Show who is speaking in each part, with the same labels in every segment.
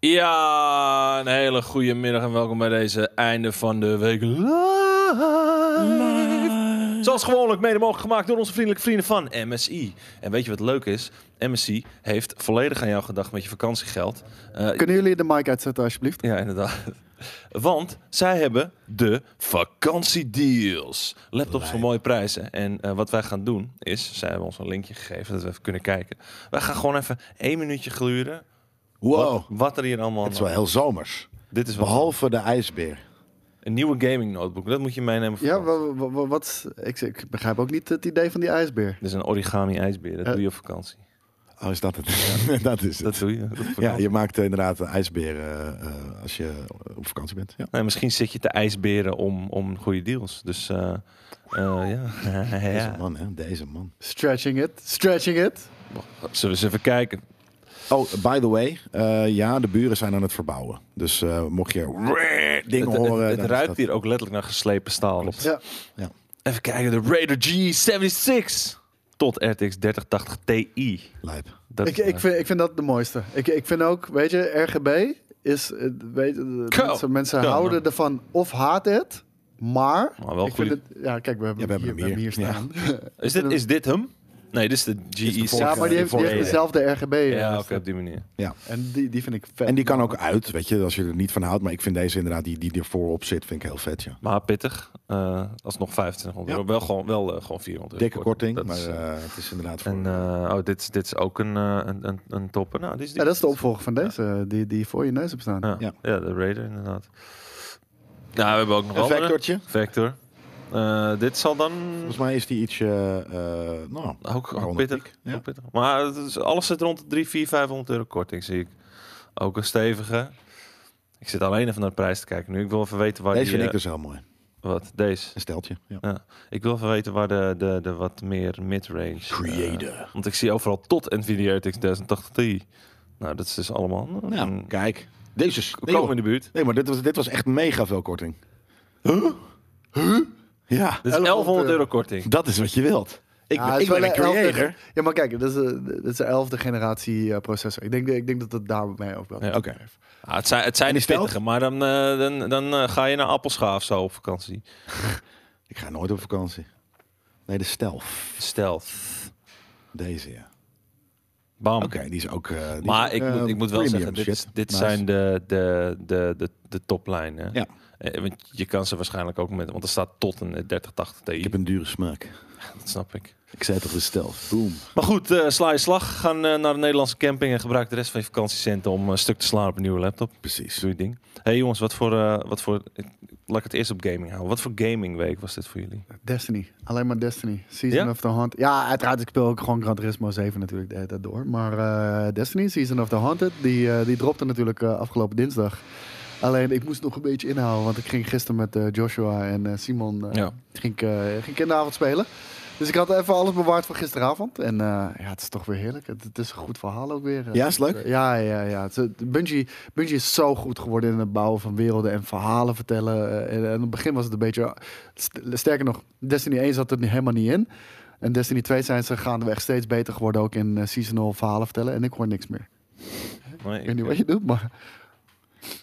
Speaker 1: Ja, een hele goede middag en welkom bij deze einde van de week live. Zoals gewoonlijk mede mogelijk gemaakt door onze vriendelijke vrienden van MSI. En weet je wat leuk is? MSI heeft volledig aan jou gedacht met je vakantiegeld. Eh,
Speaker 2: Kunnen jullie de mic uitzetten alsjeblieft?
Speaker 1: ja, inderdaad. Want zij hebben de vakantiedeals. Laptops voor mooie prijzen. En eh, wat wij gaan doen is, zij hebben ons een linkje gegeven dat we even kunnen kijken. Wij gaan gewoon even één minuutje gluren. Wat,
Speaker 3: Wow,
Speaker 1: wat er hier allemaal
Speaker 3: het is wel heel zomers.
Speaker 1: Dit is wel
Speaker 3: Behalve de ijsbeer.
Speaker 1: een nieuwe gaming notebook. Dat moet je meenemen. voor
Speaker 2: Ja,
Speaker 1: vakantie.
Speaker 2: wa- wa- wa- wat? Ik, ik begrijp ook niet het idee van die ijsbeer.
Speaker 1: Dit is een origami ijsbeer. Dat
Speaker 2: Eh.
Speaker 1: doe je op vakantie.
Speaker 3: Oh, is dat het? dat is het.
Speaker 1: Dat doe je. op vakantie.
Speaker 3: ja, je maakt eh, inderdaad een ijsbeer eh, eh, als je op vakantie bent. Ja.
Speaker 1: Nee, misschien zit je te ijsberen om, om goede deals. Dus eh, eh, ja.
Speaker 3: Deze
Speaker 1: ja.
Speaker 3: man, hè? Deze man.
Speaker 2: Stretching it, stretching it.
Speaker 1: Zullen we eens even kijken?
Speaker 3: Oh, by the way, eh, ja, de buren zijn aan het verbouwen. Dus eh, mocht je dingen
Speaker 1: Het, het-
Speaker 3: horen.
Speaker 1: het
Speaker 3: dan is
Speaker 1: ruikt
Speaker 3: dat-
Speaker 1: hier ook letterlijk naar geslepen staal.
Speaker 2: Ja.
Speaker 1: Even kijken. De Raider G76 tot RTX 3080 Ti.
Speaker 3: Lijp.
Speaker 1: Dat, eh,
Speaker 2: Ik, ik, vind, ik vind dat de mooiste. Ik, ik vind ook, weet je, RGB is, eh, weet, je, eh,
Speaker 1: Go.
Speaker 2: mensen, mensen
Speaker 1: Go,
Speaker 2: houden
Speaker 1: man.
Speaker 2: ervan of haat het, maar...
Speaker 1: Maar wel
Speaker 2: ik vind
Speaker 1: goeie-
Speaker 2: het, ja, kijk, we hebben,
Speaker 3: Ja, we hebben
Speaker 2: hier,
Speaker 3: hem
Speaker 2: we hebben hier staan.
Speaker 1: is, dit, is dit hem? Nee, dit is de
Speaker 3: de
Speaker 1: GE.
Speaker 3: vorige.
Speaker 2: ja,
Speaker 3: Volk,
Speaker 2: maar die
Speaker 3: eh,
Speaker 2: heeft, die heeft
Speaker 3: voor-
Speaker 2: dezelfde RGB.
Speaker 1: Ja,
Speaker 2: eh,
Speaker 1: oké, op die manier.
Speaker 2: En die, die vind ik vet.
Speaker 3: En die kan ook uit, weet je, als je er niet van houdt. Maar ik vind deze inderdaad, die, die ervoor op zit, vind ik heel vet, ja.
Speaker 1: Maar pittig. Eh alsnog 2500
Speaker 3: Ja.
Speaker 1: euro. Wel gewoon, wel, eh, gewoon 400 euro.
Speaker 3: Dikke korting,
Speaker 1: Dat
Speaker 3: maar
Speaker 1: is, eh,
Speaker 3: eh, het is inderdaad voor...
Speaker 1: en eh, oh, dit, is- dit is ook een, eh, een, een, een topper. Nou, dit is die.
Speaker 2: Ja, dat is de opvolger van deze, die, die voor je neus hebt staan.
Speaker 1: Ja,
Speaker 3: Ja.
Speaker 1: ja, de Raider inderdaad. Nou, we hebben ook nog
Speaker 3: een
Speaker 1: andere.
Speaker 3: vectortje.
Speaker 1: Vector. Eh, dit zal dan
Speaker 3: Volgens mij is die iets, eh, eh, nou,
Speaker 1: ook, ook
Speaker 3: Waarom
Speaker 1: pittig.
Speaker 3: niet? Ja.
Speaker 1: Ook pittig. Maar het is, alles zit rond de 3, 4, 500 euro korting, zie ik. Ook een stevige. Ik zit alleen even naar de prijs te kijken nu. Ik wil even weten waar
Speaker 3: deze
Speaker 1: die...
Speaker 3: vind ik
Speaker 1: eh,
Speaker 3: dus heel mooi.
Speaker 1: Wat? Deze?
Speaker 3: Een steltje. Ja.
Speaker 1: Ik wil even weten waar de, de, de wat meer mid-range... eh,
Speaker 3: Creator.
Speaker 1: Want ik zie overal tot NVIDIA RTX 1080 Ti. Nou, dat is dus allemaal...
Speaker 3: Nou,
Speaker 1: Mm,
Speaker 3: kijk. Deze is... Nee,
Speaker 1: Komen
Speaker 3: joh.
Speaker 1: in de buurt.
Speaker 3: nee maar dit was, dit was echt mega veel korting. Huh? Huh? Ja,
Speaker 1: Dit is 1100
Speaker 2: euro.
Speaker 1: euro korting.
Speaker 3: dat is wat je wilt. Ik,
Speaker 2: Ja,
Speaker 3: ben-
Speaker 2: het
Speaker 3: ik
Speaker 2: is
Speaker 3: ben
Speaker 2: wel
Speaker 3: een
Speaker 2: de elfde-
Speaker 3: creator.
Speaker 2: Ja, maar kijk, dat is de, dat is de elfde generatie eh, processor. Ik denk, ik denk dat het daarmee ook wel.
Speaker 1: Ja,
Speaker 3: Oké.
Speaker 1: Ah, het zijn, het zijn
Speaker 3: En
Speaker 1: de
Speaker 3: die stelt?
Speaker 1: pittige, maar dan, eh, dan, dan eh, ga je naar Appelscha of zo op vakantie.
Speaker 3: Ik ga nooit op vakantie. Nee, de stelf.
Speaker 1: Stel.
Speaker 3: Deze, ja.
Speaker 1: Bam.
Speaker 3: Oké, die is ook... eh, die is
Speaker 1: Maar
Speaker 3: ook,
Speaker 1: ik,
Speaker 3: eh,
Speaker 1: moet, ik moet wel
Speaker 3: premium
Speaker 1: zeggen, dit, is-
Speaker 3: shit.
Speaker 1: dit
Speaker 3: Nice.
Speaker 1: zijn de, de, de, de, de toplijnen.
Speaker 3: Ja.
Speaker 1: Eh, want je kan ze waarschijnlijk ook met, want er staat tot een eh, 3080 Ti.
Speaker 3: Ik heb een dure smaak.
Speaker 1: Dat snap ik.
Speaker 3: Ik zei toch de stelf. Boom.
Speaker 1: Maar goed, eh, sla je slag. Ga eh, naar de Nederlandse camping en gebruik de rest van je vakantiecenten om een stuk te slaan op een nieuwe laptop.
Speaker 3: Precies.
Speaker 1: Doe je ding. hey jongens, wat voor, eh, wat voor, ik- laat ik het eerst op gaming houden. Wat voor gamingweek was dit voor jullie?
Speaker 2: Destiny. Alleen maar Destiny. Season
Speaker 1: Ja?
Speaker 2: of the Hunt. Ja, uiteraard, ik speel ook gewoon Gran Turismo 7 natuurlijk de hele tijd door. Maar eh, Destiny, Season of the Haunted, die, eh, die dropte natuurlijk eh, afgelopen dinsdag. Alleen, ik moest nog een beetje inhouden, want ik ging gisteren met eh, Joshua en eh, Simon eh,
Speaker 1: Ja.
Speaker 2: ging, ik, eh, ging ik in de avond spelen. Dus ik had even alles bewaard van gisteravond. En eh, ja, het is toch weer heerlijk. Het, het is een goed verhaal ook weer. eh.
Speaker 3: Ja, is leuk.
Speaker 2: Ja, ja, ja. Het is- eh, Bungie, Bungie is zo goed geworden in het bouwen van werelden en verhalen vertellen. Eh, En, en in het begin was het een beetje... st- Sterker nog, Destiny 1 zat er niet- helemaal niet in. En Destiny 2 zijn ze gaandeweg steeds beter geworden ook in eh, seasonal verhalen vertellen. En ik hoor niks meer.
Speaker 1: Nee,
Speaker 2: Ik weet niet wat je doet, maar...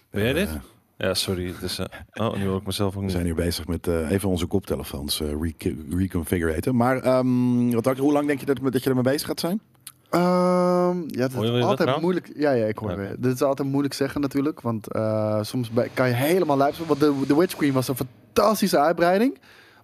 Speaker 1: Ben jij dit?
Speaker 3: Eh,
Speaker 1: Ja, sorry. Het is, eh, oh, nu hoor ik mezelf ook
Speaker 3: We
Speaker 1: niet.
Speaker 3: zijn hier bezig met eh, even onze koptelefoons eh rec- reconfigureren. Maar ehm, wat, dacht je, hoe lang denk je dat, dat je ermee bezig gaat zijn?
Speaker 2: Ehm, ja,
Speaker 1: Hoor
Speaker 2: dat
Speaker 1: je
Speaker 2: is
Speaker 1: weer wat
Speaker 2: altijd
Speaker 1: trouwens?
Speaker 2: moeilijk. Ja, ja, ik hoor
Speaker 1: Oké.
Speaker 2: weer. Dit is altijd moeilijk zeggen natuurlijk, want eh, soms bij- kan je helemaal luisteren. Want de, de Witch Queen was een fantastische uitbreiding,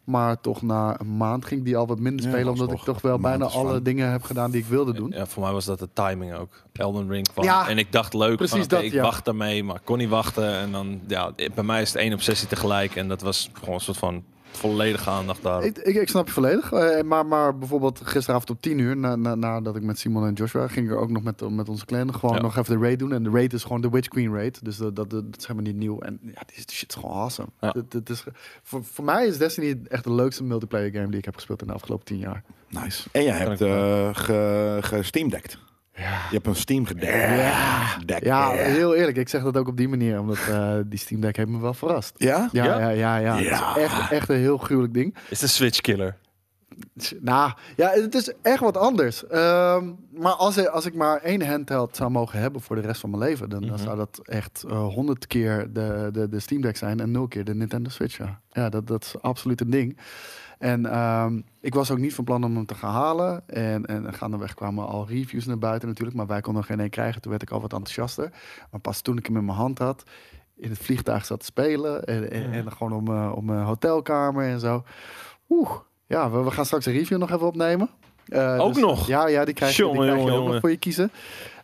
Speaker 2: maar toch na een maand ging die al wat minder
Speaker 3: Ja,
Speaker 2: spelen,
Speaker 3: dat is
Speaker 2: omdat
Speaker 3: nog-
Speaker 2: ik toch wel
Speaker 3: een maand
Speaker 2: bijna
Speaker 3: is
Speaker 2: alle
Speaker 3: fijn.
Speaker 2: dingen heb gedaan die ik wilde doen.
Speaker 1: Ja, voor mij was dat de timing ook. Elden Ring kwam
Speaker 2: Ja,
Speaker 1: en ik dacht leuk,
Speaker 2: precies
Speaker 1: van, oké,
Speaker 2: dat,
Speaker 1: ik
Speaker 2: ja.
Speaker 1: wacht daarmee, maar kon niet wachten. En dan, ja, bij mij is het één obsessie tegelijk en dat was gewoon een soort van volledige aandacht daar.
Speaker 2: Ik, ik, ik snap je volledig. Eh, maar, maar bijvoorbeeld gisteravond op 10 uur, na, na, nadat ik met Simon en Joshua ging, ik er ook nog met, eh, met onze clan gewoon
Speaker 1: Ja.
Speaker 2: nog even de raid doen. En de raid is gewoon de Witch Queen raid. Dus dat, dat, dat, is helemaal niet nieuw. En ja, die shit is gewoon awesome.
Speaker 1: Ja.
Speaker 2: Dat- dat is, voor, voor mij is Destiny echt de leukste multiplayer game die ik heb gespeeld in de afgelopen 10 jaar.
Speaker 3: Nice. En jij
Speaker 1: Kan
Speaker 3: hebt
Speaker 1: ik
Speaker 3: eh ge, gesteamdekt. Je hebt een steam gedekt.
Speaker 2: Ja.
Speaker 3: Dekt.
Speaker 2: Ja, heel eerlijk. Ik zeg dat ook op die manier, omdat eh, die Steam Deck heeft me wel verrast.
Speaker 3: Ja?
Speaker 2: Ja,
Speaker 1: Ja?
Speaker 2: ja, ja. ja, Het
Speaker 3: Ja.
Speaker 2: is echt, echt een heel gruwelijk ding.
Speaker 1: Het is een switch killer.
Speaker 2: Nou, ja, het is echt wat anders. Ehm, maar als, ik- als ik maar één handheld zou mogen hebben voor de rest van mijn leven, dan, dan zou dat echt eh, honderd keer de, de, de Steam Deck zijn en nul keer de Nintendo Switch. Ja, ja dat, dat is absoluut een ding. En ehm, ik was ook niet van plan om hem te gaan halen. En, en gaandeweg kwamen al reviews naar buiten natuurlijk, maar wij konden er geen één krijgen. Toen werd ik al wat enthousiaster. Maar pas toen ik hem in mijn hand had, in het vliegtuig zat te spelen en, en, en gewoon om, eh, om mijn hotelkamer en zo. Oeh, ja, we, we gaan straks een review nog even opnemen. Eh,
Speaker 1: Ook nog?
Speaker 2: Ja, ja, die krijg, je-
Speaker 1: Jongen,
Speaker 2: die krijg
Speaker 1: jongen,
Speaker 2: je ook nog
Speaker 1: jongen.
Speaker 2: voor je kiezen.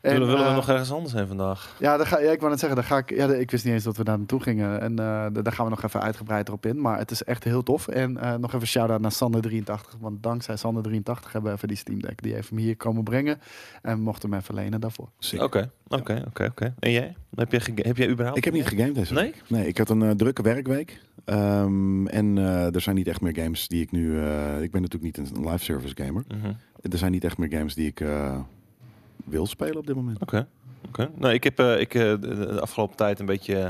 Speaker 2: En,
Speaker 1: Willen, willen we
Speaker 2: eh,
Speaker 1: nog ergens anders heen vandaag?
Speaker 2: ja, daar ga, ja, ik wou net zeggen, daar ga ik, ja, ik wist niet eens dat we daar naartoe gingen. En eh, da- daar gaan we nog even uitgebreid op in. Maar het is echt heel tof. En eh, nog even shout-out naar Sander83. Want dankzij Sander83 hebben we even die Steam Deck. Die heeft hem hier komen brengen. En we mochten hem even lenen daarvoor.
Speaker 3: Sick.
Speaker 1: Oké, oké, oké, oké. En jij? Heb jij, gege- heb jij überhaupt?
Speaker 3: Ik heb niet gegamed deze
Speaker 1: Nee?
Speaker 3: week. Nee, ik had een eh, drukke werkweek. Ehm, en eh, er zijn niet echt meer games die ik nu... eh, ik ben natuurlijk niet een live service gamer.
Speaker 1: Mhm.
Speaker 3: Er zijn niet echt meer games die ik eh, wil spelen op dit moment.
Speaker 1: Oké. oké. Nou, ik heb eh, ik, eh, de- de, de afgelopen tijd een beetje eh,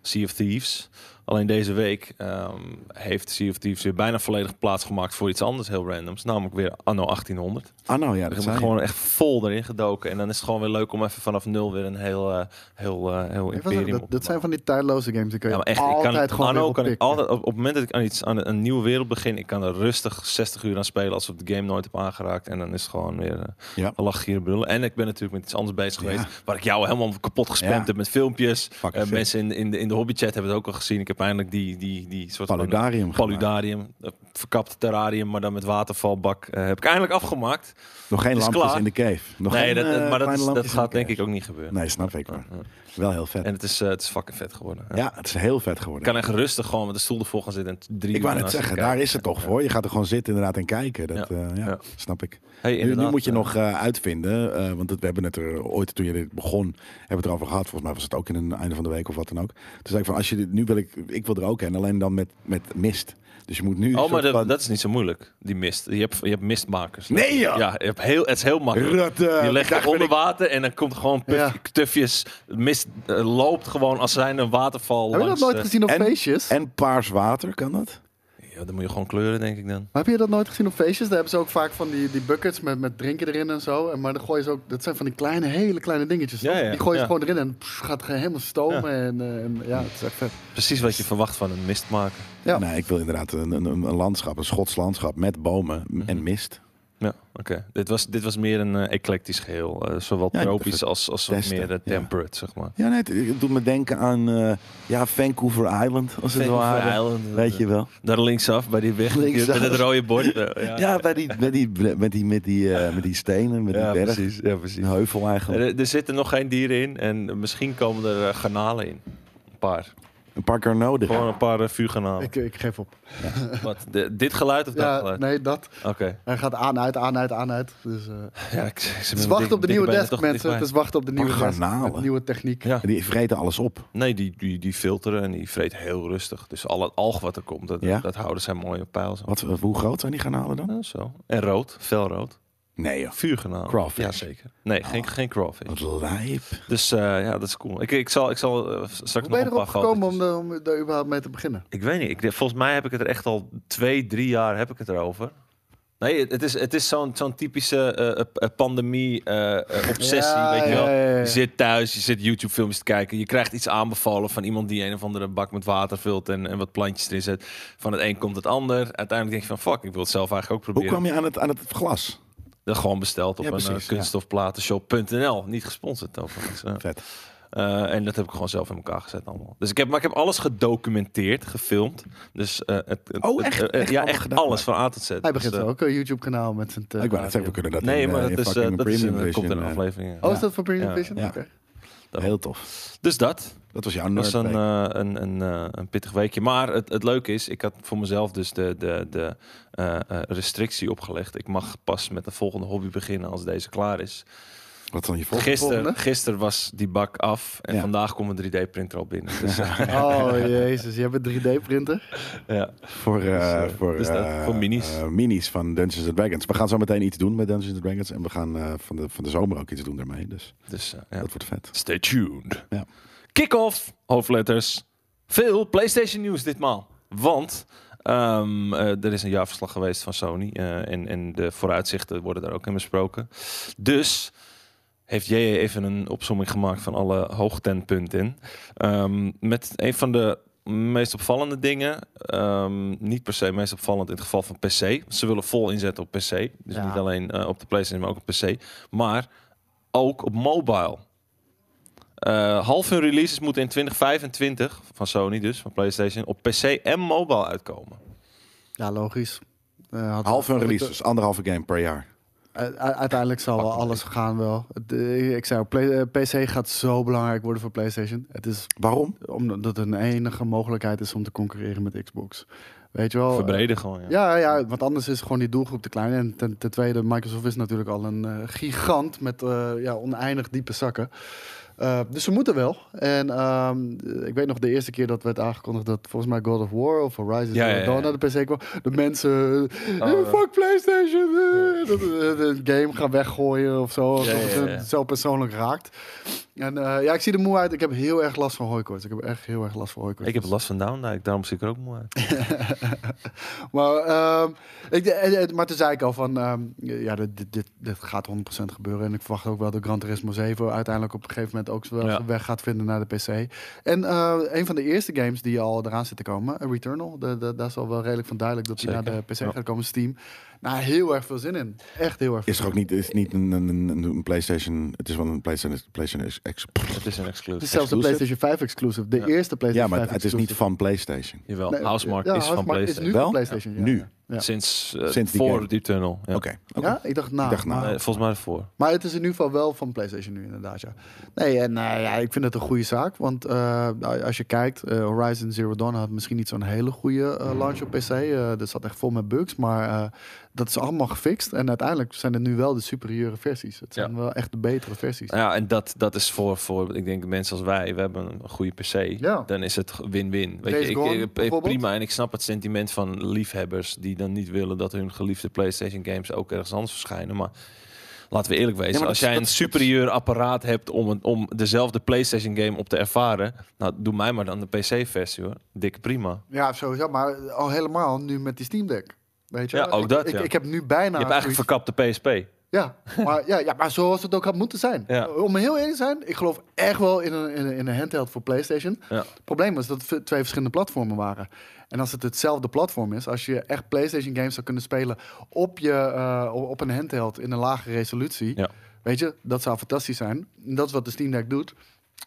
Speaker 1: Sea of Thieves. Alleen deze week ehm, heeft Sea of Thieves weer bijna volledig plaatsgemaakt voor iets anders heel randoms. Namelijk weer anno 1800.
Speaker 3: Ah nou
Speaker 1: Ik
Speaker 3: ja, dat
Speaker 1: heb
Speaker 3: zijn
Speaker 1: me gewoon echt vol erin gedoken. En dan is het gewoon weer leuk om even vanaf nul weer een heel, eh, heel, eh, heel
Speaker 2: Ik wou zeggen,
Speaker 1: imperium op
Speaker 2: dat,
Speaker 1: te
Speaker 2: dat zijn van die tijdloze games. Die kun je
Speaker 1: ja, maar echt,
Speaker 2: altijd
Speaker 1: ik kan,
Speaker 2: gewoon
Speaker 1: anno
Speaker 2: weer
Speaker 1: kan ik
Speaker 2: oppikken.
Speaker 1: altijd, op, op het moment dat ik aan iets aan een, een nieuwe wereld begin, ik kan er rustig 60 uur aan spelen alsof ik de game nooit heb aangeraakt. En dan is het gewoon weer eh
Speaker 3: Ja.
Speaker 1: lach hier brullen. En ik ben natuurlijk met iets anders bezig
Speaker 3: Ja.
Speaker 1: geweest, waar ik jou helemaal kapot gespamd
Speaker 3: Ja.
Speaker 1: heb met filmpjes.
Speaker 3: Fuck
Speaker 1: Eh,
Speaker 3: shit.
Speaker 1: mensen in, in, de, in de hobbychat hebben het ook al gezien. Ik heb eindelijk die, die, die soort van
Speaker 3: Paludarium. gemaakt.
Speaker 1: paludarium, eh, verkapt terrarium, maar dan met watervalbak, eh, heb ik eindelijk afgemaakt.
Speaker 3: Nog geen
Speaker 1: is
Speaker 3: lampjes
Speaker 1: klaar.
Speaker 3: in de cave. Nog
Speaker 1: nee,
Speaker 3: geen,
Speaker 1: dat,
Speaker 3: eh,
Speaker 1: maar dat,
Speaker 3: kleine
Speaker 1: is- dat
Speaker 3: lampjes in
Speaker 1: gaat
Speaker 3: de cave.
Speaker 1: denk ik ook niet gebeuren.
Speaker 3: Nee, snap ik maar.
Speaker 1: Ja.
Speaker 3: Wel heel vet.
Speaker 1: En het is, eh, het is fucking vet geworden. Ja.
Speaker 3: ja, het is heel vet geworden.
Speaker 1: Ik kan echt rustig gewoon met de stoel ervoor gaan zitten en t- drie
Speaker 3: Ik wou
Speaker 1: uur
Speaker 3: net
Speaker 1: naast
Speaker 3: zeggen,
Speaker 1: elkaar.
Speaker 3: daar is het toch voor. Je gaat er gewoon zitten inderdaad en kijken. Dat,
Speaker 1: Ja.
Speaker 3: eh, ja,
Speaker 1: Ja.
Speaker 3: snap ik.
Speaker 1: Hey,
Speaker 3: Nu, nu
Speaker 1: inderdaad,
Speaker 3: moet je
Speaker 1: eh,
Speaker 3: nog eh, uitvinden, eh, want het- we hebben het er ooit toen je dit begon, hebben we het erover gehad. Volgens mij was het ook in een einde van de week of wat dan ook. Toen zei ik van, als je dit, nu wil ik, ik wil er ook heen, alleen dan met, met mist. Dus je moet nu... een
Speaker 1: Oh, maar
Speaker 3: soort
Speaker 1: dat,
Speaker 3: van-
Speaker 1: dat is niet zo moeilijk, die mist. Je hebt, je hebt mistmakers.
Speaker 3: Nee, joh!
Speaker 1: Ja, je hebt heel, het is heel makkelijk.
Speaker 3: Rot, eh,
Speaker 1: je
Speaker 3: ik
Speaker 1: legt
Speaker 3: dacht,
Speaker 1: het
Speaker 3: ben
Speaker 1: onder
Speaker 3: ik-
Speaker 1: water en dan komt gewoon puf,
Speaker 2: Ja.
Speaker 1: tufjes. Mist eh, loopt gewoon als zijn een waterval
Speaker 2: Heb je dat
Speaker 1: langs...
Speaker 2: nooit
Speaker 1: eh,
Speaker 2: gezien op
Speaker 3: en-
Speaker 2: feestjes?
Speaker 3: En paars water, kan dat?
Speaker 1: ja, dan moet je gewoon kleuren, denk ik dan.
Speaker 2: Maar heb je dat nooit gezien op feestjes? Daar hebben ze ook vaak van die, die buckets met, met drinken erin en zo. En, maar dan gooien ze ook, dat zijn van die kleine, hele kleine dingetjes.
Speaker 1: Ja,
Speaker 2: toch?
Speaker 1: ja,
Speaker 2: die gooien
Speaker 1: ja.
Speaker 2: ze gewoon erin en pff, gaat gewoon helemaal stomen. En, eh, en ja, het is echt vet.
Speaker 1: Precies wat je verwacht van een mistmaker.
Speaker 2: Ja.
Speaker 3: Nee, ik wil inderdaad een, een, een landschap, een Schots landschap met bomen
Speaker 1: Mhm.
Speaker 3: en mist.
Speaker 1: Ja, oké. Dit, was, dit was meer een eh, eclectisch geheel. eh, zowel
Speaker 3: Ja,
Speaker 1: tropisch
Speaker 3: even
Speaker 1: als, als wat
Speaker 3: testen,
Speaker 1: meer eh,
Speaker 3: ja.
Speaker 1: temperate, zeg maar.
Speaker 3: Ja, nee, het, het doet me denken aan eh, ja, Vancouver Island, als het ware.
Speaker 1: Island,
Speaker 3: Weet je wel.
Speaker 1: Daar linksaf, bij die weg,
Speaker 3: Linksaf.
Speaker 1: met het rode bord. eh,
Speaker 3: Ja, bij die, met die, met die, met die, eh, met die stenen, met
Speaker 1: ja,
Speaker 3: die berg.
Speaker 1: precies. Ja, precies.
Speaker 3: Een heuvel eigenlijk.
Speaker 1: Er, er zitten nog geen dieren in en misschien komen er eh, garnalen in. Een paar.
Speaker 3: Een paar keer nodig.
Speaker 1: Gewoon een paar eh, vuurgarnalen.
Speaker 2: Ik, ik geef op.
Speaker 1: Wat, de- dit geluid of dat eh,
Speaker 2: Ja,
Speaker 1: geluid?
Speaker 2: nee, dat.
Speaker 1: Oké.
Speaker 2: Hij gaat aan, uit, aan, uit, aan, uit. Dus, eh,
Speaker 1: Ja, ik, ik zit met
Speaker 2: het is
Speaker 1: mijn dikke-
Speaker 2: wachten op de
Speaker 1: dikke
Speaker 2: nieuwe
Speaker 1: benen
Speaker 2: desk,
Speaker 1: toch
Speaker 2: mensen. Het
Speaker 1: dichtbij.
Speaker 2: is wachten op de nieuwe desk.
Speaker 3: garnalen.
Speaker 2: met nieuwe techniek.
Speaker 1: Ja.
Speaker 3: Die vreten alles op.
Speaker 1: Nee, die, die, die filteren en die vreet heel rustig. Dus al het alg wat er komt, dat,
Speaker 3: Ja?
Speaker 1: dat houden zij mooi op peil. Zo.
Speaker 2: Oh.
Speaker 3: Wat, hoe groot zijn die garnalen dan?
Speaker 1: Ja, zo. En rood, felrood.
Speaker 3: Nee joh.
Speaker 1: Vuurgarnalen.
Speaker 3: Crawfish.
Speaker 1: Ja, zeker. Nee, geen,
Speaker 2: Oh.
Speaker 1: geen crawfish.
Speaker 3: Wat lijp.
Speaker 1: Dus eh, ja, dat is cool. Ik, ik zal, ik zal eh, straks
Speaker 2: Hoe ben
Speaker 1: nog
Speaker 2: je
Speaker 1: een paar
Speaker 2: erop gekomen
Speaker 1: foto's-
Speaker 2: om, de- om daar überhaupt mee te beginnen?
Speaker 1: Ik weet niet. Ik, volgens mij heb ik het er echt al twee, drie jaar heb ik het erover. Nee, het, het is, het is zo'n zo'n typische eh, pandemie-obsessie.
Speaker 2: Ja,
Speaker 1: eh, weet je
Speaker 2: ja,
Speaker 1: wel?
Speaker 2: ja, ja.
Speaker 1: Je zit thuis, je zit YouTube-filmpjes te kijken. Je krijgt iets aanbevolen van iemand die een of andere bak met water vult en, en wat plantjes erin zet. Van het een komt het ander. Uiteindelijk denk je van fuck, ik wil het zelf eigenlijk ook
Speaker 3: Hoe
Speaker 1: proberen.
Speaker 3: kwam je aan het, aan het glas?
Speaker 1: Dat Gewoon besteld op
Speaker 3: Ja,
Speaker 1: een eh,
Speaker 3: precies, ja.
Speaker 1: kunststofplatenshop.nl. Niet gesponsord overigens. Ja.
Speaker 3: Vet.
Speaker 1: Eh, en dat heb ik gewoon zelf in elkaar gezet allemaal. Dus ik heb, maar ik heb alles gedocumenteerd, gefilmd. Dus eh, het, het-
Speaker 3: Oh,
Speaker 1: het-
Speaker 3: echt?
Speaker 1: eh,
Speaker 3: Echt
Speaker 1: ja,
Speaker 3: allemaal
Speaker 1: echt
Speaker 3: gedaan,
Speaker 1: alles van A tot Z.
Speaker 2: Hij begint
Speaker 1: Dus, eh,
Speaker 2: ook een YouTube-kanaal met zijn... eh, te-
Speaker 3: ik wou net zeggen, we kunnen dat
Speaker 1: Nee,
Speaker 3: in,
Speaker 1: maar
Speaker 3: eh,
Speaker 1: dat,
Speaker 3: in
Speaker 1: is, eh,
Speaker 3: fucking
Speaker 1: dat is,
Speaker 3: premium
Speaker 1: eh, komt in
Speaker 3: edition,
Speaker 1: een
Speaker 3: eh.
Speaker 1: aflevering. ja.
Speaker 2: Oh, is dat van Premium
Speaker 1: Ja.
Speaker 2: Vision?
Speaker 3: Ja.
Speaker 2: Oké.
Speaker 3: Heel tof.
Speaker 1: Dus dat.
Speaker 3: Dat was jouw
Speaker 1: Dat was
Speaker 3: nerd
Speaker 1: een,
Speaker 3: week.
Speaker 1: eh, een, een, eh, een pittig weekje. Maar het, het leuke is, ik had voor mezelf dus de, de, de eh, eh, restrictie opgelegd. Ik mag pas met de volgende hobby beginnen als deze klaar is. eh,
Speaker 3: Wat dan je volgende?
Speaker 1: Gisteren
Speaker 2: volgende?
Speaker 1: gister was die bak af en
Speaker 3: Ja.
Speaker 1: vandaag komt een 3D-printer al binnen. Dus, eh,
Speaker 2: Oh, jezus. Je hebt een 3D-printer.
Speaker 1: ja.
Speaker 3: Voor, eh,
Speaker 1: Dus, eh,
Speaker 3: voor,
Speaker 1: dus dat,
Speaker 3: eh,
Speaker 1: voor minis.
Speaker 3: eh, minis van Dungeons and Dragons. We gaan zo meteen iets doen met Dungeons and Dragons. En we gaan eh, van, de, van de zomer ook iets doen daarmee. Dus
Speaker 1: dus eh, ja.
Speaker 3: dat wordt vet.
Speaker 1: Stay tuned.
Speaker 3: Ja.
Speaker 1: Kick-off, hoofdletters. Veel PlayStation nieuws ditmaal. Want Ehm, eh, er is een jaarverslag geweest van Sony. eh, en, en de vooruitzichten worden daar ook in besproken. Dus heeft JJ even een opsomming gemaakt van alle hoogtenpunten in. Ehm, met een van de meest opvallende dingen. ehm, niet per se meest opvallend in het geval van PC. Ze willen vol inzetten op PC. Dus
Speaker 2: Ja.
Speaker 1: niet alleen eh, op de PlayStation, maar ook op PC. Maar ook op mobile. Eh, half hun releases moeten in 2025, van Sony dus, van PlayStation, op PC en mobile uitkomen.
Speaker 2: Ja, logisch. Eh, had-
Speaker 3: Half een
Speaker 2: had ik
Speaker 3: release,
Speaker 2: de-
Speaker 3: dus anderhalve game per jaar.
Speaker 2: U- u- uiteindelijk zal wel alles gaan wel. Het, eh, ik zei, al, play, eh, PC gaat zo belangrijk worden voor PlayStation. Het is
Speaker 3: Waarom?
Speaker 2: omdat het een enige mogelijkheid is om te concurreren met Xbox. Weet je wel?
Speaker 1: Verbreden gewoon, ja.
Speaker 2: Oh, Ja, ja, want anders is gewoon die doelgroep te klein. En ten, ten tweede, Microsoft is natuurlijk al een eh, gigant met eh, ja, oneindig diepe zakken. Eh, dus we moeten wel. En ehm, ik weet nog de eerste keer dat werd aangekondigd dat volgens mij God of War of Horizon
Speaker 1: Ja,
Speaker 2: ja,
Speaker 1: ja, ja, ja.
Speaker 2: naar de PC kwam. De mensen, eh,
Speaker 1: Oh, ja.
Speaker 2: fuck PlayStation, eh, dat, eh, de game gaan weggooien of zo.
Speaker 1: Ja,
Speaker 2: alsof het
Speaker 1: ja,
Speaker 2: hun
Speaker 1: ja.
Speaker 2: zo persoonlijk raakt. En eh, ja, ik zie er moe uit. Ik heb heel erg last van hooikoorts. Ik heb echt heel erg last van hooikoorts.
Speaker 1: Ik heb last van Down, daarom zie ik er ook mooi uit.
Speaker 2: Maar, ehm, ik, eh, eh, maar toen zei ik al van, ehm, ja, dit, dit, dit, dit gaat 100% gebeuren. En ik verwacht ook wel dat Gran Turismo 7 uiteindelijk op een gegeven moment ook wel
Speaker 1: Ja.
Speaker 2: zijn weg gaat vinden naar de PC. En eh, een van de eerste games die al eraan zit te komen, eh, Returnal, de, de, daar is al wel redelijk van duidelijk dat die
Speaker 1: Zeker,
Speaker 2: naar de PC
Speaker 1: ja.
Speaker 2: gaat komen, Steam. Nou, heel erg veel zin in. Echt heel erg veel
Speaker 3: Is er ook niet, is niet een, een, een, een PlayStation. Het is wel een PlayStation, PlayStation X.
Speaker 1: Het is een
Speaker 2: Het is
Speaker 1: exclusive.
Speaker 2: zelfs een
Speaker 3: exclusive?
Speaker 2: PlayStation 5 exclusive. De
Speaker 1: Ja.
Speaker 2: eerste
Speaker 3: Ja,
Speaker 2: PlayStation 5
Speaker 3: maar het is niet
Speaker 2: exclusive.
Speaker 3: van PlayStation.
Speaker 1: Jawel,
Speaker 2: Nee,
Speaker 1: Housemark
Speaker 2: ja,
Speaker 1: is van
Speaker 2: Housemark
Speaker 1: PlayStation.
Speaker 2: Is nu
Speaker 3: Wel?
Speaker 2: van PlayStation, ja.
Speaker 3: Nu?
Speaker 2: Ja. Ja.
Speaker 1: Sinds, eh,
Speaker 3: Sinds die
Speaker 1: voor
Speaker 3: game.
Speaker 1: die tunnel. Ja.
Speaker 3: Oké. Ah. oké.
Speaker 2: Ja, ik dacht na.
Speaker 3: Ik dacht na.
Speaker 2: maar-
Speaker 1: Eh, volgens mij ervoor.
Speaker 2: Maar het is in ieder geval wel van PlayStation nu, inderdaad. Ja. Nee, en eh, ja, ik vind het een goede zaak. Want eh, als je kijkt, eh, Horizon Zero Dawn had misschien niet zo'n hele goede eh, launch op PC. Eh dat zat echt vol met bugs. Maar eh, dat is allemaal gefixt. En uiteindelijk zijn het nu wel de superieure versies. Het zijn
Speaker 1: Ja.
Speaker 2: wel echt de betere versies.
Speaker 1: Ja, en dat, dat is voor, voor, ik denk, mensen als wij, we hebben een goede PC.
Speaker 2: Ja.
Speaker 1: Dan is het win-win. Weet
Speaker 2: Days
Speaker 1: je, ik,
Speaker 2: Gone,
Speaker 1: ik- ik-
Speaker 2: bijvoorbeeld.
Speaker 1: prima. En ik snap het sentiment van liefhebbers die dan niet willen dat hun geliefde PlayStation games ook ergens anders verschijnen. Maar laten we eerlijk
Speaker 3: Ja,
Speaker 1: wezen,
Speaker 3: maar
Speaker 1: als
Speaker 3: dat-
Speaker 1: jij een
Speaker 3: dat-
Speaker 1: superieur apparaat hebt om, een, om dezelfde PlayStation game op te ervaren, nou doe mij maar dan de PC-versie hoor. Dikke prima.
Speaker 2: Ja, sowieso. Maar al helemaal nu met die Steam Deck. Weet je?
Speaker 1: Ja, ook
Speaker 2: ik,
Speaker 1: dat,
Speaker 2: Ik,
Speaker 1: ja.
Speaker 2: ik heb nu
Speaker 1: je
Speaker 2: bijna...
Speaker 1: hebt eigenlijk
Speaker 2: zoiets-
Speaker 1: verkapt de PSP.
Speaker 2: Ja, maar, ja, ja, maar zoals het ook had moeten zijn.
Speaker 1: Ja.
Speaker 2: Om heel eerlijk te zijn, ik geloof echt wel in een, in een, in een handheld voor PlayStation.
Speaker 1: Ja.
Speaker 2: Het probleem was dat het v- twee verschillende platformen waren. En als het hetzelfde platform is, als je echt PlayStation games zou kunnen spelen op, je, eh, o- op een handheld in een lage resolutie,
Speaker 1: Ja.
Speaker 2: weet je, dat zou fantastisch zijn. Dat is wat de Steam Deck doet.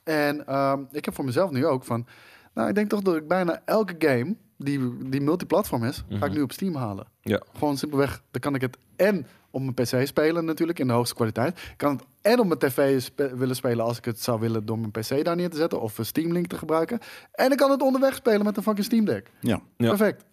Speaker 2: En ehm, ik heb voor mezelf nu ook van, nou, ik denk toch dat ik bijna elke game die, die multiplatform is, ga
Speaker 1: Mhm.
Speaker 2: ik nu op Steam halen.
Speaker 1: Ja.
Speaker 2: Gewoon simpelweg, dan kan ik het en op mijn PC spelen natuurlijk in de hoogste kwaliteit. Ik kan het en op mijn TV spe- willen spelen als ik het zou willen door mijn PC daar neer te zetten of een Steam Link te gebruiken. En ik kan het onderweg spelen met een fucking Steam Deck.
Speaker 3: Ja,
Speaker 1: Ja.
Speaker 2: Perfect.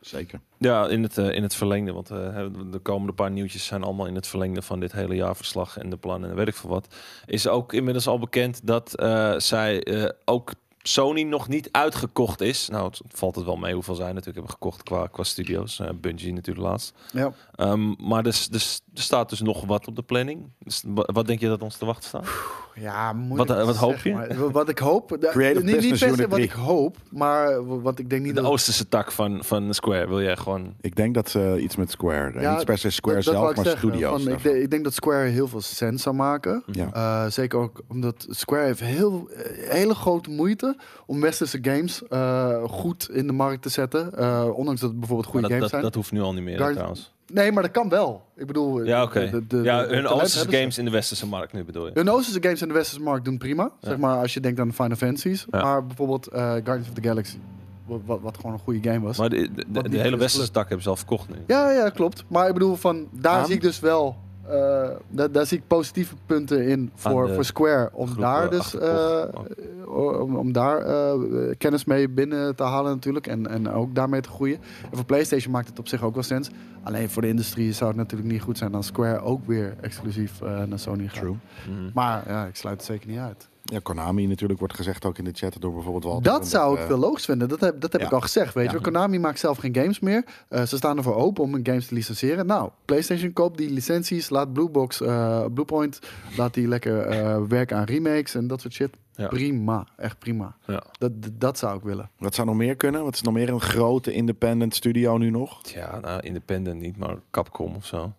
Speaker 3: zeker.
Speaker 1: Ja, in het, eh, in het verlengde. Want eh, de komende paar nieuwtjes zijn allemaal in het verlengde van dit hele jaarverslag en de plannen en weet ik veel wat. Is ook inmiddels al bekend dat eh, zij eh, ook Sony nog niet uitgekocht is. Nou, het valt het wel mee hoeveel zij natuurlijk hebben gekocht qua, qua studio's. Eh, Bungie natuurlijk laatst.
Speaker 2: Ja.
Speaker 1: Ehm, maar dus, dus, er staat dus nog wat op de planning. Dus wa- wat denk je dat ons te wachten staat?
Speaker 2: Ja, moeilijk
Speaker 1: Wat-
Speaker 3: eh,
Speaker 2: te
Speaker 1: wat hoop
Speaker 2: zeggen,
Speaker 1: je?
Speaker 2: maar Wat ik hoop. de-
Speaker 3: Creative
Speaker 2: niet, niet
Speaker 3: Business
Speaker 2: per se
Speaker 3: Unit
Speaker 2: wat
Speaker 3: 3.
Speaker 2: ik hoop, maar w- want ik denk niet
Speaker 1: De
Speaker 2: dat.
Speaker 1: oosterse tak van, van Square wil jij gewoon...
Speaker 3: Ik denk dat ze iets met Square. eh,
Speaker 2: Ja,
Speaker 3: niet per se Square
Speaker 2: dat- dat wou
Speaker 3: zelf,
Speaker 2: ik
Speaker 3: maar
Speaker 2: zeggen,
Speaker 3: studio's.
Speaker 2: van, ik,
Speaker 3: daarvan.
Speaker 2: de- ik denk dat Square heel veel sens zou maken.
Speaker 3: Ja.
Speaker 2: Eh, zeker ook omdat Square heeft heel, eh, hele grote moeite om westerse games eh, goed in de markt te zetten. Eh, ondanks dat het bijvoorbeeld
Speaker 1: Maar dat,
Speaker 2: goede games
Speaker 1: dat,
Speaker 2: zijn.
Speaker 1: dat hoeft nu al niet meer
Speaker 2: Guardians-
Speaker 1: trouwens.
Speaker 2: Nee, maar dat kan wel. Ik bedoel,
Speaker 1: Ja, oké.
Speaker 2: de- de- de-
Speaker 1: Ja,
Speaker 2: de- de
Speaker 1: hun
Speaker 2: talent
Speaker 1: oosterse
Speaker 2: hebben ze.
Speaker 1: games in de westerse markt nu bedoel je?
Speaker 2: Hun Oosterse games in de westerse markt doen prima. Zeg maar als je denkt aan Final Fantasy's.
Speaker 1: Ja.
Speaker 2: Maar bijvoorbeeld eh, Guardians of the Galaxy. wa- Wat, wat gewoon een goede game was.
Speaker 1: Maar de, de- de,
Speaker 2: niet
Speaker 1: de
Speaker 2: is
Speaker 1: hele
Speaker 2: gelukt.
Speaker 1: westerse tak hebben ze al verkocht nu.
Speaker 2: Ja, ja, klopt. Maar ik bedoel, van, daar
Speaker 3: Aan?
Speaker 2: zie ik dus wel... eh, da- daar zie ik positieve punten in voor,
Speaker 1: de
Speaker 2: voor Square. Om
Speaker 1: groep,
Speaker 2: daar
Speaker 1: eh,
Speaker 2: dus
Speaker 1: achterkocht.
Speaker 2: eh, eh, om, om daar eh, kennis mee binnen te halen natuurlijk. En, en ook daarmee te groeien. En voor PlayStation maakt het op zich ook wel sens. Alleen voor de industrie zou het natuurlijk niet goed zijn... als Square ook weer exclusief eh, naar Sony gaat.
Speaker 3: True.
Speaker 1: Mhm.
Speaker 2: Maar ja, ik sluit het zeker niet uit.
Speaker 3: Ja, Konami natuurlijk wordt gezegd ook in de chat door bijvoorbeeld Walter.
Speaker 2: Dat
Speaker 3: omdat,
Speaker 2: zou
Speaker 3: eh,
Speaker 2: ik wel logisch vinden. Dat heb, dat heb
Speaker 3: Ja.
Speaker 2: ik al gezegd. Weet
Speaker 3: Ja.
Speaker 2: je, Konami maakt zelf geen games meer. Eh, ze staan ervoor open om hun games te licenseren. Nou, PlayStation koopt die licenties. Laat Bluebox, eh Bluepoint, laat die lekker eh, werken aan remakes en dat soort shit.
Speaker 1: Ja. Ja.
Speaker 2: Prima, echt prima.
Speaker 1: Ja.
Speaker 2: Dat, dat, dat zou ik willen.
Speaker 3: Wat zou nog meer kunnen? Wat is nog meer een grote independent studio nu nog?
Speaker 1: Ja, nou, independent niet, maar Capcom of zo.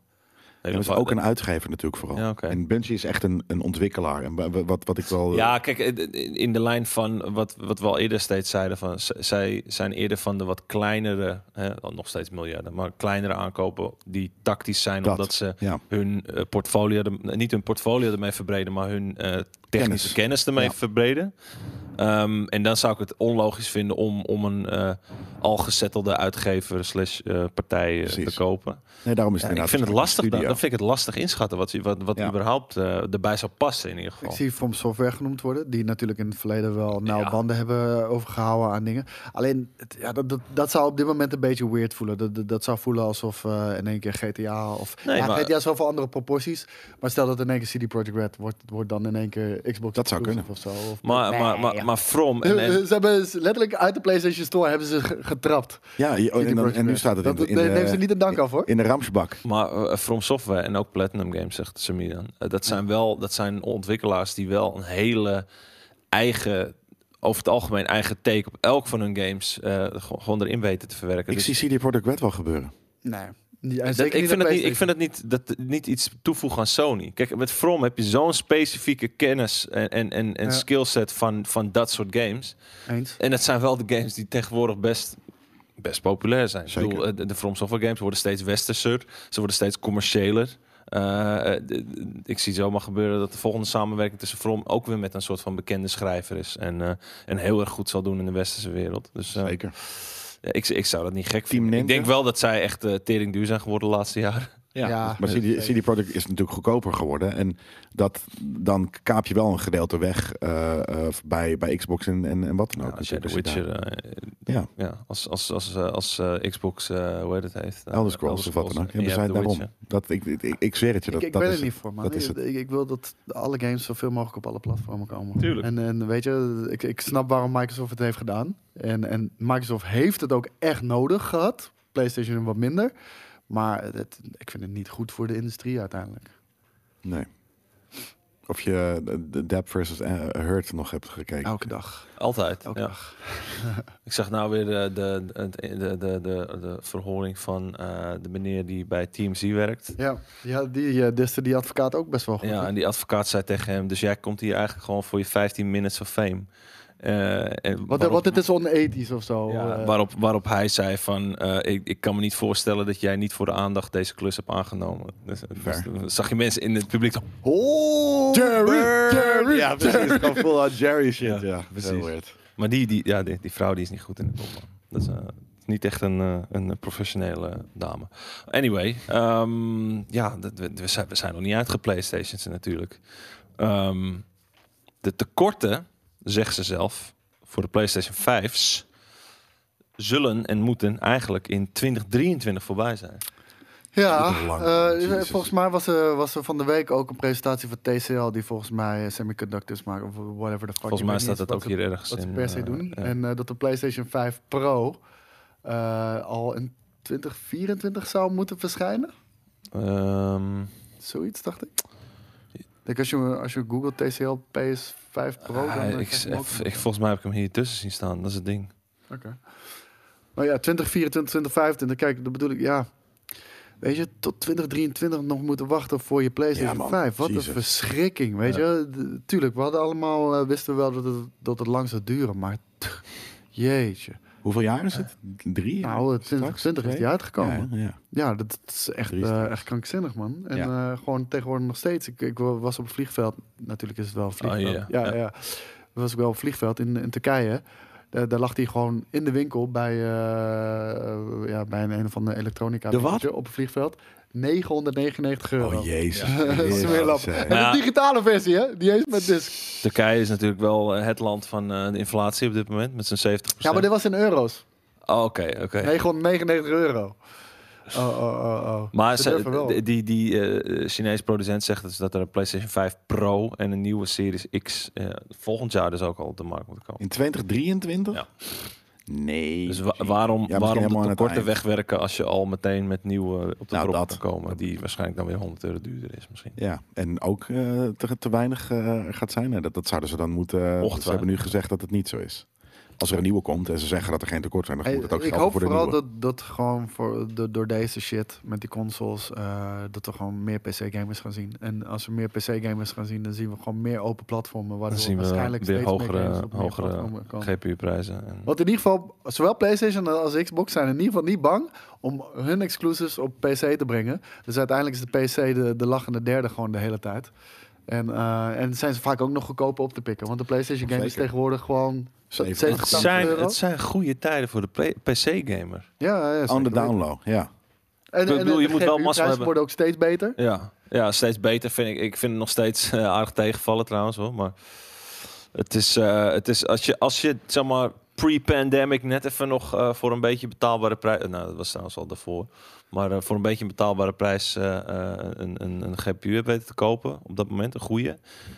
Speaker 1: Nee,
Speaker 3: Dat is
Speaker 1: wa-
Speaker 3: ook een uitgever natuurlijk vooral.
Speaker 1: Ja, oké.
Speaker 3: En Bungie is echt een, een ontwikkelaar. En wa- wa- wat, wat ik wel...
Speaker 1: Ja, kijk, eh, d- in de lijn van wat, wat we al eerder steeds zeiden, van, z- zij zijn eerder van de wat kleinere, hè, al nog steeds miljarden, maar kleinere aankopen die tactisch zijn,
Speaker 3: Dat,
Speaker 1: omdat ze
Speaker 3: ja.
Speaker 1: hun eh, portfolio, er- niet hun portfolio ermee verbreden, maar hun eh, technische kennis,
Speaker 3: Kennis.
Speaker 1: ermee
Speaker 3: Ja.
Speaker 1: verbreden. Ehm, en dan zou ik het onlogisch vinden om, om een eh, al gezettelde uitgever slash eh, partij eh, te
Speaker 3: Precies.
Speaker 1: kopen.
Speaker 3: Nee, daarom is
Speaker 1: Ja,
Speaker 3: het
Speaker 1: ik
Speaker 3: inderdaad
Speaker 1: vind het
Speaker 3: een
Speaker 1: lastig, dan,
Speaker 3: studio.
Speaker 1: dan vind ik het lastig inschatten wat, wat, wat
Speaker 3: Ja.
Speaker 1: überhaupt eh, erbij zou passen in ieder geval.
Speaker 2: Ik zie From Software genoemd worden, die natuurlijk in het verleden wel nauw
Speaker 1: Ja.
Speaker 2: banden hebben overgehouden aan dingen. Alleen, het- ja, dat, dat, dat zou op dit moment een beetje weird voelen. Dat, dat, dat zou voelen alsof eh, in één keer GTA of...
Speaker 1: Nee,
Speaker 2: ja,
Speaker 1: maar-
Speaker 2: GTA is wel voor andere proporties, maar stel dat in één keer CD Projekt Red wordt, wordt dan in één keer Xbox
Speaker 3: Dat zou
Speaker 2: exclusive of zo. Of-
Speaker 1: Maar, maar, maar, maar From en,
Speaker 3: Eh,
Speaker 1: en- Oh,
Speaker 2: Ze hebben ze letterlijk uit de PlayStation Store hebben ze ge- getrapt.
Speaker 3: Ja,
Speaker 2: CD
Speaker 3: je- en, dan-
Speaker 2: Projekt
Speaker 3: en nu
Speaker 2: Red.
Speaker 3: staat het in,
Speaker 2: dat,
Speaker 3: de- in
Speaker 2: nee,
Speaker 3: de-
Speaker 2: neem ze niet een dank af hoor.
Speaker 3: in de ramsbak.
Speaker 1: maar eh, From Software en ook Platinum Games, zegt Samir dan. Eh, dat zijn wel, dat zijn ontwikkelaars die wel een hele eigen, over het algemeen eigen take op elk van hun games eh, ge- gewoon erin weten te verwerken.
Speaker 3: Ik
Speaker 1: Dus
Speaker 3: zie CD Projekt Red wel gebeuren.
Speaker 2: Nee. Ja,
Speaker 1: dat-
Speaker 2: zeker
Speaker 1: ik, vind
Speaker 2: op
Speaker 1: het niet, ik
Speaker 2: PlayStation.
Speaker 1: vind het niet, dat, niet iets toevoegen aan Sony. Kijk, met From heb je zo'n specifieke kennis en, en, en, en
Speaker 2: Ja.
Speaker 1: skillset van, van dat soort games.
Speaker 2: Eens.
Speaker 1: En dat zijn wel de games die tegenwoordig best, best populair zijn.
Speaker 3: Zeker.
Speaker 1: Ik bedoel, eh, de, de From Software games worden steeds westerser. Ze worden steeds commerciëler. Eh, eh, d- d- ik zie zomaar gebeuren dat de volgende samenwerking tussen From ook weer met een soort van bekende schrijver is. En, eh, en heel erg goed zal doen in de westerse wereld. Dus eh,
Speaker 3: Zeker.
Speaker 1: ja, ik, ik zou dat niet gek
Speaker 3: Team
Speaker 1: vinden. Ik
Speaker 3: Ninja?
Speaker 1: denk wel dat zij echt eh tering duur zijn geworden de laatste jaren.
Speaker 2: Ja. Ja.
Speaker 3: maar
Speaker 2: Nee,
Speaker 3: CD,
Speaker 2: zeker.
Speaker 3: CD Projekt is natuurlijk goedkoper geworden. En dat, dan kaap je wel een gedeelte weg eh, eh, bij, bij Xbox en, en, en wat dan ook.
Speaker 1: Ja, als jij de
Speaker 3: natuurlijk. Dus je
Speaker 1: Witcher, eh,
Speaker 3: daar- ja.
Speaker 1: ja, als, als, als, eh, als eh, Xbox, eh, hoe heet het heeft? eh,
Speaker 3: Elder Scrolls of wat dan ook.
Speaker 1: en
Speaker 3: Ja, we
Speaker 1: je
Speaker 3: zijn
Speaker 1: hebt The
Speaker 3: daarom.
Speaker 1: Witcher.
Speaker 3: Dat, ik, ik, ik- ik zweer het je.
Speaker 2: Ik,
Speaker 3: Dat,
Speaker 2: ik
Speaker 3: dat
Speaker 2: ben
Speaker 3: is
Speaker 2: er niet voor, man.
Speaker 3: Dat is
Speaker 2: Ik, ik wil dat alle games zoveel mogelijk op alle platformen komen.
Speaker 1: Tuurlijk.
Speaker 2: En, en weet je, ik, ik snap waarom Microsoft het heeft gedaan. En, en Microsoft heeft het ook echt nodig gehad. PlayStation wat minder. Maar het, ik vind het niet goed voor de industrie uiteindelijk.
Speaker 3: Nee. Of je de- de Dab versus eh, Hurt nog hebt gekeken.
Speaker 2: Elke dag.
Speaker 1: Altijd.
Speaker 2: Elke
Speaker 1: ja. ik zag nou weer de, de, de, de, de, de, de verhoring van eh, de meneer die bij TMZ werkt.
Speaker 2: Ja, ja die eh diste die advocaat ook best wel Oh, goed.
Speaker 1: Ja, en die advocaat zei tegen hem: Dus jij komt hier eigenlijk gewoon voor je 15 minutes of fame. Eh, en
Speaker 2: wat,
Speaker 1: waarop-
Speaker 2: wat het is onethisch of zo.
Speaker 1: ja,
Speaker 2: eh.
Speaker 1: waarop, waarop hij zei van, eh, ik, ik kan me niet voorstellen dat jij niet voor de aandacht deze klus hebt aangenomen. Dus, dus
Speaker 3: Fair.
Speaker 1: dan zag je mensen in het publiek, zo,
Speaker 2: Oh,
Speaker 3: Jerry!
Speaker 2: Jerry,
Speaker 3: Ja, precies. Gewoon full out Jerry shit. Ja,
Speaker 1: Ja, precies.
Speaker 3: Heel weird.
Speaker 1: maar die, die, ja, die, die vrouw die is niet goed in de kop. man. Dat is eh, niet echt een, eh, een professionele dame. Anyway, ehm, ja, dat- we, we zijn, we zijn nog niet uit PlayStations natuurlijk. Ehm, de tekorten, zegt ze zelf, voor de PlayStation 5's zullen en moeten eigenlijk in 2023 voorbij
Speaker 2: Oh,
Speaker 1: zijn.
Speaker 2: Ja,
Speaker 3: Dat is lang,
Speaker 2: eh,
Speaker 3: Jezus.
Speaker 2: volgens mij was er, was er van de week ook een presentatie van TCL die volgens mij eh, semiconductors maken of whatever the fuck.
Speaker 1: Volgens
Speaker 2: Ik
Speaker 1: mij
Speaker 2: weet niet
Speaker 1: staat het
Speaker 2: wat
Speaker 1: ook
Speaker 2: ze-
Speaker 1: hier ergens
Speaker 2: Wat ze
Speaker 1: in,
Speaker 2: per se
Speaker 1: eh,
Speaker 2: doen.
Speaker 1: ja.
Speaker 2: En eh, dat de PlayStation 5 Pro eh, al in 2024 zou moeten verschijnen.
Speaker 1: Ehm,
Speaker 2: Zoiets, dacht ik. Ik denk als je, als je Google TCL PS5 Pro... dan,
Speaker 1: ah,
Speaker 2: eh,
Speaker 1: ik,
Speaker 2: krijg je hem ook.
Speaker 1: ik- volgens mij heb ik hem hier tussen zien staan. Dat is het ding.
Speaker 2: Oké. Maar ja, 2024, 2025, kijk, dat bedoel ik, ja. Weet je, tot 2023 nog moeten wachten voor je PlayStation
Speaker 3: Ja, man.
Speaker 2: 5. Wat
Speaker 3: Jezus.
Speaker 2: een verschrikking, weet je. D- tuurlijk, we hadden allemaal, eh, wisten we wel dat het, dat het lang zou duren, maar... Jeetje.
Speaker 3: Hoeveel jaar is het? Drie?
Speaker 2: nou, eh,
Speaker 3: straks
Speaker 2: 2020 is
Speaker 3: twee?
Speaker 2: die uitgekomen.
Speaker 3: ja, ja.
Speaker 2: Ja, dat, dat is echt,
Speaker 3: Drie
Speaker 2: eh,
Speaker 3: straks.
Speaker 2: echt krankzinnig, man. En
Speaker 3: Ja.
Speaker 2: eh, gewoon tegenwoordig nog steeds. Ik, ik wa- was op het vliegveld. Natuurlijk is het wel een vliegveld.
Speaker 1: ja,
Speaker 2: ja,
Speaker 1: ja.
Speaker 2: ja. Was ik wel op het vliegveld in, in Turkije. Eh, daar lag hij gewoon in de winkel bij, eh, ja, bij een, een of andere elektronica.
Speaker 3: De wat?
Speaker 2: winkeltje Op het vliegveld. 999 euro.
Speaker 3: Oh, jezus.
Speaker 2: Smeerlap.
Speaker 3: Jezus,
Speaker 2: En
Speaker 3: eh.
Speaker 1: Ja.
Speaker 2: de digitale versie, hè? Die heeft met disc.
Speaker 1: Turkije is natuurlijk wel eh, het land van eh, de inflatie op dit moment, met zijn 70%.
Speaker 2: Ja, maar dit was in euro's.
Speaker 1: Oh, Oké, oké.
Speaker 2: 999 euro. Oh, oh, oh, oh.
Speaker 1: Maar
Speaker 2: Ze
Speaker 1: ze-
Speaker 2: durven wel.
Speaker 1: d- die, die eh, Chinese producent zegt dus dat er een PlayStation 5 Pro en een nieuwe Series X eh, volgend jaar dus ook al op de markt moeten komen.
Speaker 3: In 2023?
Speaker 1: Ja.
Speaker 3: Nee.
Speaker 1: Dus wa- waarom,
Speaker 3: misschien
Speaker 1: waarom
Speaker 3: helemaal
Speaker 1: de
Speaker 3: aan het
Speaker 1: tekorten
Speaker 3: eind.
Speaker 1: wegwerken als je al meteen met nieuwe op de
Speaker 3: Nou,
Speaker 1: nou,
Speaker 3: dat.
Speaker 1: kan komen? Die waarschijnlijk dan weer 100 euro duurder is misschien.
Speaker 3: Ja, en ook eh, te, te weinig eh, gaat zijn. Hè. Dat, dat zouden ze dan moeten... eh, ze hebben nu gezegd dat het niet zo is. Als er een nieuwe komt en ze zeggen dat er geen tekort zijn, dan
Speaker 2: Hey,
Speaker 3: moet het ook
Speaker 2: ik
Speaker 3: gelden
Speaker 2: hoop
Speaker 3: voor de
Speaker 2: vooral
Speaker 3: nieuwe.
Speaker 2: dat, dat gewoon voor de, door deze shit met die consoles, eh, dat we gewoon meer PC-gamers gaan zien. En als we meer PC-gamers gaan zien, dan zien we gewoon meer open platformen, waardoor
Speaker 1: Dan zien we
Speaker 2: waarschijnlijk
Speaker 1: weer
Speaker 2: steeds meer games
Speaker 1: hogere,
Speaker 2: op meer
Speaker 1: hogere
Speaker 2: platformen komen.
Speaker 1: GPU-prijzen. En...
Speaker 2: Want in ieder geval, zowel PlayStation als Xbox zijn in ieder geval niet bang om hun exclusives op PC te brengen. Dus uiteindelijk is de PC de, de lachende derde gewoon de hele tijd. En, eh, en zijn ze vaak ook nog goedkoper op te pikken. Want de PlayStation game is
Speaker 3: Zeker.
Speaker 2: tegenwoordig gewoon zo-
Speaker 3: Zeven-
Speaker 2: 70,
Speaker 1: Het
Speaker 2: 80
Speaker 1: zijn,
Speaker 2: euro.
Speaker 1: het zijn goede tijden voor de PC-gamer.
Speaker 2: Ja, ja, zeker
Speaker 3: On the
Speaker 2: weten.
Speaker 3: down low, ja.
Speaker 2: En,
Speaker 1: Ik bedoel, je
Speaker 2: de
Speaker 1: moet wel massa
Speaker 2: GPU-prijzen
Speaker 1: hebben.
Speaker 2: worden ook steeds beter.
Speaker 1: Ja. ja, steeds beter vind ik. Ik vind het nog steeds eh, aardig tegenvallen trouwens hoor. Maar het is, eh, het is als je, als je zeg maar pre-pandemic net even nog eh, voor een beetje betaalbare prijs. Nou, dat was trouwens al daarvoor. Maar eh, voor een beetje een betaalbare prijs eh, eh, een, een, een GPU hebt weten te kopen op dat moment, een goede.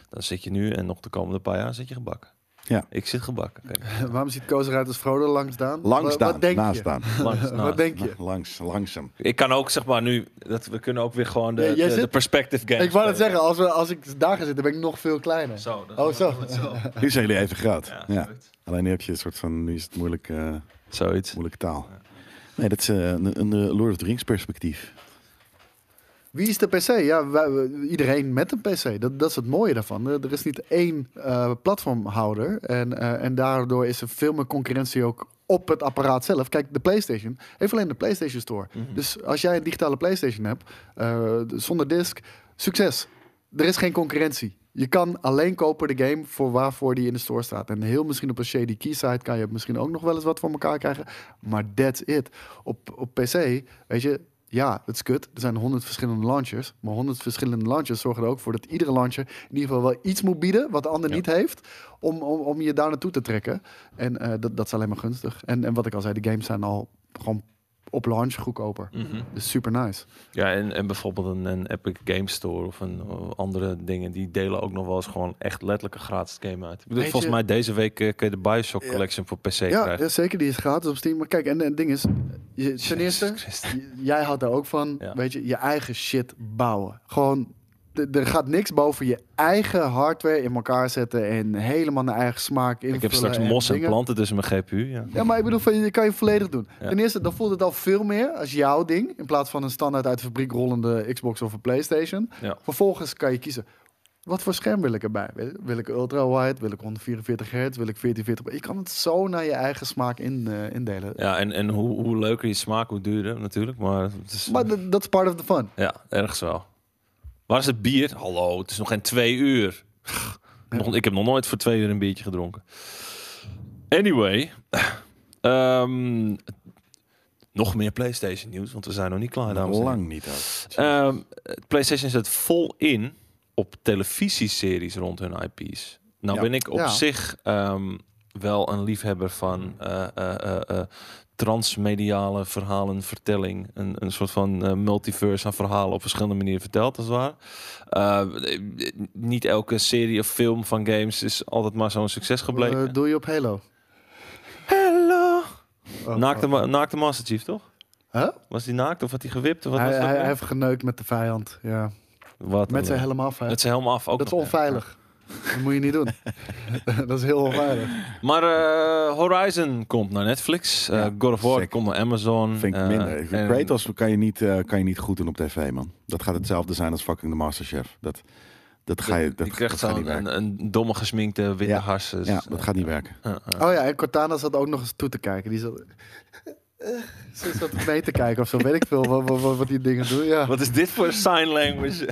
Speaker 1: Dan zit je nu en nog de komende paar jaar zit je gebakken.
Speaker 3: Ja.
Speaker 1: Ik zit gebakken. Kijk,
Speaker 2: Waarom ziet Koos eruit als Frodo langs Daan? Wa-
Speaker 3: Langs staan,
Speaker 2: Wat denk
Speaker 3: naast
Speaker 2: je?
Speaker 3: staan.
Speaker 1: langs-
Speaker 2: Wat
Speaker 1: naast.
Speaker 2: denk je?
Speaker 3: Langs, langzaam.
Speaker 1: nou, Ik kan ook zeg maar nu dat we kunnen ook weer gewoon de,
Speaker 2: Ja, jij
Speaker 1: de, de
Speaker 2: zit-
Speaker 1: perspective games.
Speaker 2: Ik wou het
Speaker 1: spelen.
Speaker 2: zeggen, als, we, als ik daar ga zitten, ben ik nog veel kleiner.
Speaker 1: Zo. dat-
Speaker 2: Oh, zo.
Speaker 3: Nu zijn jullie even groot.
Speaker 1: Ja,
Speaker 3: Ja,
Speaker 1: zoiets.
Speaker 3: Alleen nu heb je een soort van, nu is het moeilijk, eh,
Speaker 1: Zoiets.
Speaker 3: moeilijke taal. Nee, dat is eh, een, een eh, Lord of the Rings perspectief.
Speaker 2: Wie is de PC? Ja, wij- we- iedereen met een PC. Dat, dat is het mooie daarvan. Er er is niet één eh, platformhouder. En, eh, en daardoor is er veel meer concurrentie ook op het apparaat zelf. Kijk, de PlayStation heeft alleen de PlayStation Store. Dus als jij een digitale PlayStation hebt, eh, d- zonder disc, succes. Er is geen concurrentie. Je kan alleen kopen de game voor waarvoor die in de store staat. En heel misschien op een shady keysite kan je misschien ook nog wel eens wat voor elkaar krijgen. Maar that's it. Op, op PC, weet je, ja, het is kut. Er zijn honderd verschillende launchers. Maar honderd verschillende launchers zorgen er ook voor dat iedere launcher in ieder geval wel iets moet bieden wat de ander niet heeft. Om, om, om je daar naartoe te trekken. En eh, dat, dat is alleen maar gunstig. En, en wat ik al zei, de games zijn al gewoon op launch goedkoper. Dus super nice.
Speaker 1: Mhm. Ja, en, en bijvoorbeeld een, een Epic Game Store of een eh, andere dingen, die delen ook nog wel eens gewoon echt letterlijk een gratis game uit. Ik bedoel,
Speaker 2: Weet
Speaker 1: volgens
Speaker 2: je-
Speaker 1: mij deze week eh, kun je de Bioshock Collection voor PC
Speaker 2: Ja,
Speaker 1: krijgen.
Speaker 2: ja, zeker. Die is gratis op Steam. Maar kijk, en en het ding is, je, ten eerste,
Speaker 1: Jezus Christus.
Speaker 2: j- jij houdt daar ook van,
Speaker 1: Ja.
Speaker 2: weet je, je eigen shit bouwen. Gewoon, d- er gaat niks boven je eigen hardware in elkaar zetten en helemaal naar eigen smaak invullen.
Speaker 1: Ik heb straks
Speaker 2: en
Speaker 1: mos en
Speaker 2: dingen.
Speaker 1: planten tussen mijn GPU. Ja.
Speaker 2: Ja, maar ik bedoel, van, je kan je volledig doen.
Speaker 1: Ja.
Speaker 2: Ten eerste, dan voelt het al veel meer als jouw ding. In plaats van een standaard uit de fabriek rollende Xbox of een PlayStation.
Speaker 1: Ja.
Speaker 2: Vervolgens kan je kiezen. Wat voor scherm wil ik erbij? Wil- Wil ik ultra-wide? Wil ik 144 hertz? Wil ik 1440? Je kan het zo naar je eigen smaak in, eh, indelen.
Speaker 1: Ja, en, en hoe, hoe leuker je smaak, hoe duurder natuurlijk. Maar, het is,
Speaker 2: Maar dat- dat is part of the fun.
Speaker 1: ja, ergens wel. Waar is het bier? Hallo, het is nog geen twee uur. Nog, ik heb nog nooit voor twee uur een biertje gedronken. Anyway, ehm, nog meer PlayStation nieuws, want we zijn nog niet klaar, dames en heren.
Speaker 3: Lang niet ook.
Speaker 1: Ehm, PlayStation zet vol in op televisieseries rond hun IP's. Nou
Speaker 3: Ja.
Speaker 1: ben ik op
Speaker 2: Ja. Hmm.
Speaker 1: zich ehm, wel een liefhebber van eh, eh, eh, eh, transmediale verhalenvertelling. Een, een soort van eh, multiverse aan verhalen op verschillende manieren verteld, als het ware. Eh, eh, niet elke serie of film van games is altijd maar zo'n succes gebleken.
Speaker 2: Eh, doe je op Halo.
Speaker 1: Hello!
Speaker 2: Oh,
Speaker 1: Naakte,
Speaker 2: oh.
Speaker 1: ma- naakte Master Chief, toch?
Speaker 2: Huh?
Speaker 1: Was die naakt of had hij gewipt? Of wat
Speaker 2: Hij,
Speaker 1: was dat
Speaker 2: hij,
Speaker 1: nou?
Speaker 2: hij heeft geneukt met de vijand. Ja.
Speaker 1: Wat een-
Speaker 2: Met zijn helemaal vijand.
Speaker 1: met zijn helm af. Ook
Speaker 2: Dat is
Speaker 1: nog.
Speaker 2: onveilig. Dat moet je niet doen. dat is heel onveilig.
Speaker 1: Maar eh, Horizon komt naar Netflix. Eh,
Speaker 3: Ja,
Speaker 1: God of War
Speaker 3: sick.
Speaker 1: komt naar Amazon.
Speaker 3: Vind ik
Speaker 1: Eh,
Speaker 3: minder. Ik vind
Speaker 1: en-
Speaker 3: Kratos kan je, niet, eh, kan je niet goed doen op tv, man. Dat gaat hetzelfde zijn als fucking de Masterchef. Dat, dat ga je dat,
Speaker 1: die krijgt
Speaker 3: dat gaat niet
Speaker 1: zo'n
Speaker 3: werken.
Speaker 1: een, een domme gesminkte witte
Speaker 3: Ja.
Speaker 1: hars. Dus,
Speaker 3: Ja, dat gaat niet werken.
Speaker 1: eh, eh.
Speaker 2: Oh ja, en Cortana zat ook nog eens toe te kijken. Die zat, ze zat mee te kijken of zo, weet ik veel wat, wat, wat, wat die dingen doen. Ja.
Speaker 1: Wat is dit voor sign language?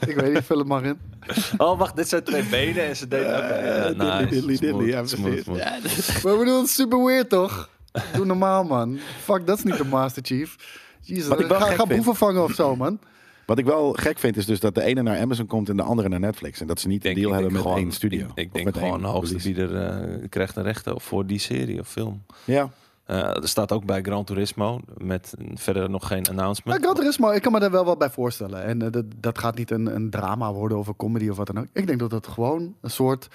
Speaker 2: Ja, ik weet niet, vul het maar in.
Speaker 1: Oh, wacht, dit zijn twee benen en ze deden... Oké, ja,
Speaker 3: Eh, diddly,
Speaker 1: nice.
Speaker 3: diddly, diddly,
Speaker 1: Smooth,
Speaker 3: ja,
Speaker 1: smooth,
Speaker 3: precies.
Speaker 1: smooth.
Speaker 2: Maar ik bedoel, het is super weird toch? Doe normaal man. Fuck, dat is niet de Master Chief. Jezus,
Speaker 3: Wat ik wel
Speaker 2: ga,
Speaker 3: gek
Speaker 2: ga
Speaker 3: vind.
Speaker 2: boeven vangen of zo man.
Speaker 3: Wat ik wel gek vind, is dus dat de ene naar Amazon komt en de andere naar Netflix. En dat ze niet
Speaker 1: Ik
Speaker 3: een deal
Speaker 1: ik
Speaker 3: hebben met
Speaker 1: gewoon-
Speaker 3: één studio.
Speaker 1: Ik, ik
Speaker 3: Of
Speaker 1: denk
Speaker 3: met één
Speaker 1: gewoon de hoogste
Speaker 3: release.
Speaker 1: bieder eh, krijgt een rechten op voor die serie of film.
Speaker 3: Ja,
Speaker 1: Eh, er staat ook bij Gran Turismo, met verder nog geen
Speaker 2: Maar
Speaker 1: announcement.
Speaker 2: Gran Turismo, ik kan me daar wel wat bij voorstellen. En eh, dat, dat gaat niet een, een drama worden of een comedy of wat dan ook. Ik denk dat dat gewoon een soort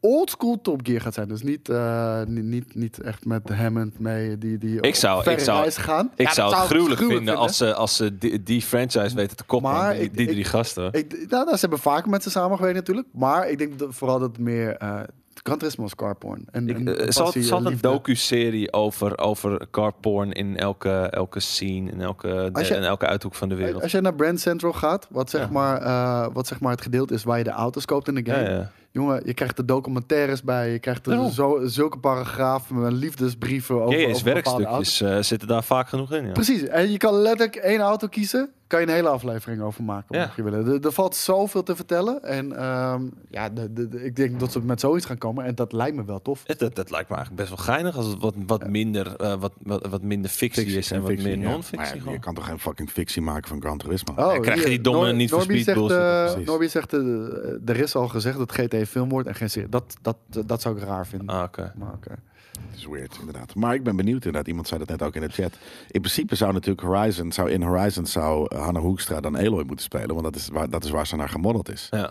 Speaker 2: oldschool Top Gear gaat zijn. Dus niet, eh, niet, niet, niet echt met Hammond mee die, die
Speaker 1: Ik zou-
Speaker 2: op verre
Speaker 1: ik zou-
Speaker 2: reizen gaan.
Speaker 1: Ik
Speaker 2: Ja,
Speaker 1: zou
Speaker 2: dat
Speaker 1: het gruwelijk,
Speaker 2: gruwelijk
Speaker 1: vinden als ze, als ze die, die franchise weten te koppelen.
Speaker 2: Maar
Speaker 1: die,
Speaker 2: ik-
Speaker 1: die
Speaker 2: ik-
Speaker 1: drie gasten.
Speaker 2: Ik, nou, nou, ze hebben vaker met ze samengewerkt natuurlijk. Maar ik denk dat, vooral dat het meer... eh Gran Turismo is carporn. En,
Speaker 1: Ik,
Speaker 2: en
Speaker 1: eh, zal
Speaker 2: passie,
Speaker 1: zal
Speaker 2: eh,
Speaker 1: een
Speaker 2: liefde.
Speaker 1: docu-serie over, over car porn in elke, elke scene, in elke,
Speaker 2: Als je-
Speaker 1: in elke uithoek van de wereld.
Speaker 2: Als je naar Brand Central gaat, wat zeg,
Speaker 1: Ja.
Speaker 2: maar, eh, wat zeg maar het gedeelte is waar je de auto's koopt in de
Speaker 1: ja,
Speaker 2: game.
Speaker 1: ja.
Speaker 2: Jongen, je krijgt er documentaires bij, je krijgt er
Speaker 1: Daarom.
Speaker 2: zo, zulke paragrafen, met liefdesbrieven over,
Speaker 1: Jezus,
Speaker 2: over bepaalde auto's.
Speaker 1: werkstukjes eh, zitten daar vaak genoeg in. Ja.
Speaker 2: Precies, en je kan letterlijk één auto kiezen, kan je een hele aflevering over maken,
Speaker 1: Ja.
Speaker 2: mocht je willen. Er, er valt zoveel te vertellen en ehm, ja, de, de- de- ik denk dat ze met zoiets gaan komen en dat lijkt me wel tof.
Speaker 1: Het- Dat, dat lijkt me eigenlijk best wel geinig als het wat, wat, minder, eh, wat, wat, wat minder fictie, is en wat
Speaker 3: fictie,
Speaker 1: meer
Speaker 3: ja. Maar
Speaker 1: non-fictie.
Speaker 3: ja, je
Speaker 1: gewoon.
Speaker 3: kan toch geen fucking fictie maken van Gran Turismo?
Speaker 1: dan krijg je
Speaker 2: Oh, hier,
Speaker 1: die domme
Speaker 2: Nor-
Speaker 1: Need for
Speaker 2: Norby
Speaker 1: Speed
Speaker 2: zegt,
Speaker 1: bullshit.
Speaker 2: eh,
Speaker 3: Precies.
Speaker 2: Norby zegt, eh, er is al gezegd dat GT een film wordt en geen serie. Dat, dat, dat zou ik raar vinden.
Speaker 1: Ah, oké.
Speaker 2: Maar oké.
Speaker 3: Dat is weird, inderdaad. Maar ik ben benieuwd inderdaad. Iemand zei dat net ook in de chat. In principe zou natuurlijk Horizon, zou in Horizon zou eh, Hannah Hoekstra dan Eloy moeten spelen. Want dat is waar, dat is waar ze naar gemodeld is.
Speaker 1: Ja.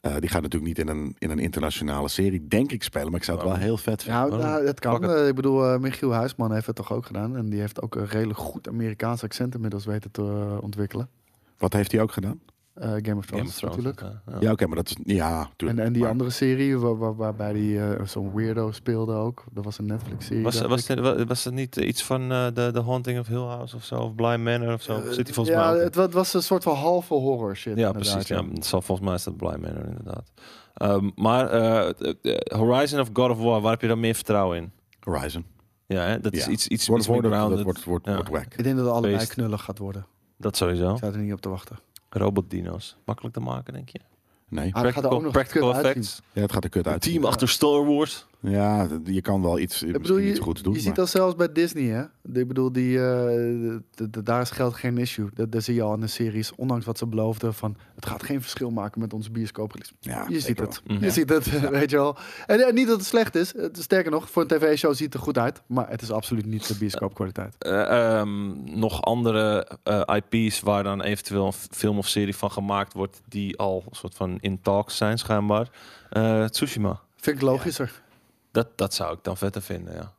Speaker 3: Eh, die gaat natuurlijk niet in een, in een internationale serie, denk ik, spelen. Maar ik zou het wel heel vet vinden.
Speaker 2: Ja,
Speaker 1: Waarom?
Speaker 2: nou, het
Speaker 1: Fuck
Speaker 2: kan.
Speaker 1: it.
Speaker 2: Eh, ik bedoel, eh, Michiel Huisman heeft het toch ook gedaan. En die heeft ook een redelijk goed Amerikaans accent inmiddels weten te eh, ontwikkelen.
Speaker 3: Wat heeft hij ook gedaan?
Speaker 2: Eh, Game, of Thrones,
Speaker 1: Game of Thrones,
Speaker 2: natuurlijk.
Speaker 1: ja, ja.
Speaker 3: Ja, oké, maar dat is... Ja,
Speaker 2: En,
Speaker 3: tuurlijk.
Speaker 2: en die
Speaker 3: Maar-
Speaker 2: andere serie waar, waar- waarbij hij zo'n weirdo speelde ook. Dat was een Netflix-serie.
Speaker 1: Was,
Speaker 2: dacht
Speaker 1: was,
Speaker 2: ik.
Speaker 1: dit- wa- was dat niet eh, iets van eh, de The Haunting of Hill House of zo? Of Blind Manor of zo?
Speaker 2: Eh,
Speaker 1: Zit hij volgens
Speaker 2: ja,
Speaker 1: mij ook in?
Speaker 2: het wa- was een soort van halve horror shit.
Speaker 1: Ja,
Speaker 2: inderdaad,
Speaker 1: precies. Ja.
Speaker 2: ja.
Speaker 1: Het zal volgens mij is dat Blind Manor inderdaad. Ehm, maar eh, eh, Horizon of God of War, waar heb je dan meer vertrouwen in?
Speaker 3: Horizon.
Speaker 1: Ja, hè? dat is
Speaker 3: Ja.
Speaker 1: iets, iets,
Speaker 3: Wordt
Speaker 1: iets meer
Speaker 3: wordt- dat
Speaker 1: grounded.
Speaker 3: wordt, wordt,
Speaker 1: Ja.
Speaker 3: wordt wack.
Speaker 2: Ik denk dat het allebei
Speaker 1: Beest.
Speaker 2: knullig gaat worden.
Speaker 1: Dat sowieso.
Speaker 2: Ik zou er niet op te wachten.
Speaker 1: Robotdino's. Makkelijk te maken, denk je?
Speaker 3: Nee.
Speaker 2: Ah, dat gaat er ook nog
Speaker 1: practical
Speaker 2: kut uitzien.
Speaker 1: effects.
Speaker 3: Ja, het gaat er kut uit.
Speaker 1: Team achter Star Wars.
Speaker 3: Ja, d- je kan wel iets,
Speaker 2: Ik bedoel,
Speaker 3: misschien
Speaker 2: je,
Speaker 3: iets goeds doen.
Speaker 2: je ziet
Speaker 3: maar-
Speaker 2: dat zelfs bij Disney, hè? Ik bedoel, die, eh, d- d- daar is geld geen issue. Dat, dat zie je al in de series, ondanks wat ze beloofden van... het gaat geen verschil maken met onze bioscooprelease.
Speaker 3: Ja,
Speaker 2: je ziet
Speaker 3: zeker
Speaker 2: het.
Speaker 1: wel. Mhm.
Speaker 2: Je ziet het, weet je wel. En, en niet dat het slecht is. Het- Sterker nog, voor een tv-show ziet het er goed uit... maar het is absoluut niet de bioscoopkwaliteit.
Speaker 1: Eh, ehm, nog andere eh, IP's waar dan eventueel een f- film of serie van gemaakt wordt... die al een soort van in talks zijn, schijnbaar. Eh, Tsushima.
Speaker 2: Vind ik logischer.
Speaker 1: Dat, dat zou ik dan vetter vinden, ja.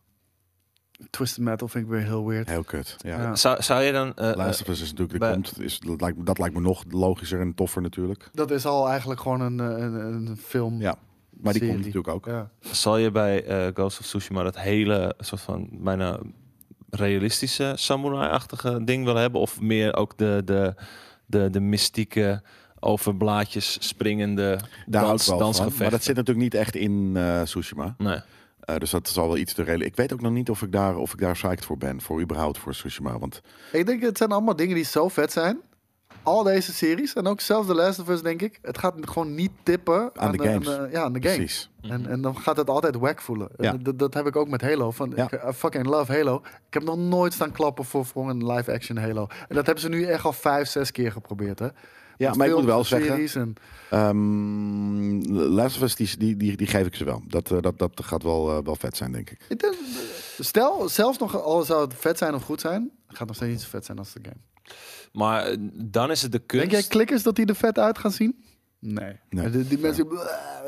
Speaker 2: Twisted Metal vind ik weer heel weird.
Speaker 3: Heel kut. Ja.
Speaker 2: Ja.
Speaker 1: Zou, zou je dan... eh, eh,
Speaker 3: Last of Us is natuurlijk,
Speaker 1: bij-
Speaker 3: dat, komt, is, dat, lijkt, dat lijkt me nog logischer en toffer natuurlijk.
Speaker 2: Dat is al eigenlijk gewoon een, eh, een, een film.
Speaker 3: Ja, Maar die
Speaker 2: Serie.
Speaker 3: komt natuurlijk ook.
Speaker 2: Ja.
Speaker 1: Zal je bij eh, Ghost of Tsushima dat hele soort van bijna realistische samurai-achtige ding willen hebben? Of meer ook de, de, de, de mystieke over blaadjes springende
Speaker 3: Daar hou ik
Speaker 1: dans,
Speaker 3: wel van.
Speaker 1: dansgevechten?
Speaker 3: Maar dat zit natuurlijk niet echt in eh, Tsushima.
Speaker 1: Nee.
Speaker 3: Eh, dus dat zal wel iets te redelijk. Ik weet ook nog niet of ik daar, of ik daar psyched voor ben. Voor überhaupt voor Tsushima. Want
Speaker 2: Ik denk, het zijn allemaal dingen die zo vet zijn. Al deze series en ook zelfs The Last of Us, denk ik. Het gaat gewoon niet tippen aan,
Speaker 3: de games.
Speaker 2: ja, aan de games.
Speaker 3: precies.
Speaker 2: En, en dan gaat het altijd wack voelen.
Speaker 3: Ja.
Speaker 2: En Dat, dat heb ik ook met Halo. Van,
Speaker 3: Ja.
Speaker 2: ik, I fucking love Halo. Ik heb nog nooit staan klappen voor, voor een live-action Halo. En dat hebben ze nu echt al vijf, zes keer geprobeerd. Hè?
Speaker 3: Ja,
Speaker 2: Met
Speaker 3: maar ik moet
Speaker 2: films
Speaker 3: wel
Speaker 2: en
Speaker 3: zeggen.
Speaker 2: series en-
Speaker 3: ehm, Last of Us, die, die, die, die geef ik ze wel. Dat, eh, dat, dat gaat wel, eh, wel vet zijn, denk ik.
Speaker 2: Ik denk- eh, Stel, zelfs nog al zou het vet zijn of goed zijn, het gaat nog steeds niet zo vet zijn als de game.
Speaker 1: Maar eh, dan is het de kunst.
Speaker 2: Denk jij klikkers dat die er vet uit gaan zien? Nee.
Speaker 3: Nee.
Speaker 2: Die, die mensen.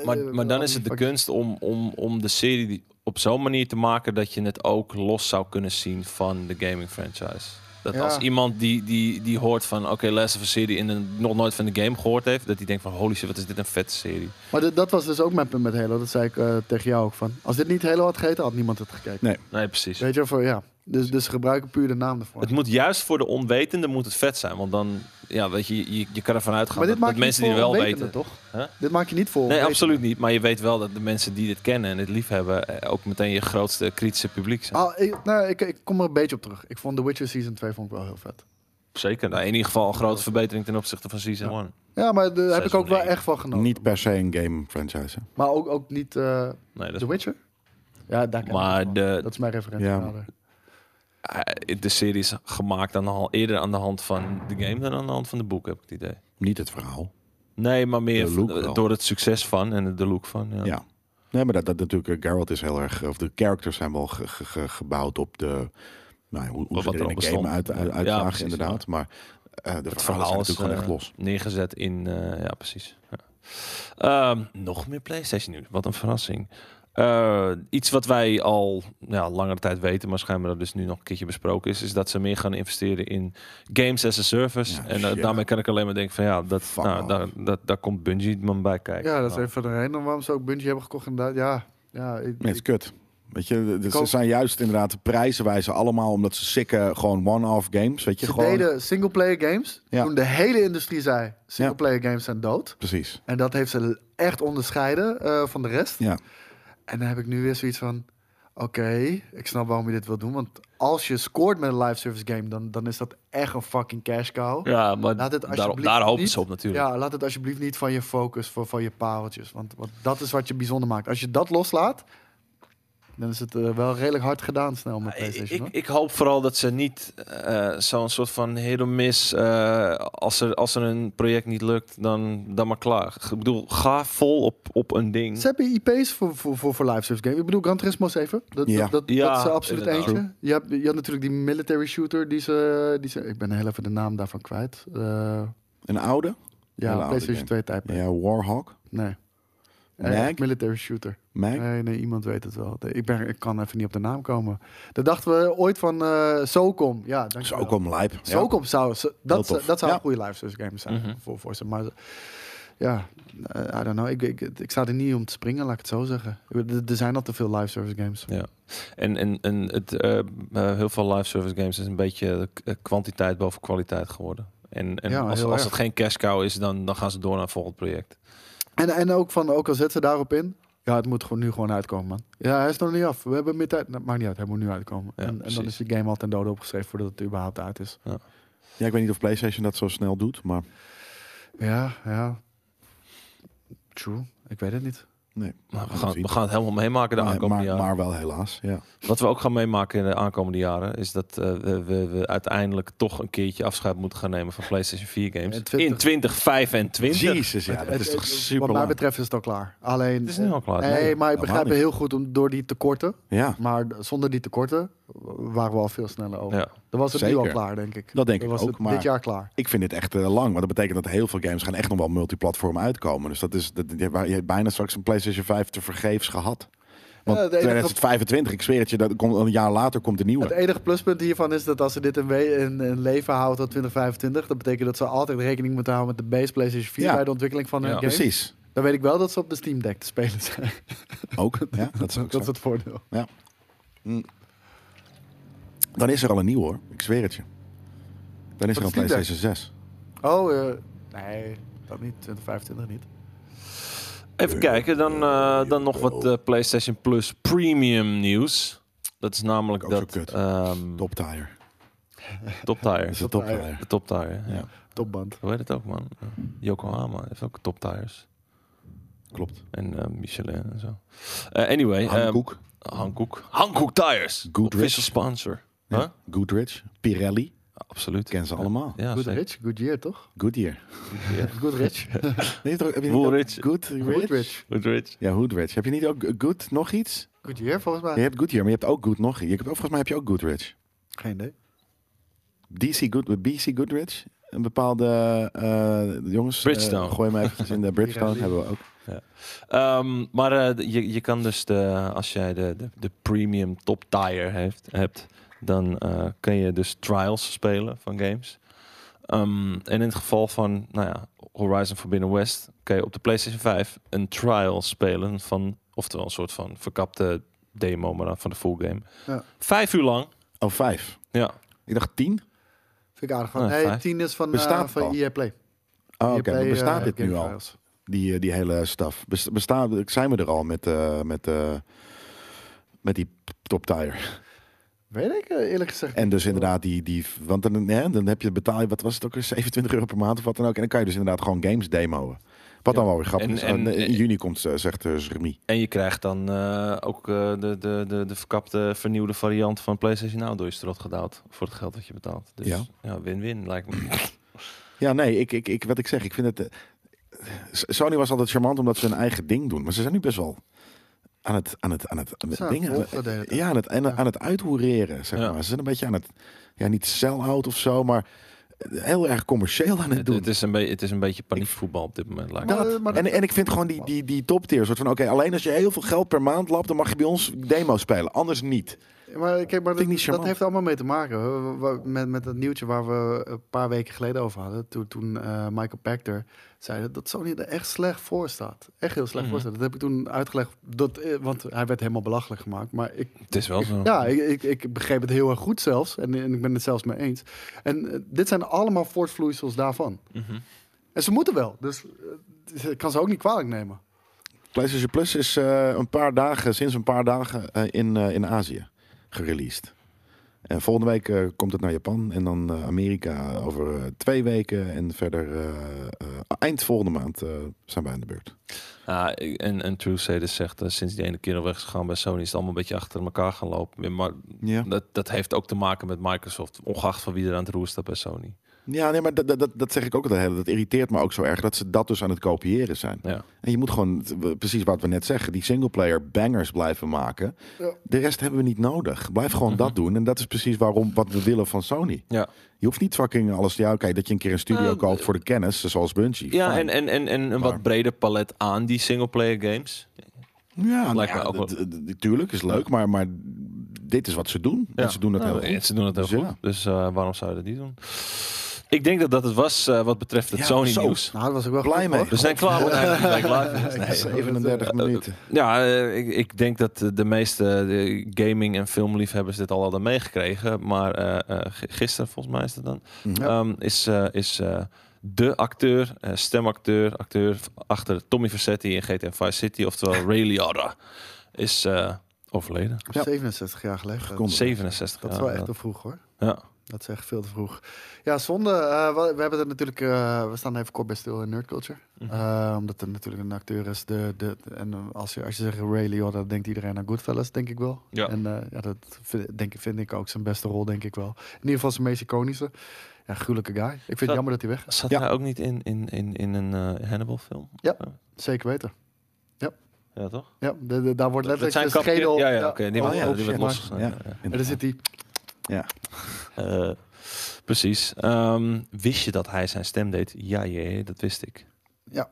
Speaker 1: Maar, maar dan is het de
Speaker 2: Eh, Fucking-
Speaker 1: kunst om, om, om de serie die- op zo'n manier te maken dat je het ook los zou kunnen zien van de gaming franchise. Dat
Speaker 2: Ja.
Speaker 1: als iemand die, die, die hoort van oké, Last of Us serie en een- nog nooit van de game gehoord heeft, dat die denkt van holy shit, wat is dit een vette serie.
Speaker 2: Maar dit- dat was dus ook mijn punt met Halo. Dat zei ik eh, tegen jou ook van. Als dit niet Halo had gegeten, had niemand het gekeken.
Speaker 1: Nee, precies.
Speaker 2: Weet je, voor, ja. Dus, dus ze gebruiken puur de naam ervoor.
Speaker 1: Het moet juist voor de onwetende moet het vet zijn, want dan ja, weet je, je, je kan ervan uitgaan dat, dat
Speaker 2: je
Speaker 1: mensen die
Speaker 2: niet
Speaker 1: er
Speaker 2: voor
Speaker 1: wel
Speaker 2: onwetenden,
Speaker 1: weten.
Speaker 2: toch?
Speaker 1: Huh?
Speaker 2: Dit maak je niet voor.
Speaker 1: Nee,
Speaker 2: onwetenden.
Speaker 1: absoluut niet. Maar je weet wel dat de mensen die dit kennen en het lief hebben, ook meteen je grootste kritische publiek zijn.
Speaker 2: Ah, ik, nou, ik, ik kom er een beetje op terug. Ik vond The Witcher Season 2 vond ik wel heel vet.
Speaker 1: Zeker. Nou, in ieder geval een grote verbetering ten opzichte van season 1.
Speaker 2: Ja, maar daar heb ik
Speaker 1: Seizoen
Speaker 2: ook wel
Speaker 1: één.
Speaker 2: echt van genoten.
Speaker 3: Niet per se een game franchise. hè?
Speaker 2: Maar ook, ook niet eh,
Speaker 1: Nee, dat
Speaker 2: The
Speaker 1: is
Speaker 2: Witcher. Ja, daar ken ik
Speaker 1: Maar
Speaker 2: het van.
Speaker 1: de-
Speaker 2: Dat is mijn referentie.
Speaker 3: Ja.
Speaker 2: kader.
Speaker 1: Eh, de serie is gemaakt aan de, hand- eerder aan de hand van de game dan aan de hand van de boek, heb ik het idee.
Speaker 3: Niet het verhaal.
Speaker 1: Nee, maar meer
Speaker 3: De look
Speaker 1: van-
Speaker 3: wel.
Speaker 1: door het succes van en de look van. Ja.
Speaker 3: Ja. Nee, maar dat, dat natuurlijk, eh, Geralt is heel erg, of de characters zijn wel ge- ge- ge- gebouwd op de, nou, ja, hoe, hoe
Speaker 1: Wat
Speaker 3: ze er
Speaker 1: er al
Speaker 3: in de
Speaker 1: bestond.
Speaker 3: game uit, uit,
Speaker 1: Ja,
Speaker 3: uitzagen,
Speaker 1: precies,
Speaker 3: inderdaad. Maar eh, de
Speaker 1: Het
Speaker 3: verhalen zijn
Speaker 1: verhaal is
Speaker 3: natuurlijk gewoon
Speaker 1: eh,
Speaker 3: echt los.
Speaker 1: neergezet in, eh, ja precies. Ja. Ehm, nog meer PlayStation nieuws. Wat een verrassing. Eh, iets wat wij al ja, langere tijd weten, maar schijnbaar dat dus nu nog een keertje besproken is, is dat ze meer gaan investeren in games as a service.
Speaker 3: Ja,
Speaker 1: en eh,
Speaker 3: shit.
Speaker 1: daarmee kan ik alleen maar denken van ja, dat,
Speaker 3: Fuck
Speaker 1: nou,
Speaker 3: off.
Speaker 1: daar, dat, daar komt Bungie man bij kijken.
Speaker 2: Ja, dat is
Speaker 1: Nou,
Speaker 2: even van de reden waarom ze ook Bungie hebben gekocht. Inderdaad, ja. ja ik-
Speaker 3: Nee, het is kut. Weet je, de- de- ze
Speaker 2: Koop-
Speaker 3: zijn juist inderdaad de prijzen wijzen allemaal omdat ze sikke gewoon one-off games, weet je,
Speaker 2: Ze
Speaker 3: gewoon.
Speaker 2: deden single-player games.
Speaker 3: Ja.
Speaker 2: Toen de hele industrie zei, single-player games zijn dood.
Speaker 3: Precies.
Speaker 2: En dat heeft ze echt onderscheiden eh, van de rest.
Speaker 3: Ja.
Speaker 2: En dan heb ik nu weer zoiets van... Oké, ik snap waarom je dit wil doen. Want als je scoort met een live service game... dan, dan is dat echt een fucking cash cow.
Speaker 1: ja, maar
Speaker 2: Laat het
Speaker 1: daar,
Speaker 2: alsjeblieft
Speaker 1: daar hopen
Speaker 2: niet-
Speaker 1: ze op natuurlijk.
Speaker 2: Ja, laat het alsjeblieft niet van je focus, van, van je pareltjes. Want, want dat is wat je bijzonder maakt. Als je dat loslaat... dan is het eh, wel redelijk hard gedaan snel met
Speaker 1: Ik,
Speaker 2: PlayStation.
Speaker 1: ik,
Speaker 2: hoor.
Speaker 1: ik hoop vooral dat ze niet eh, zo'n soort van hit or miss, eh, als, er, als er een project niet lukt, dan, dan maar klaar. Ik bedoel, ga vol op, op een ding.
Speaker 3: Hm?
Speaker 2: Ze hebben IP's voor, voor, voor, voor live service games. Ik bedoel, Gran Turismo 7. Dat,
Speaker 3: Ja.
Speaker 2: dat, dat,
Speaker 1: Ja,
Speaker 2: dat is er absoluut
Speaker 1: inderdaad.
Speaker 2: eentje. Je had, je had natuurlijk die military shooter. Die ze, die ze, ik ben heel even de naam daarvan kwijt. Eh,
Speaker 3: Een oude? Hele
Speaker 2: ja,
Speaker 3: oude
Speaker 2: PlayStation 2 type.
Speaker 3: Ja, Warhawk.
Speaker 2: Nee.
Speaker 3: Mag?
Speaker 2: Eh, military shooter.
Speaker 3: Mac?
Speaker 2: Nee, nee, iemand weet het wel. Ik, ben, ik kan even niet op de naam komen. Dat dachten we ooit van eh Socom. Ja, dank je wel.
Speaker 3: Socom Lijp. Ja.
Speaker 2: Socom zou... zo-
Speaker 3: Heel
Speaker 2: Dat,
Speaker 3: tof.
Speaker 2: zou- dat zou
Speaker 3: Ja.
Speaker 2: een goede live service game zijn
Speaker 1: Mhm.
Speaker 2: voor, voor ze. Maar ze- ja, eh, I don't know. Ik, ik, ik sta er niet om te springen, laat ik het zo zeggen. Ik bedoel, Er er zijn al te veel live service games.
Speaker 1: En, en, en het, eh, eh, heel veel live service games is een beetje eh, kwantiteit boven kwaliteit geworden. En, en
Speaker 2: Ja,
Speaker 1: als,
Speaker 2: heel
Speaker 1: als
Speaker 2: erg.
Speaker 1: het geen cash cow is, dan, dan gaan ze door naar een volgend project.
Speaker 2: En, en ook van, ook al zet ze daarop in. Ja, het moet gewoon nu gewoon uitkomen, man. Ja, hij is nog niet af. We hebben meer tijd. Nou, maakt niet uit, hij moet nu uitkomen.
Speaker 1: Ja,
Speaker 2: en, en dan
Speaker 1: precies.
Speaker 2: is die game al ten dode opgeschreven voordat het überhaupt uit is.
Speaker 3: Ja, ik weet niet of PlayStation dat zo snel doet, maar
Speaker 2: Ja, ja. True. Ik weet het niet.
Speaker 3: nee.
Speaker 1: Maar we,
Speaker 3: gaan
Speaker 1: gaan,
Speaker 3: zien.
Speaker 1: we gaan het helemaal meemaken de
Speaker 3: Maar-
Speaker 1: aankomende
Speaker 3: maar,
Speaker 1: jaren.
Speaker 3: maar wel helaas, ja.
Speaker 1: Wat we ook gaan meemaken in de aankomende jaren... is dat eh, we, we, we uiteindelijk toch een keertje afscheid moeten gaan nemen van PlayStation 4 games.
Speaker 2: In 20.
Speaker 1: In 2025.
Speaker 3: Jezus, ja,
Speaker 2: Het-
Speaker 3: dat is
Speaker 2: het-
Speaker 3: toch
Speaker 2: het-
Speaker 3: super
Speaker 2: Eh, Wat mij betreft is het al klaar. Alleen,
Speaker 1: Het is nu al klaar.
Speaker 2: Nee,
Speaker 1: Nee,
Speaker 2: maar ik
Speaker 3: helemaal
Speaker 2: begrijp
Speaker 3: niet.
Speaker 2: het heel goed om, door die tekorten.
Speaker 3: Ja,
Speaker 2: Maar d- zonder die tekorten waren we al veel sneller over.
Speaker 1: Ja.
Speaker 2: Dan was het nu al
Speaker 3: Zeker.
Speaker 2: klaar, denk ik.
Speaker 3: dat denk
Speaker 2: Dan
Speaker 3: ik
Speaker 2: was
Speaker 3: ook.
Speaker 2: het
Speaker 3: maar
Speaker 2: dit jaar klaar.
Speaker 3: ik vind dit echt eh, lang, want dat betekent dat heel veel games gaan echt nog wel multiplatform uitkomen. Dus dat is, dat, je, hebt- je hebt bijna straks een PlayStation 5 te vergeefs gehad. Want
Speaker 2: Ja, de enige-
Speaker 3: 2025, ik zweer het je, dat komt, een jaar later komt de
Speaker 2: Het
Speaker 3: nieuwe.
Speaker 2: enige pluspunt hiervan is dat als ze dit in, we- in, in leven houdt tot 2025, dat betekent dat ze altijd rekening moeten houden met de base PlayStation 4
Speaker 3: Ja.
Speaker 2: bij de ontwikkeling van hun
Speaker 1: Ja.
Speaker 2: game.
Speaker 3: Precies.
Speaker 2: Dan weet ik wel dat ze op de Steam Deck te spelen zijn.
Speaker 3: Ook, ja, dat is ook
Speaker 2: dat is
Speaker 3: zo.
Speaker 2: het voordeel.
Speaker 3: Dan is er al een nieuw hoor, ik zweer het je. Dan is
Speaker 2: Wat
Speaker 3: er een
Speaker 2: is die
Speaker 3: PlayStation 6.
Speaker 2: Oh, eh, nee, dat niet. 2025 niet.
Speaker 1: Even kijken, dan, eh, dan nog wat eh, PlayStation Plus Premium nieuws. Dat is namelijk
Speaker 3: Ook zo
Speaker 1: dat...
Speaker 3: kut.
Speaker 1: ehm,
Speaker 3: Top tire.
Speaker 1: top tire.
Speaker 3: Dat is de
Speaker 2: Top
Speaker 3: top
Speaker 2: tire.
Speaker 3: tire.
Speaker 1: De top tire, ja.
Speaker 3: Ja.
Speaker 2: Topband.
Speaker 1: Hoe heet het ook, man? Ja. Yokohama heeft ook top tires.
Speaker 3: Klopt.
Speaker 1: En eh, Michelin en zo. Eh, anyway. ehm,
Speaker 3: Hankook,
Speaker 1: Hankook. Hankook Tires.
Speaker 3: Goodrich.
Speaker 1: Official sponsor. Huh?
Speaker 3: ja. Goodrich, Pirelli,
Speaker 1: Absoluut.
Speaker 3: kennen ze allemaal.
Speaker 1: Ja,
Speaker 2: Good
Speaker 1: zeker.
Speaker 2: Rich, good year toch?
Speaker 3: Goodyear.
Speaker 2: Good Rich.
Speaker 3: Nee, toch- heb je niet ook-
Speaker 1: Woolrich.
Speaker 2: Good
Speaker 3: Goodrich?
Speaker 2: Rich.
Speaker 1: Goodrich.
Speaker 3: Ja, Goodrich. Heb je niet ook Good nog iets?
Speaker 2: Good year volgens mij.
Speaker 3: Je hebt Goodyear, maar je hebt ook Good nog. Je hebt, ook- volgens mij heb je ook Goodrich.
Speaker 2: Geen idee.
Speaker 3: DC Good, BC Goodrich. Een bepaalde eh, jongens.
Speaker 1: Bridgestone.
Speaker 3: eh, gooi hem even in de Bridgestone
Speaker 2: Pirelli.
Speaker 3: hebben we ook.
Speaker 1: Ehm, maar eh, je, je kan dus, de, als jij de, de, de premium top tire heeft, hebt, dan eh kun je dus trials spelen van games. Ehm, en in het geval van nou ja, Horizon Forbidden West kun je op de PlayStation 5 een trial spelen van, oftewel een soort van verkapte demo, maar dan van de full game.
Speaker 2: Ja.
Speaker 1: Vijf uur lang.
Speaker 3: Oh, vijf.
Speaker 1: Ja,
Speaker 3: Ik dacht tien.
Speaker 2: Vind ik aardig.
Speaker 1: Ah,
Speaker 2: Nee,
Speaker 1: fijn.
Speaker 2: 10 is van,
Speaker 3: Nou, Bestaat
Speaker 2: eh
Speaker 3: het
Speaker 2: van
Speaker 3: al?
Speaker 2: EA Play.
Speaker 3: Oh,
Speaker 2: EA
Speaker 3: oké.
Speaker 2: Play,
Speaker 3: maar bestaat
Speaker 2: eh,
Speaker 3: dit nu
Speaker 2: Game
Speaker 3: al?
Speaker 2: Trials.
Speaker 3: Die, eh, die hele staf. Bes- Bestaat, zijn we er al met, eh, met, eh, met die top tire?
Speaker 2: Weet ik eh, eerlijk gezegd.
Speaker 3: En dus inderdaad, die, die, want dan, hè, dan heb je betaal je, wat was het ook, weer, 27 euro per maand of wat dan ook. En dan kan je dus inderdaad gewoon games demoen. Wat dan wel weer grappig
Speaker 1: En-
Speaker 3: is.
Speaker 1: en-
Speaker 3: En, eh, in juni komt, eh, zegt eh, Remy.
Speaker 1: En je krijgt dan eh, ook eh, de, de, de, de verkapte, vernieuwde variant van PlayStation Now door je strot gedouwd. Voor het geld dat je betaalt. Dus ja,
Speaker 3: Ja.
Speaker 1: win-win lijkt me.
Speaker 3: Ja, nee, ik, ik, ik, wat ik zeg, ik vind het... eh, S- Sony was altijd charmant omdat ze hun eigen ding doen. Maar ze zijn nu best wel aan het, aan het, aan het, aan het
Speaker 2: Zo,
Speaker 3: dingen...
Speaker 2: volg dat de hele tijd.
Speaker 3: Ja, aan het, aan, aan het uithoereren, zeg
Speaker 1: Ja.
Speaker 3: maar. Ze zijn een beetje aan het... Ja, niet sell-out of zo, maar heel erg commercieel aan het
Speaker 1: Het,
Speaker 3: doen.
Speaker 1: het is een beetje, het is een beetje paniekvoetbal op dit moment. Lijkt me.
Speaker 2: Maar-
Speaker 3: Dat.
Speaker 2: maar-
Speaker 3: en, en ik vind gewoon die, die, die top tier. Soort van, oké, alleen als je heel veel geld per maand lapt, dan mag je bij ons demo spelen. Anders niet.
Speaker 2: Maar, kijk, maar
Speaker 3: Eh, Vind ik
Speaker 2: dat,
Speaker 3: niet
Speaker 2: dat
Speaker 3: charmant.
Speaker 2: heeft allemaal mee te maken. We- we- we- Met, met dat nieuwtje waar we een paar weken geleden over hadden. Toen, toen eh, Michael Pachter zei dat Sony er echt slecht voor staat. Echt heel slecht
Speaker 3: Mhm.
Speaker 2: voor staat. Dat heb ik toen uitgelegd. Dat, eh, want hij werd helemaal belachelijk gemaakt. Maar ik,
Speaker 1: Het is wel zo.
Speaker 2: ja, ik, ik, ik begreep het heel erg goed zelfs. En, en ik ben het zelfs mee eens. En eh, dit zijn allemaal voortvloeisels daarvan.
Speaker 1: Mhm.
Speaker 2: En ze moeten wel. Dus eh, ik kan ze ook niet kwalijk nemen.
Speaker 3: PlayStation Plus is eh, een paar dagen, sinds een paar dagen eh, in, eh, in Azië gereleased. En volgende week eh, komt het naar Japan en dan eh, Amerika over eh, twee weken. En verder eh, eh, eind volgende maand eh, zijn wij aan de beurt.
Speaker 1: Ja, Ah, ik- en, en True Saders zegt, eh, sinds die ene keer al weg is gegaan bij Sony, is het allemaal een beetje achter elkaar gaan lopen. Maar
Speaker 3: Ja,
Speaker 1: dat, dat heeft ook te maken met Microsoft, ongeacht van wie er aan het roer staat bij Sony.
Speaker 3: ja nee, maar dat, dat- dat, dat zeg ik ook altijd. Dat irriteert me ook zo erg dat ze dat dus aan het kopiëren zijn.
Speaker 1: Ja.
Speaker 3: En je moet gewoon, t- w- precies wat we net zeggen, die singleplayer bangers blijven maken.
Speaker 2: Ja.
Speaker 3: De rest hebben we niet nodig. Blijf gewoon dat doen. En dat is precies waarom wat we willen van Sony.
Speaker 1: Mhm. Ja,
Speaker 3: Je hoeft niet fucking alles. Ja, oké, dat je een keer een studio
Speaker 1: Eh,
Speaker 3: koopt voor de kennis, zoals Bungie.
Speaker 1: ja
Speaker 3: fijn.
Speaker 1: en, en, en, en een wat
Speaker 3: Maar-
Speaker 1: breder palet aan die singleplayer games.
Speaker 3: ja, nou
Speaker 1: lijkt me
Speaker 3: ja,
Speaker 1: ook wel-
Speaker 3: d- d- d- tuurlijk is leuk, maar, maar dit is wat ze doen. En ze doen dat
Speaker 1: Nou,
Speaker 3: heel
Speaker 1: en
Speaker 3: goed.
Speaker 1: Ze doen het heel
Speaker 3: Dus ja.
Speaker 1: goed. Dus eh, waarom zou je dat niet doen? Ik denk dat dat het was eh, wat betreft het
Speaker 3: Ja,
Speaker 1: Sony
Speaker 3: zo.
Speaker 1: nieuws.
Speaker 2: Nou, dat was ik wel
Speaker 3: Blij
Speaker 2: goed,
Speaker 3: mee. Dus,
Speaker 2: hoor.
Speaker 1: We zijn klaar met Eindelijk Black Live. Nee.
Speaker 3: 37 minuten.
Speaker 1: Ja, eh, ik, ik denk dat eh, de meeste eh, gaming- en filmliefhebbers dit al hadden meegekregen. Maar eh, eh, g- gisteren, volgens mij is dat dan,
Speaker 2: Ja.
Speaker 1: ehm, is, eh, is eh, de acteur, eh, stemacteur, acteur achter Tommy Vercetti in GTA Vice City, oftewel Ray Liotta, is eh, overleden.
Speaker 2: Op
Speaker 3: Ja.
Speaker 2: 67 jaar geleden. Dat,
Speaker 3: Gekondigd.
Speaker 1: 67
Speaker 2: dat is
Speaker 1: jaar
Speaker 2: wel echt te
Speaker 1: inderdaad.
Speaker 2: vroeg hoor.
Speaker 1: Ja.
Speaker 2: Dat is echt veel te vroeg. Ja, zonde. Eh, we, we hebben het natuurlijk. eh, we staan even kort bij stil in Nerd Culture.
Speaker 1: Mhm.
Speaker 2: Eh, omdat er natuurlijk een acteur is. De, de, en eh, als je, als je zegt Ray Liotta, dan denkt iedereen aan Goodfellas, denk ik wel.
Speaker 1: Ja.
Speaker 2: En eh, ja, dat vind, denk, vind ik ook zijn beste rol, denk ik wel. In ieder geval zijn meest iconische. Ja, gruwelijke guy. Ik vind het
Speaker 1: Dat-
Speaker 2: jammer dat hij weg is.
Speaker 1: Zat
Speaker 3: Ja.
Speaker 1: hij ook niet in, in, in, in een eh, Hannibal-film?
Speaker 2: Ja. Zeker weten.
Speaker 1: Ja, toch?
Speaker 2: Ja, de, de- daar wordt
Speaker 1: Dat
Speaker 2: letterlijk
Speaker 1: zijn
Speaker 2: zijn
Speaker 1: kapje.
Speaker 2: schedel...
Speaker 1: Ja, ja, oké. die
Speaker 2: oh,
Speaker 1: wordt,
Speaker 2: ja,
Speaker 1: die wordt
Speaker 2: shit.
Speaker 1: losgegaan.
Speaker 3: Ja.
Speaker 1: Ja, ja.
Speaker 2: En dan zit hij...
Speaker 1: Eh, precies. Ehm, wist je dat hij zijn stem deed? Ja, ja, ja, dat wist ik.
Speaker 2: Ja,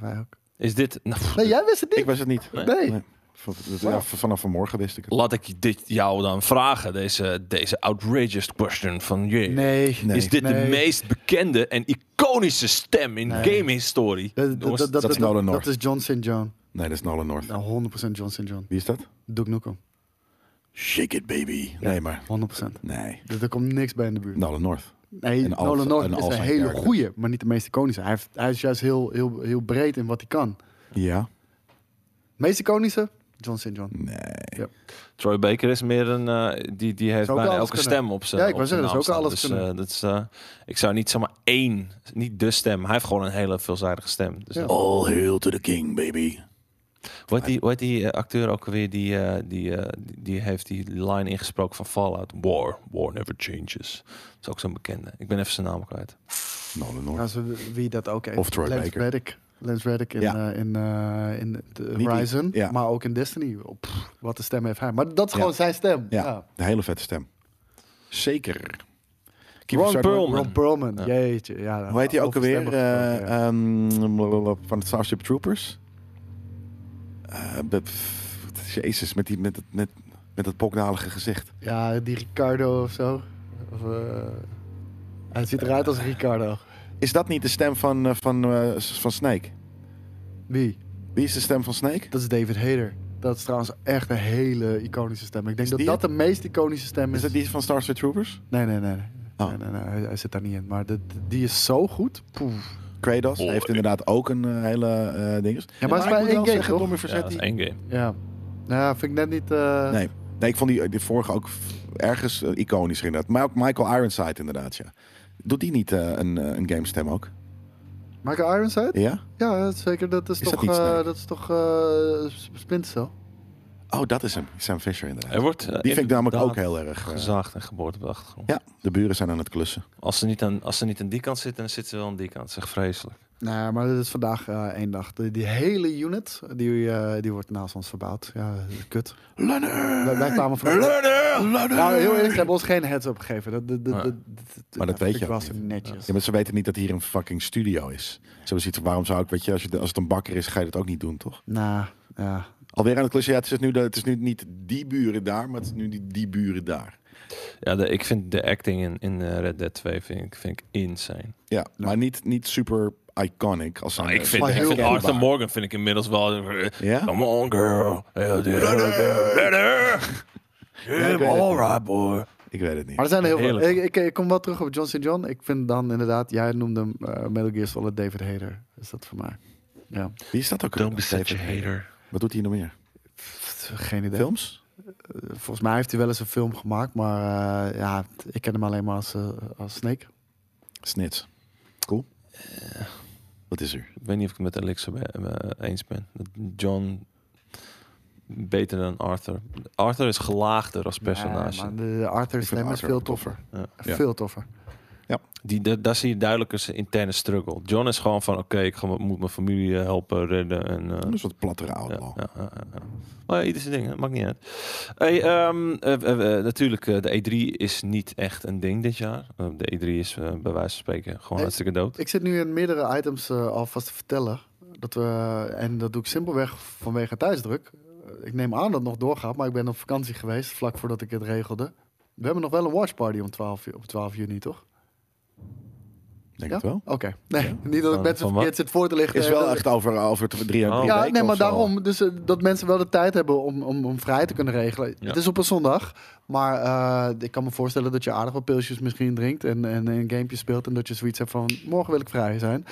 Speaker 2: wij ook.
Speaker 1: Is dit... Nou, pff,
Speaker 2: Nee, jij wist het
Speaker 3: Ik
Speaker 2: niet.
Speaker 3: was het niet.
Speaker 1: Nee.
Speaker 2: Nee.
Speaker 3: Nee. V- v- ja, v- vanaf vanmorgen wist ik het.
Speaker 1: laat ik dit jou dan vragen, deze, deze outrageous question van je.
Speaker 2: Nee.
Speaker 3: Nee.
Speaker 1: Is dit
Speaker 2: Nee.
Speaker 1: de meest bekende en iconische stem in
Speaker 2: Nee.
Speaker 1: gamehistorie?
Speaker 2: Dat, dat,
Speaker 1: Jongens,
Speaker 2: dat,
Speaker 3: dat is nou Nolan
Speaker 2: dat
Speaker 3: North.
Speaker 2: is John St. John.
Speaker 3: Nee, dat is Nolan North.
Speaker 2: Nou, 100% John St. John.
Speaker 3: Wie is dat?
Speaker 2: Duke Nukem.
Speaker 3: Shake it, baby. Nee, maar.
Speaker 2: 100%.
Speaker 3: Nee.
Speaker 2: Dus er komt niks bij in de buurt.
Speaker 3: Nolan North.
Speaker 2: nee,
Speaker 3: en
Speaker 2: Nolan
Speaker 3: Alf- en
Speaker 2: North
Speaker 3: Alf
Speaker 2: is een
Speaker 3: zijn
Speaker 2: hele
Speaker 3: character.
Speaker 2: goeie, maar niet de meest iconische. Hij, heeft, hij is juist heel, heel, heel breed in wat hij kan.
Speaker 3: Ja.
Speaker 2: Meest iconische? John St. John.
Speaker 3: Nee.
Speaker 1: Troy Baker is meer een... eh, die, die heeft
Speaker 2: Zou ook
Speaker 1: bijna
Speaker 2: alles
Speaker 1: elke
Speaker 2: kunnen.
Speaker 1: stem op zijn
Speaker 2: Ja, ik
Speaker 1: op
Speaker 2: wou
Speaker 1: zijn
Speaker 2: zeggen, dat zou
Speaker 1: naam
Speaker 2: ook
Speaker 1: staan.
Speaker 2: alles
Speaker 1: Dus, eh, dat is, eh, ik zou niet zomaar één... Niet de stem. Hij heeft gewoon een hele veelzijdige stem. Dus
Speaker 2: Ja.
Speaker 1: dat-
Speaker 3: All hail to the king, baby.
Speaker 1: Hoe heet die, hoe heet die eh, acteur ook weer die, eh, die, eh, die, die heeft die line ingesproken van Fallout? War, war never changes. Dat is ook zo'n bekende. Ik ben even zijn naam kwijt.
Speaker 3: Nolan North.
Speaker 2: Ja, ze- wie dat ook heeft.
Speaker 3: Of Troy
Speaker 2: Lance
Speaker 3: Baker.
Speaker 2: Reddick. Lance Reddick in,
Speaker 3: Ja.
Speaker 2: eh, in, eh, in de
Speaker 3: die-
Speaker 2: Horizon,
Speaker 3: ja.
Speaker 2: maar ook in Destiny. Oh, pff, wat een stem heeft hij. Maar dat is
Speaker 3: Ja.
Speaker 2: gewoon zijn stem.
Speaker 3: Ja,
Speaker 2: Ja.
Speaker 3: de hele vette stem. Zeker. Kiefer
Speaker 1: Ron
Speaker 3: Sutherland-
Speaker 1: Perlman.
Speaker 2: Ron Perlman,
Speaker 1: Ja.
Speaker 2: jeetje. Ja,
Speaker 3: Hoe heet hij ook
Speaker 2: over
Speaker 3: alweer?
Speaker 2: stemmen gesproken, ja.
Speaker 3: Eh, ehm, blablabla, van het Starship Troopers. Eh, be- pff, jezus, met, die, met, het- met, met dat pokdalige gezicht.
Speaker 2: Ja, die Ricardo of zo. Of, eh, hij ziet eruit als Ricardo.
Speaker 3: Is dat niet de stem van, eh, van, eh, s- van Snake?
Speaker 2: Wie?
Speaker 3: Wie is de stem van Snake?
Speaker 2: Dat is David Hayter. Dat is trouwens echt een hele iconische stem. Ik denk dat
Speaker 3: die
Speaker 2: dat de meest iconische stem
Speaker 3: Is
Speaker 2: is.
Speaker 3: dat die van Starship Troopers?
Speaker 2: Nee, nee, nee. nee.
Speaker 3: Oh.
Speaker 2: Nee, nee, nee, Hij, hij zit daar niet in. Maar dat- die is zo goed. Poef.
Speaker 3: Kratos
Speaker 1: Oh,
Speaker 3: heeft
Speaker 1: ik-
Speaker 3: inderdaad ook een eh, hele eh ding.
Speaker 2: Ja, maar het is maar één game, toch?
Speaker 3: Tommy
Speaker 1: Ja, dat
Speaker 3: Vercetti.
Speaker 1: is één game.
Speaker 2: Ja. Nou, vind ik net niet... eh,
Speaker 3: Nee. nee, ik vond die, die vorige ook f- ergens eh, iconisch inderdaad. Maar ook Michael Ironside inderdaad, ja. Doet die niet eh, een, eh, een game stem ook?
Speaker 2: Michael Ironside?
Speaker 3: Ja?
Speaker 2: Ja, dat is zeker. Dat is,
Speaker 3: Is dat
Speaker 2: toch,
Speaker 3: niet
Speaker 2: eh,
Speaker 3: Snake?
Speaker 2: dat is toch eh, Sp- Splinter Cell?
Speaker 3: Oh, dat is hem. Sam Fisher inderdaad.
Speaker 1: Hij wordt, eh,
Speaker 3: Die vind ik namelijk ook
Speaker 1: inderdaad
Speaker 3: heel erg... eh,
Speaker 1: gezaagd en geboord op de achtergrond.
Speaker 3: ja, de buren zijn aan het klussen.
Speaker 1: Als, ze niet aan, als ze niet aan die kant zitten, dan zitten ze wel aan die kant. Zeg vreselijk.
Speaker 2: Nee, maar dat is vandaag eh, één dag. Die, die hele unit, die, eh, die wordt naast ons verbouwd. Ja, dat is kut.
Speaker 3: Leonard!
Speaker 2: Wij- wij kwamen van-
Speaker 3: Leonard!
Speaker 2: Nou, heel eerlijk, ze hebben ons geen heads-up gegeven. Dat, dat, dat,
Speaker 1: Nee.
Speaker 2: dat- dat-
Speaker 3: Maar dat weet
Speaker 2: vind
Speaker 3: je
Speaker 2: ik
Speaker 3: ook
Speaker 2: was
Speaker 3: niet.
Speaker 2: netjes.
Speaker 3: Ja, maar ze weten niet dat hier een fucking studio is. Ze hebben zoiets van, waarom zou ik, weet je, als, je, als het een bakker is, ga je dat ook niet doen, toch?
Speaker 2: Nou, ja.
Speaker 3: Alweer aan het klusje, ja, het is, nu, de- het is nu niet die buren daar, maar het is nu die, die buren daar.
Speaker 1: Ja, de, ik vind de acting in, in eh, Red Dead 2 vind ik, vind ik insane.
Speaker 3: Ja,
Speaker 2: Nou.
Speaker 3: maar niet, niet super iconic. Als zijn-
Speaker 1: Nou, ik vind,
Speaker 2: Maar
Speaker 1: ik
Speaker 2: heel
Speaker 1: vind
Speaker 2: goed.
Speaker 1: Arthur Morgan vind ik inmiddels wel... eh,
Speaker 3: Ja?
Speaker 1: Come on, girl. Hell yeah. Better.
Speaker 3: ik weet
Speaker 1: Yeah,
Speaker 3: het
Speaker 1: all
Speaker 3: niet.
Speaker 1: right, boy.
Speaker 3: Ik weet het niet.
Speaker 2: Maar er zijn er heel
Speaker 1: Heerlijk.
Speaker 2: veel. Ik, ik, ik kom wel terug op John St. John. Ik vind dan inderdaad, jij noemde hem eh, Metal Gear Solid David Hayter. Is dat voor mij? Ja,
Speaker 3: Wie is dat ook?
Speaker 1: Don't be
Speaker 3: weer?
Speaker 1: such a
Speaker 3: David Hayter.
Speaker 1: hater.
Speaker 3: Wat doet hij nog meer?
Speaker 2: Pff, geen idee.
Speaker 3: Films?
Speaker 2: Volgens mij heeft hij wel eens een film gemaakt, maar eh, ja, ik ken hem alleen maar als, eh, als Snake.
Speaker 3: Snits. Cool.
Speaker 2: Eh,
Speaker 3: Wat is er?
Speaker 1: Ik weet niet of ik het met Alexa be- eh, eens ben. Dat John beter dan Arthur. Arthur is gelaagder als personage.
Speaker 2: Ja, maar de- de Arthur
Speaker 3: Ik vind
Speaker 2: Slam is
Speaker 3: Arthur
Speaker 2: veel
Speaker 3: ook
Speaker 2: toffer.
Speaker 3: Ja.
Speaker 2: Veel toffer.
Speaker 1: Die, da- daar zie je duidelijk zijn interne struggle. John is gewoon van, oké, ik ga- moet mijn familie eh, helpen, redden. En, eh,
Speaker 3: Een soort plattere
Speaker 1: ja,
Speaker 3: outlaw.
Speaker 1: ja, ja, ja, ja. Maar ja, ieder zijn ding, hè, maakt niet uit. Hey, ehm, eh, eh, eh, natuurlijk, eh, de E3 is niet echt een ding dit jaar. Eh, de E3 is eh, bij wijze van spreken gewoon
Speaker 2: Nee.
Speaker 1: hartstikke dood.
Speaker 2: Ik zit nu in meerdere items eh, alvast te vertellen. Dat we, en dat doe ik simpelweg vanwege thuisdruk. Ik neem aan dat het nog doorgaat, maar ik ben op vakantie geweest vlak voordat ik het regelde. We hebben nog wel een watchparty om 12, ju- op 12 juni, toch?
Speaker 3: Denk het wel.
Speaker 2: Oké. Nee, niet dat ik
Speaker 1: Van-
Speaker 2: mensen
Speaker 1: van
Speaker 2: verkeerd zit voor te lichten. Eh,
Speaker 3: Is
Speaker 2: en
Speaker 3: wel
Speaker 2: dat-
Speaker 3: echt over, over drie, drie
Speaker 1: Ja,
Speaker 2: Ja,
Speaker 3: weken
Speaker 2: nee,
Speaker 3: of
Speaker 2: maar
Speaker 3: zo.
Speaker 2: daarom. Dus eh, dat mensen wel de tijd hebben om, om, om vrij te kunnen regelen.
Speaker 1: Ja.
Speaker 2: Het is op een zondag. Maar eh, ik kan me voorstellen dat je aardig wat pilsjes misschien drinkt. En, en een gamepje speelt. En dat je zoiets hebt van, morgen wil ik vrij zijn.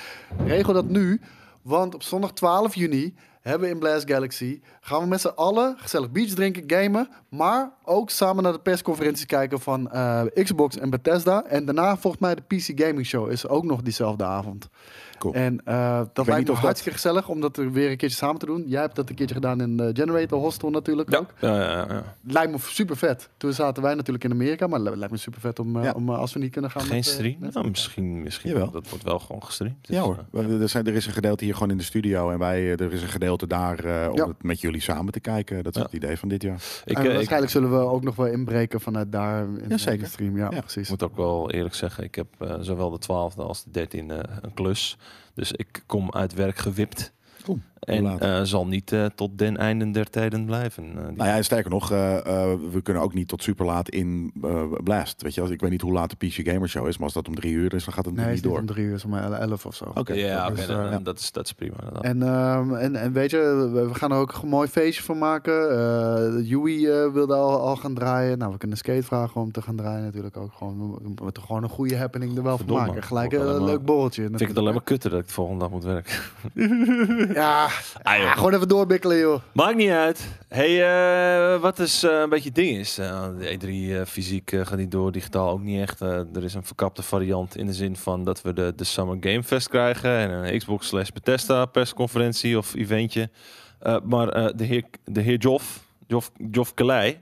Speaker 2: Regel dat nu. Want op zondag 12 juni hebben we in Blast Galaxy... gaan we met z'n allen gezellig beach drinken, gamen... maar ook samen naar de persconferenties kijken van eh, Xbox en Bethesda. En daarna volgens mij de PC Gaming Show is ook nog diezelfde avond.
Speaker 3: Cool.
Speaker 2: En eh, dat
Speaker 3: weet
Speaker 2: lijkt
Speaker 3: niet
Speaker 2: me
Speaker 3: of dat-
Speaker 2: hartstikke gezellig om dat er weer een keertje samen te doen. Jij hebt dat een keertje gedaan in eh, Generator Hostel natuurlijk ook.
Speaker 1: Ja, ja, ja, ja.
Speaker 2: Lijkt me super vet. Toen zaten wij natuurlijk in Amerika, maar li- lijkt me super vet om, eh,
Speaker 3: Ja.
Speaker 2: om eh, als we niet kunnen gaan.
Speaker 1: Geen
Speaker 2: met, eh,
Speaker 1: stream?
Speaker 2: met-
Speaker 1: Nou, misschien, misschien.
Speaker 3: Jawel.
Speaker 1: Dat wordt wel gewoon gestreamd. Dus,
Speaker 3: Ja hoor,
Speaker 1: eh,
Speaker 3: We- we- er, zijn, er is een gedeelte hier gewoon in de studio en wij, eh, er is een gedeelte daar eh, om
Speaker 2: Ja.
Speaker 3: het met jullie samen te kijken. Dat is
Speaker 1: Ja.
Speaker 3: het idee van dit jaar.
Speaker 1: ik,
Speaker 2: En
Speaker 1: eh, ik,
Speaker 2: waarschijnlijk zullen we ook nog wel inbreken vanuit daar in,
Speaker 3: Ja, zeker.
Speaker 2: in de stream. Ja,
Speaker 3: Ja.
Speaker 1: Ik
Speaker 2: precies.
Speaker 1: moet ook wel eerlijk zeggen, ik heb eh, zowel de 12e als de 13e een klus. Dus ik kom uit werk gewipt.
Speaker 3: Oeh,
Speaker 1: en
Speaker 3: laat.
Speaker 1: eh, zal niet eh, tot den einde der tijden blijven. Eh, die-
Speaker 3: Nou ja, en sterker nog, eh, eh, we kunnen ook niet tot super laat in eh, Blast. Weet je, als, ik weet niet hoe laat de PC Gamer Show is, maar als dat om drie uur is, dan gaat het
Speaker 2: Nee, het
Speaker 3: niet
Speaker 2: is niet
Speaker 3: door.
Speaker 2: om drie uur, is om eh, elf of zo.
Speaker 3: Oké,
Speaker 1: ja,
Speaker 2: dat
Speaker 1: oké,
Speaker 2: is,
Speaker 1: dan-
Speaker 2: eh,
Speaker 1: dan- dat, is, dat is prima. Dan-
Speaker 2: En, ehm, en, en weet je, we, we gaan er ook een mooi feestje van maken. Eh Joey eh, wilde al, al gaan draaien. Nou, we kunnen Skate vragen om te gaan draaien natuurlijk ook. Gewoon, we moeten gewoon een goede happening er wel van
Speaker 1: Verdomme,
Speaker 2: maken. Gelijk
Speaker 1: wordt
Speaker 2: een
Speaker 1: allemaal-
Speaker 2: leuk borreltje.
Speaker 1: vind ik het alleen maar kutter dat ik de volgende dag moet werken.
Speaker 2: Ja,
Speaker 1: Ah, joh.
Speaker 2: ja, gewoon even doorbikkelen, joh.
Speaker 1: Maakt niet uit. Hey, eh, wat is eh, een beetje het ding is. eh, de E3 eh, fysiek eh, gaat niet door, digitaal ook niet echt. Eh, er is een verkapte variant in de zin van dat we de, de Summer Game Fest krijgen en een Xbox slash Bethesda persconferentie of eventje. Eh, maar eh, de heer, de heer Joff, Joff, Joff Kelei,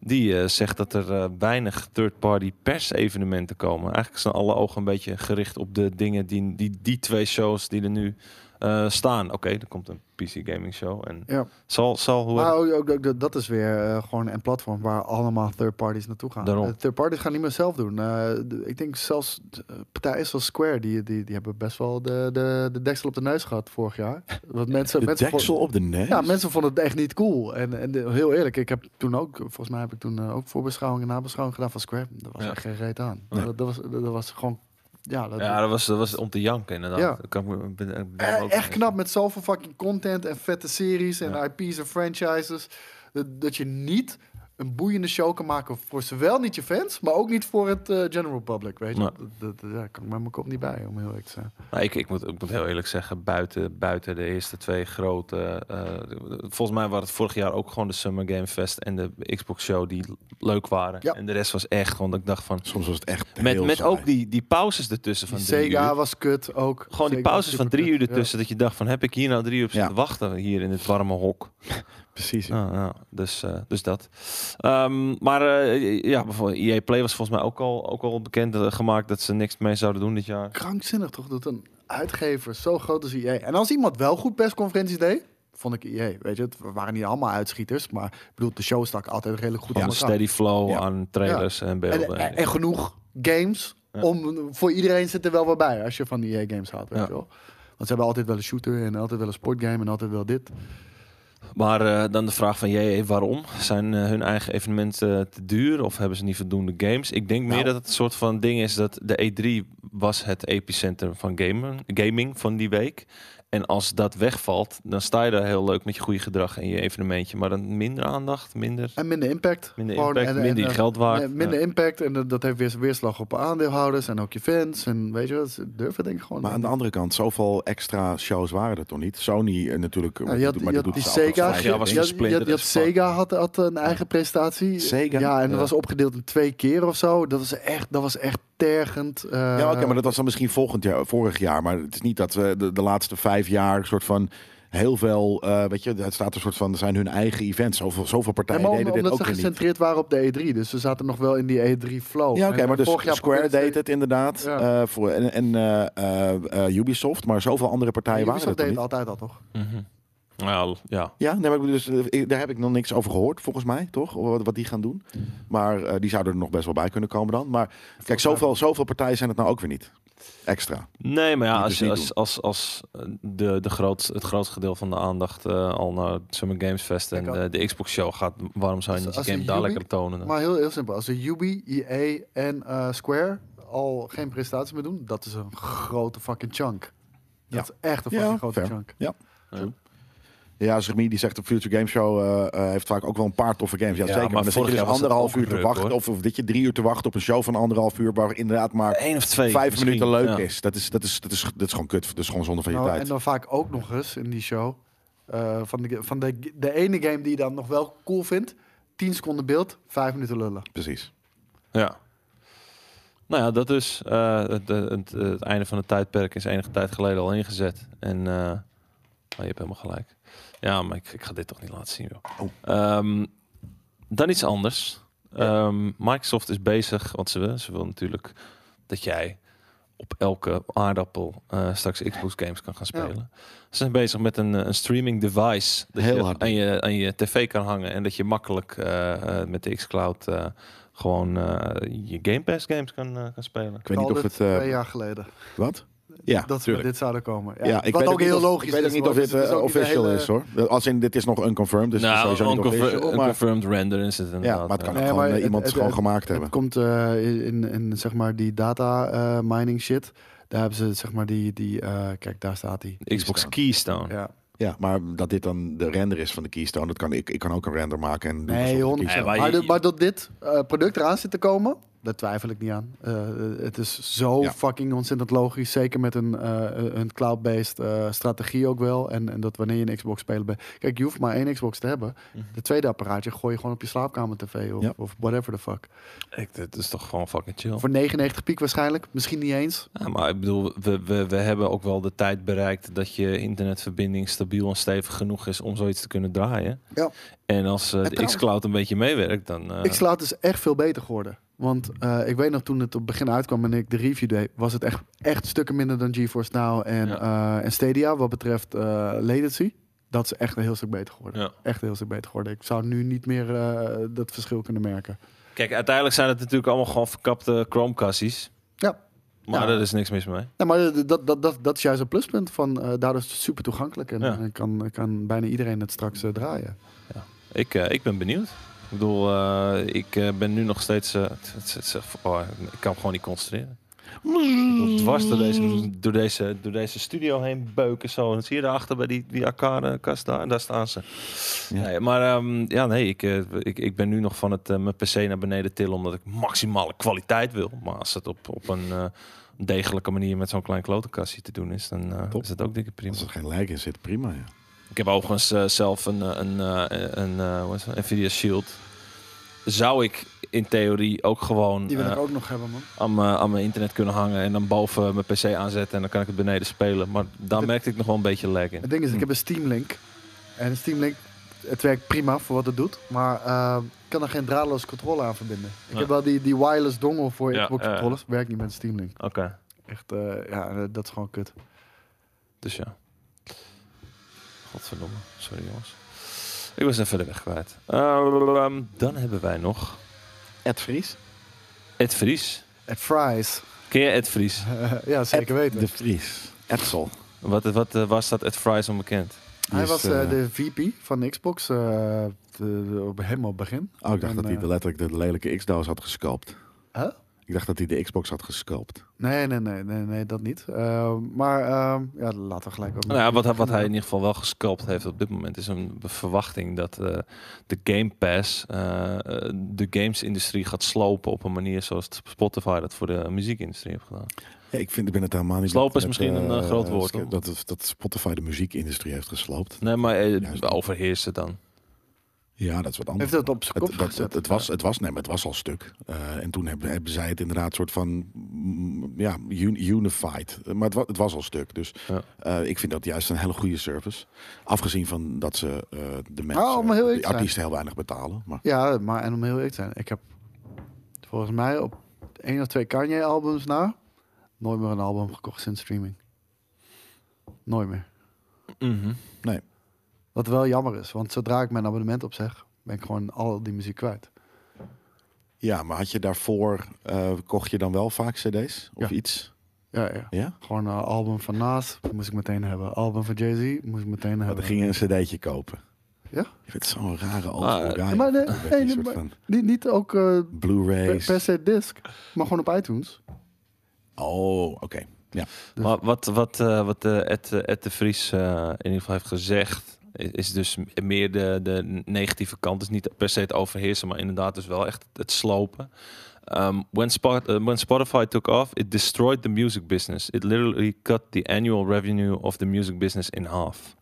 Speaker 1: die eh, zegt dat er eh, weinig third-party pers-evenementen komen. Eigenlijk zijn alle ogen een beetje gericht op de dingen die die, die twee shows die er nu eh, staan. Oké, er komt een PC Gaming Show en
Speaker 2: Ja.
Speaker 1: zal, zal hoe
Speaker 2: Maar ook, ook- ook- dat is weer eh, gewoon een platform waar allemaal third parties naartoe gaan.
Speaker 1: Daarom.
Speaker 2: Eh, third parties gaan niet meer zelf doen. Eh, de- ik denk zelfs eh, partijen zoals Square, die, die, die hebben best wel de, de, de deksel op de neus gehad vorig jaar. Want mensen,
Speaker 3: De
Speaker 2: mensen
Speaker 3: deksel op de neus?
Speaker 2: Ja, mensen vonden het echt niet cool. En, en de- heel eerlijk, ik heb toen ook, volgens mij heb ik toen eh, ook voorbeschouwing en nabeschouwing gedaan van Square. Dat was
Speaker 1: Ja.
Speaker 2: echt geen reet aan.
Speaker 3: Nee.
Speaker 2: Dat, dat, was, dat, dat was gewoon, ja, dat,
Speaker 1: ja, dat was, dat was om te janken inderdaad.
Speaker 2: Ja.
Speaker 1: Dat Kan, ik me- ben, ben
Speaker 2: Eh,
Speaker 1: ook-
Speaker 2: echt knap met zoveel fucking content en vette series en
Speaker 1: Ja.
Speaker 2: IP's en franchises. Dat, dat je niet een boeiende show kan maken voor zowel niet je fans, maar ook niet voor het eh, general public, weet je.
Speaker 1: Nee.
Speaker 2: Dat, dat, dat- daar kan ik met mijn kop niet bij, om heel eerlijk te zijn.
Speaker 1: Nou, ik, ik, moet, ik moet heel eerlijk zeggen, buiten, buiten de eerste twee grote... eh, volgens mij waren het vorig jaar ook gewoon de Summer Game Fest en de Xbox Show die leuk waren.
Speaker 2: Ja.
Speaker 1: En de rest was echt, want ik dacht van...
Speaker 3: Soms was het echt
Speaker 1: Met,
Speaker 3: heel
Speaker 1: met
Speaker 3: saai.
Speaker 1: ook die, die pauzes ertussen van
Speaker 2: Die
Speaker 1: drie uur.
Speaker 2: Sega was kut ook.
Speaker 1: Gewoon die
Speaker 2: Sega was
Speaker 1: pauzes van drie
Speaker 2: superkut,
Speaker 1: uur
Speaker 2: ja.
Speaker 1: ertussen. Dat je dacht van, heb ik hier nou drie uur op
Speaker 3: Ja.
Speaker 1: zitten wachten? Hier in dit warme hok.
Speaker 3: Precies.
Speaker 1: Ja, ja, dus, eh, dus dat. Ehm, maar eh, ja, bijvoorbeeld EA Play was volgens mij ook al, ook al bekend eh, gemaakt dat ze niks mee zouden doen dit jaar.
Speaker 2: krankzinnig toch dat een uitgever zo groot als EA. En als iemand wel goed persconferenties deed, vond ik EA. Weet je, het waren niet allemaal uitschieters, maar ik bedoel, de show stak altijd redelijk goed
Speaker 1: Gewoon
Speaker 2: aan
Speaker 1: een
Speaker 2: elkaar.
Speaker 1: steady flow
Speaker 3: Ja.
Speaker 1: aan trailers en
Speaker 2: En,
Speaker 1: beelden.
Speaker 2: en, en genoeg games om voor iedereen zit er wel wat bij als je van die EA games houdt, weet
Speaker 1: Ja.
Speaker 2: je wel. Want ze hebben altijd wel een shooter en altijd wel een sportgame en altijd wel dit.
Speaker 1: Maar eh, dan de vraag van jij, waarom? Zijn eh, hun eigen evenementen eh, te duur of hebben ze niet voldoende games? Ik denk meer
Speaker 2: Nou.
Speaker 1: dat het een soort van ding is dat de E3 was het epicentrum van gamen, gaming van die week. En als dat wegvalt, dan sta je daar heel leuk met je goede gedrag en je evenementje. Maar dan minder aandacht, minder,
Speaker 2: En minder impact.
Speaker 1: minder
Speaker 2: Gewoon-
Speaker 1: impact,
Speaker 2: en- en-
Speaker 1: minder
Speaker 2: en-
Speaker 1: je geld waard.
Speaker 2: Nee, minder impact en dat, dat heeft weer weerslag op aandeelhouders en ook je fans. En weet je wel, ze durven denk ik gewoon.
Speaker 3: Maar aan
Speaker 2: niet.
Speaker 3: de andere kant, zoveel extra shows waren er toch niet? Sony eh, natuurlijk. eh,
Speaker 2: Ja,
Speaker 3: maar
Speaker 2: je had,
Speaker 3: doet-
Speaker 2: je
Speaker 3: maar
Speaker 2: had
Speaker 3: doet
Speaker 2: die
Speaker 3: ze altijd
Speaker 2: Sega,
Speaker 3: vijf
Speaker 1: Ja, was
Speaker 2: je
Speaker 3: keer.
Speaker 2: had,
Speaker 1: gesplinterd
Speaker 2: je had- je had
Speaker 1: as fuck.
Speaker 2: Sega had, had een eigen prestatie.
Speaker 3: Sega?
Speaker 2: Ja, eh, en dat
Speaker 1: Ja.
Speaker 2: was opgedeeld in twee keer of zo. Dat was echt, dat was echt tergend. eh,
Speaker 3: Ja, oké, maar dat was dan misschien volgend jaar, vorig jaar. Maar het is niet dat we de, de laatste vijf jaar een soort van heel veel, eh, weet je, het staat een soort van, er zijn hun eigen events. Zoveel, zoveel
Speaker 2: Nee,
Speaker 3: partijen
Speaker 2: maar om-
Speaker 3: E deden dit
Speaker 2: omdat ze
Speaker 3: ook weer niet.
Speaker 2: gecentreerd waren op de E3. Dus ze zaten nog wel in die E3-flow.
Speaker 3: Ja, oké, maar dus Square deed het inderdaad.
Speaker 2: Ja.
Speaker 3: eh, voor, en en eh, eh, eh, Ubisoft, maar zoveel andere partijen waren er
Speaker 2: Ubisoft
Speaker 3: toch
Speaker 2: deed het
Speaker 3: niet.
Speaker 2: altijd al, toch?
Speaker 1: Mhm. Nou, ja.
Speaker 3: Ja, nee, maar ik bedoel, dus, eh, ik- daar heb ik nog niks over gehoord, volgens mij, toch? Wat, wat die gaan doen. Maar eh, die zouden er nog best wel bij kunnen komen dan. Maar kijk, zoveel, zoveel partijen zijn het nou ook weer niet. Extra.
Speaker 1: Nee, maar ja,
Speaker 3: Die
Speaker 1: als,
Speaker 3: dus niet
Speaker 1: als, als, als eh, de, de groot, het grootste deel van de aandacht eh, al naar Summer Games Fest en
Speaker 2: Kijk al.
Speaker 1: eh, de Xbox Show gaat, waarom zou je
Speaker 2: Als-
Speaker 1: niet
Speaker 2: als
Speaker 1: je
Speaker 2: een
Speaker 1: game daar
Speaker 2: Ubi-
Speaker 1: lekker tonen? dan?
Speaker 2: Maar heel, heel simpel. Als de Ubi, EA en eh, Square al geen prestatie meer doen, dat is een grote fucking chunk. Dat is echt een
Speaker 3: Ja,
Speaker 2: fucking grote
Speaker 3: fair.
Speaker 2: chunk.
Speaker 3: Ja, Remy die zegt de Future Game Show eh, eh, heeft vaak ook wel een paar toffe games. Ja,
Speaker 1: Ja,
Speaker 3: zeker. Maar,
Speaker 1: maar
Speaker 3: dan zit
Speaker 1: vorig
Speaker 3: je dus
Speaker 1: jaar was het
Speaker 3: anderhalf
Speaker 1: ook
Speaker 3: uur te
Speaker 1: druk,
Speaker 3: wachten.
Speaker 1: hoor.
Speaker 3: Of, of dat je drie uur te wachten op een show van anderhalf uur. Waar inderdaad maar
Speaker 1: Eén of twee.
Speaker 3: vijf
Speaker 1: misschien,
Speaker 3: minuten leuk
Speaker 1: ja.
Speaker 3: is. Dat is, dat, is, dat, is, dat is gewoon kut. Dat is gewoon zonde van je
Speaker 2: Nou, en
Speaker 3: tijd.
Speaker 2: dan vaak ook nog eens in die show. eh, van de, van de, de ene game die je dan nog wel cool vindt. 10 seconden beeld, 5 minuten lullen.
Speaker 3: Precies.
Speaker 1: Ja. Nou ja, dat is eh, het, het, het einde van het tijdperk is enige tijd geleden al ingezet. En eh, oh, je hebt helemaal gelijk. Ja, maar ik, ik ga dit toch niet laten zien.
Speaker 3: Oh.
Speaker 1: Joh. Ehm, dan iets anders. Ehm, Microsoft is bezig, want ze wil, ze wil natuurlijk dat jij op elke aardappel eh, straks Xbox games kan gaan
Speaker 2: Ja.
Speaker 1: spelen. Ze zijn bezig met een, eh, een streaming device dat
Speaker 3: Heel
Speaker 1: je
Speaker 3: hard.
Speaker 1: aan je aan je tv kan hangen en dat je makkelijk eh, eh, met de xCloud eh, gewoon eh, je Game Pass games kan, eh, kan spelen.
Speaker 3: Ik weet niet
Speaker 2: Call
Speaker 3: of
Speaker 2: it
Speaker 3: het... eh,
Speaker 2: Twee jaar geleden.
Speaker 3: wat? Ja,
Speaker 2: dat we
Speaker 3: tuurlijk.
Speaker 2: dit zouden komen. Ja,
Speaker 3: Ja, ik
Speaker 2: wat
Speaker 3: weet
Speaker 2: ook heel
Speaker 3: niet of-
Speaker 2: logisch
Speaker 3: Ik weet ook
Speaker 2: is,
Speaker 3: niet
Speaker 2: hoor.
Speaker 3: of dit
Speaker 2: Dus het
Speaker 3: eh,
Speaker 2: is ook niet een
Speaker 3: official
Speaker 2: hele-
Speaker 3: is hoor. Als in, dit is nog unconfirmed, dus
Speaker 1: Nou,
Speaker 3: het is sowieso niet
Speaker 1: unconfir-
Speaker 3: official. Maar,
Speaker 1: unconfirmed render is het inderdaad.
Speaker 3: ja, maar het
Speaker 1: ja.
Speaker 3: kan ook
Speaker 2: Nee,
Speaker 3: gewoon
Speaker 2: maar
Speaker 3: eh,
Speaker 2: het-
Speaker 3: iemand
Speaker 2: het-
Speaker 3: gewoon
Speaker 2: het-
Speaker 3: gemaakt hebben.
Speaker 2: Het komt eh, in, in zeg maar die data eh, mining shit. Daar hebben ze zeg maar die, die eh, kijk daar staat die.
Speaker 1: Xbox Keystone.
Speaker 2: Ja.
Speaker 3: Ja, maar dat dit dan de render is van de Keystone, dat kan ik. Ik kan ook een render maken en doen alsof
Speaker 2: Nee,
Speaker 3: het
Speaker 2: hond.
Speaker 3: Keystone-
Speaker 1: Nee,
Speaker 2: maar,
Speaker 1: maar je-
Speaker 2: dat- maar dat dit eh, product eraan zit te komen, daar twijfel ik niet aan. Eh, het is zo
Speaker 3: Ja.
Speaker 2: fucking ontzettend logisch. Zeker met een, eh, een cloud-based eh, strategie ook wel. En, en dat wanneer je een Xbox speler bent. Kijk, je hoeft maar één Xbox te hebben. De tweede apparaatje gooi je gewoon op je slaapkamer tv of,
Speaker 3: Ja.
Speaker 2: of whatever the fuck.
Speaker 1: Ik, dit is toch gewoon fucking chill.
Speaker 2: Voor 99 piek waarschijnlijk. Misschien niet eens.
Speaker 1: Ja, maar ik bedoel, we, we, we hebben ook wel de tijd bereikt dat je internetverbinding stabiel en stevig genoeg is om zoiets te kunnen draaien.
Speaker 2: Ja.
Speaker 1: En als eh,
Speaker 2: En
Speaker 1: de
Speaker 2: trouwens-
Speaker 1: xCloud een beetje meewerkt, dan... eh,
Speaker 2: Ik slaat is echt veel beter geworden. Want eh, ik weet nog toen het op het begin uitkwam en ik de review deed, was het echt, echt stukken minder dan GeForce Now en,
Speaker 1: Ja.
Speaker 2: eh, en Stadia wat betreft eh, latency. Dat is echt een heel stuk beter geworden.
Speaker 1: Ja.
Speaker 2: Echt een heel stuk beter geworden. Ik zou nu niet meer eh, dat verschil kunnen merken.
Speaker 1: Kijk, uiteindelijk zijn het natuurlijk allemaal gewoon verkapte Chromecasties.
Speaker 2: Ja.
Speaker 1: Maar
Speaker 2: Ja.
Speaker 1: daar is niks mis mee.
Speaker 2: Nee, maar d- dat, dat, dat, dat is juist een pluspunt van eh, daardoor is het super toegankelijk en,
Speaker 1: Ja.
Speaker 2: en kan, kan bijna iedereen het straks eh, draaien.
Speaker 1: Ik, eh, ik ben benieuwd. Ik bedoel, eh, ik eh, ben nu nog steeds... eh, het- het- het- het- oh, ik kan me gewoon niet concentreren. Ik
Speaker 2: Mm.
Speaker 1: wil dwars door deze, door, deze, door deze studio heen beuken. Zo. En zie je daarachter bij die, die arcade-kast daar? Daar staan ze.
Speaker 3: Ja.
Speaker 1: Nee, maar ehm, ja, nee, ik, eh, ik, ik ben nu nog van het eh, mijn PC naar beneden tillen... omdat ik maximale kwaliteit wil. Maar als het op, op een eh, degelijke manier met zo'n klein klotenkastje te doen is... dan eh,
Speaker 3: Top.
Speaker 1: is het ook dikke prima.
Speaker 3: Als er geen lijk in zit, prima. Ja.
Speaker 1: Ik heb overigens eh, zelf een, eh, een, eh, een, eh, hoe heet het? Nvidia Shield. Zou ik in theorie ook gewoon
Speaker 2: Die wil ik
Speaker 1: eh,
Speaker 2: ook nog hebben, man.
Speaker 1: aan, mijn, aan mijn internet kunnen hangen en dan boven mijn PC aanzetten en dan kan ik het beneden spelen. Maar daar
Speaker 2: Het-
Speaker 1: merkte ik nog wel een beetje lag in.
Speaker 2: Het ding is, ik
Speaker 3: Hm.
Speaker 2: heb een Steam Link. En een Steam Link, het werkt prima voor wat het doet. Maar eh, ik kan er geen draadloze controle aan verbinden. Ik
Speaker 1: Ja.
Speaker 2: heb wel die, die wireless dongle voor
Speaker 1: Ja,
Speaker 2: Xbox
Speaker 1: ja, ja.
Speaker 2: controllers. Werkt niet met Steam Link.
Speaker 1: Oké.
Speaker 2: Echt, eh, ja, eh, dat is gewoon kut.
Speaker 1: Dus ja. Godverdomme. Sorry jongens. Ik was even de weg kwijt. Ehm, dan hebben wij nog
Speaker 3: Ed Vries.
Speaker 1: Ed Vries.
Speaker 2: At Fries.
Speaker 1: Ken je Ed Vries?
Speaker 2: ja, zeker weten.
Speaker 3: De Vries. Edsel.
Speaker 1: Wat, wat eh, was dat Ed Vries onbekend?
Speaker 2: hij
Speaker 3: is,
Speaker 2: was eh,
Speaker 3: eh,
Speaker 2: de VP van de Xbox eh, de- de- op helemaal op het begin.
Speaker 3: Oh, ik dacht
Speaker 2: En,
Speaker 3: dat hij
Speaker 2: eh,
Speaker 3: de, letterlijk de lelijke X-doos had gesculpt.
Speaker 2: Huh?
Speaker 3: Ik dacht dat hij de Xbox had gesculpt.
Speaker 2: Nee, nee, nee, nee, nee, dat niet. Eh, maar ehm, ja, laten we gelijk ook.
Speaker 1: Nou, ja, wat, wat hij in ieder geval wel gesculpt heeft op dit moment is een be- verwachting dat eh, de Game Pass eh, eh, de gamesindustrie gaat slopen op een manier zoals Spotify dat voor de muziekindustrie heeft gedaan.
Speaker 3: Ja, ik, vind, ik ben het helemaal niet...
Speaker 1: Slopen is
Speaker 3: met,
Speaker 1: misschien een,
Speaker 3: eh,
Speaker 1: eh, groot woord,
Speaker 3: Dat,
Speaker 1: hoor.
Speaker 3: dat, dat Spotify de muziekindustrie heeft gesloopt.
Speaker 1: Nee, maar eh,
Speaker 3: Juist.
Speaker 1: overheersen dan.
Speaker 3: Ja, dat is wat anders.
Speaker 2: Heeft dat op zijn
Speaker 3: Het,
Speaker 2: kop
Speaker 3: dat- het,
Speaker 2: gezet?
Speaker 3: het, was, het, was, nee, maar het was al stuk. Eh, en toen hebben, hebben zij het inderdaad soort van mm, ja, un- unified. Maar het, wa- het was al stuk. Dus
Speaker 1: Ja.
Speaker 3: eh, ik vind dat juist een hele goede service. Afgezien van dat ze eh, de mensen,
Speaker 2: Oh, maar heel eerlijk
Speaker 3: de
Speaker 2: zijn.
Speaker 3: artiesten heel weinig betalen. Maar
Speaker 2: Ja, maar en om heel eerlijk te zijn, ik heb volgens mij op één of twee Kanye-albums na nooit meer een album gekocht sinds streaming. Nooit meer.
Speaker 3: nee,
Speaker 2: Wat wel jammer is, want zodra ik mijn abonnement opzeg, ben ik gewoon al die muziek kwijt.
Speaker 3: ja, maar had je daarvoor, eh, kocht je dan wel vaak cd's of
Speaker 2: Ja.
Speaker 3: iets?
Speaker 2: Ja, ja.
Speaker 3: Ja?
Speaker 2: Gewoon een album van Nas moest ik meteen hebben. Album van Jay-Z moest ik meteen
Speaker 3: Maar
Speaker 2: hebben.
Speaker 3: dan ging je een cd'tje kopen.
Speaker 2: Ja.
Speaker 3: Je bent zo'n rare old
Speaker 1: Ah,
Speaker 3: school guy.
Speaker 2: maar nee,
Speaker 3: Dan
Speaker 2: nee,
Speaker 3: werd je een
Speaker 2: nee,
Speaker 3: soort
Speaker 2: maar-
Speaker 3: van
Speaker 2: Niet, niet ook eh, per,
Speaker 3: Blu-rays.
Speaker 2: per se disc, maar gewoon op iTunes.
Speaker 3: Oh, oké. Ja.
Speaker 2: Dus-
Speaker 1: Maar wat, wat, eh, wat eh, Ed, eh, Ed de Vries eh, in ieder geval heeft gezegd, i- is dus m- meer de, de negatieve kant. Dus niet per se het overheersen, maar inderdaad dus wel echt het slopen. Um, when, Spot, eh, when Spotify took off, it destroyed the music business. It literally cut the annual revenue of the music business in half.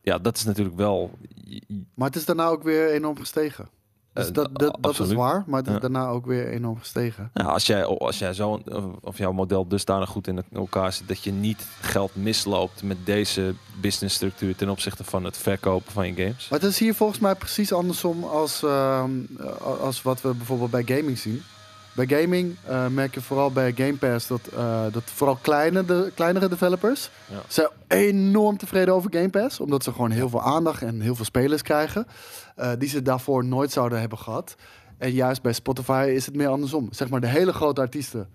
Speaker 1: Ja, dat is natuurlijk wel... j- j-
Speaker 2: Maar het is daarna ook weer enorm gestegen. Dus
Speaker 1: Eh,
Speaker 2: dat, dat, dat is
Speaker 1: absoluut.
Speaker 2: waar, maar het is
Speaker 1: Ja.
Speaker 2: daarna ook weer enorm gestegen.
Speaker 1: Nou, als jij, als jij zo, of jouw model dusdanig goed in elkaar zit dat je niet geld misloopt met deze businessstructuur ten opzichte van het verkopen van je games.
Speaker 2: Maar het is hier volgens mij precies andersom als, ehm, als wat we bijvoorbeeld bij gaming zien. Bij gaming eh, merk je vooral bij Game Pass dat, eh, dat vooral kleine de, kleinere developers
Speaker 1: Ja.
Speaker 2: zijn enorm tevreden over Game Pass. Omdat ze gewoon heel veel aandacht en heel veel spelers krijgen eh, die ze daarvoor nooit zouden hebben gehad. En juist bij Spotify is het meer andersom. Zeg maar de hele grote artiesten,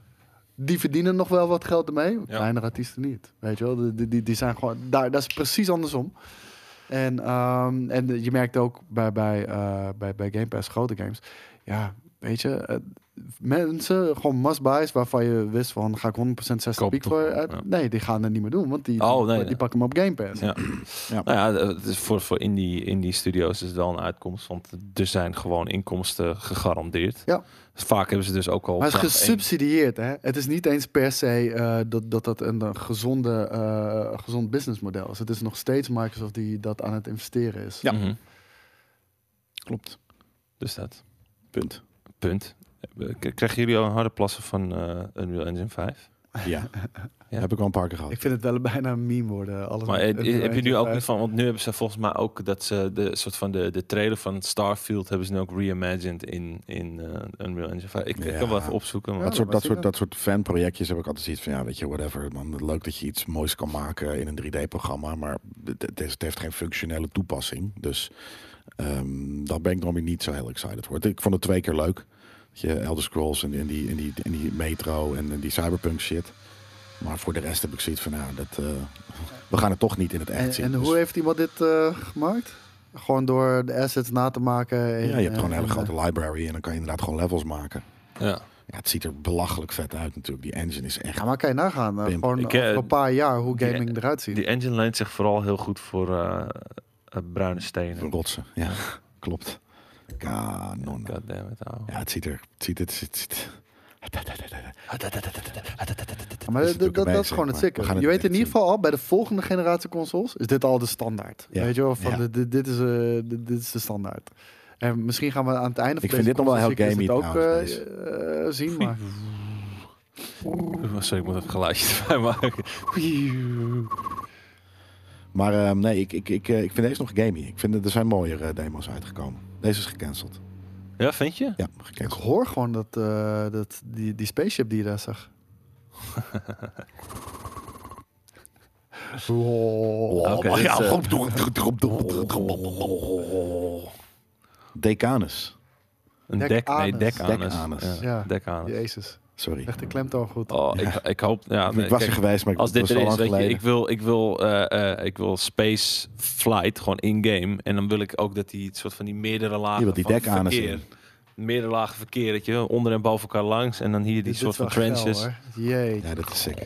Speaker 2: die verdienen nog wel wat geld ermee. Kleinere artiesten niet, weet je wel. Die- Die, die, die zijn gewoon, daar, dat is precies andersom. En, ehm, en je merkt ook bij, bij, eh, bij, bij Game Pass grote games. Ja, weet je, eh, mensen, gewoon must-buys waarvan je wist van ga ik 100% 60
Speaker 1: Koop
Speaker 2: piek
Speaker 1: toch,
Speaker 2: voor. uit?
Speaker 1: ja.
Speaker 2: Nee, die gaan dat niet meer doen, want die,
Speaker 1: Oh, nee,
Speaker 2: die
Speaker 1: nee.
Speaker 2: pakken hem op Game Pass.
Speaker 1: Ja.
Speaker 3: Ja.
Speaker 1: Nou ja, het is voor, voor indie, indie studio's is het wel een uitkomst, want er zijn gewoon inkomsten gegarandeerd.
Speaker 2: Ja.
Speaker 1: Vaak hebben ze dus ook al...
Speaker 2: Maar het is
Speaker 1: vanaf één-
Speaker 2: gesubsidieerd, hè? Het is niet eens per se eh, dat, dat dat een eh, gezonde, eh gezond businessmodel is. Het is nog steeds Microsoft die dat aan het investeren is.
Speaker 3: Ja.
Speaker 1: Mhm.
Speaker 3: Klopt.
Speaker 1: Dus dat.
Speaker 3: Punt.
Speaker 1: Punt. Eh, K- Krijgen jullie al een harde plassen van eh Unreal Engine 5?
Speaker 3: Ja.
Speaker 1: Ja.
Speaker 3: Heb ik al een paar keer gehad.
Speaker 2: Ik vind het wel bijna een meme worden. Alles
Speaker 1: Maar
Speaker 2: met-
Speaker 1: eh, heb je nu ook niet
Speaker 2: met-
Speaker 1: van, want nu hebben ze volgens mij ook dat ze de soort van de, de trailer van Starfield hebben ze nu ook reimagined in, in eh, Unreal Engine 5. Ik, ik
Speaker 3: Ja.
Speaker 1: kan wel even opzoeken. Maar
Speaker 2: Ja.
Speaker 3: Dat soort,
Speaker 2: maar
Speaker 3: dat,
Speaker 2: Oh, zie
Speaker 3: soort,
Speaker 2: dat.
Speaker 3: dat soort fanprojectjes heb ik altijd zoiets van, ja, weet je, whatever. Man, leuk dat je iets moois kan maken in een 3D-programma, maar het, het is- het heeft geen functionele toepassing. Dus ehm daar ben ik nog weer niet zo heel excited voor. Ik vond het twee keer leuk. Dat je Elder Scrolls en, en, die, en, die, en die Metro en, en die Cyberpunk shit. Maar voor de rest heb ik zoiets van, nou, dat, eh, we gaan het toch niet in het echt
Speaker 2: En,
Speaker 3: zien.
Speaker 2: en
Speaker 3: Dus-
Speaker 2: hoe heeft iemand dit eh, gemaakt? Gewoon door de assets na te maken. en- eh,
Speaker 3: ja, je hebt gewoon een
Speaker 2: en-
Speaker 3: hele
Speaker 2: en-
Speaker 3: grote library en dan kan je inderdaad gewoon levels maken.
Speaker 1: ja.
Speaker 3: Ja, het ziet er belachelijk vet uit natuurlijk. Die engine is echt...
Speaker 2: Ja, maar kan je nagaan. eh,
Speaker 3: Pimp.
Speaker 2: gewoon
Speaker 1: Ik, eh,
Speaker 2: over een paar jaar hoe
Speaker 1: die-
Speaker 2: gaming eruit ziet.
Speaker 1: Die engine leent zich vooral heel goed voor eh, eh, bruine stenen.
Speaker 3: Rotsen, ja. Klopt. Kanon.
Speaker 1: God damn it, ouwe.
Speaker 3: Ja, het ziet er... Het ziet, het ziet, het ziet-
Speaker 2: maar
Speaker 3: is
Speaker 2: dat, dat,
Speaker 3: natuurlijk
Speaker 2: dat is
Speaker 3: amazing,
Speaker 2: gewoon het
Speaker 3: maar we gaan
Speaker 2: zeker.
Speaker 3: het
Speaker 2: Je weet in
Speaker 3: echt
Speaker 2: ieder geval al, bij de volgende generatie consoles is dit al de standaard.
Speaker 3: Ja.
Speaker 2: Weet je wel, van
Speaker 3: Ja.
Speaker 2: dit- dit, dit, is, eh, dit, dit is de standaard. En misschien gaan we aan het einde van
Speaker 3: Ik vind
Speaker 2: deze
Speaker 3: dit nog wel heel
Speaker 2: consolecyclus
Speaker 3: gamey
Speaker 2: dit
Speaker 3: trouwens,
Speaker 2: ook eh, eh, zien. Maar
Speaker 1: Oh, Sorry, ik moet een geluidje erbij maken.
Speaker 3: Maar ehm, nee, ik, ik, ik, eh, ik vind deze nog gamey. Ik vind, er zijn mooiere eh, demo's uitgekomen. Deze is gecanceld.
Speaker 1: Ja, vind je?
Speaker 3: Ja,
Speaker 2: ik
Speaker 3: gecanceld.
Speaker 2: hoor gewoon dat, eh, dat die, die spaceship die je daar zag.
Speaker 1: Oké, dit, eh,
Speaker 3: Decanus.
Speaker 1: Een dek,
Speaker 2: Dekanus.
Speaker 1: nee, dekanus.
Speaker 3: Dekanus.
Speaker 2: Ja.
Speaker 1: Ja, dekanus.
Speaker 2: Jezus.
Speaker 3: Sorry.
Speaker 2: Echt de klemtoon goed.
Speaker 1: Oh, ik, ik hoop... Ja, nee,
Speaker 3: ik was
Speaker 1: kijk,
Speaker 3: er geweest, maar ik
Speaker 1: als dit
Speaker 3: was
Speaker 1: er
Speaker 3: al
Speaker 1: is,
Speaker 3: lang
Speaker 1: weet je,
Speaker 3: geleden.
Speaker 1: ik wil, ik wil, eh, eh, ik wil space flight, gewoon in-game. En dan wil ik ook dat die het soort van die meerdere lagen
Speaker 3: Je wilt die
Speaker 1: van
Speaker 3: dekanus
Speaker 1: verkeer...
Speaker 3: in.
Speaker 1: Meerdere lagen verkeer, dat je onder en boven elkaar langs. En dan hier die
Speaker 2: Dit-
Speaker 1: soort
Speaker 2: dit
Speaker 1: van
Speaker 2: is wel
Speaker 1: trenches.
Speaker 2: geil, hoor. Jee.
Speaker 3: Ja, dat is sick.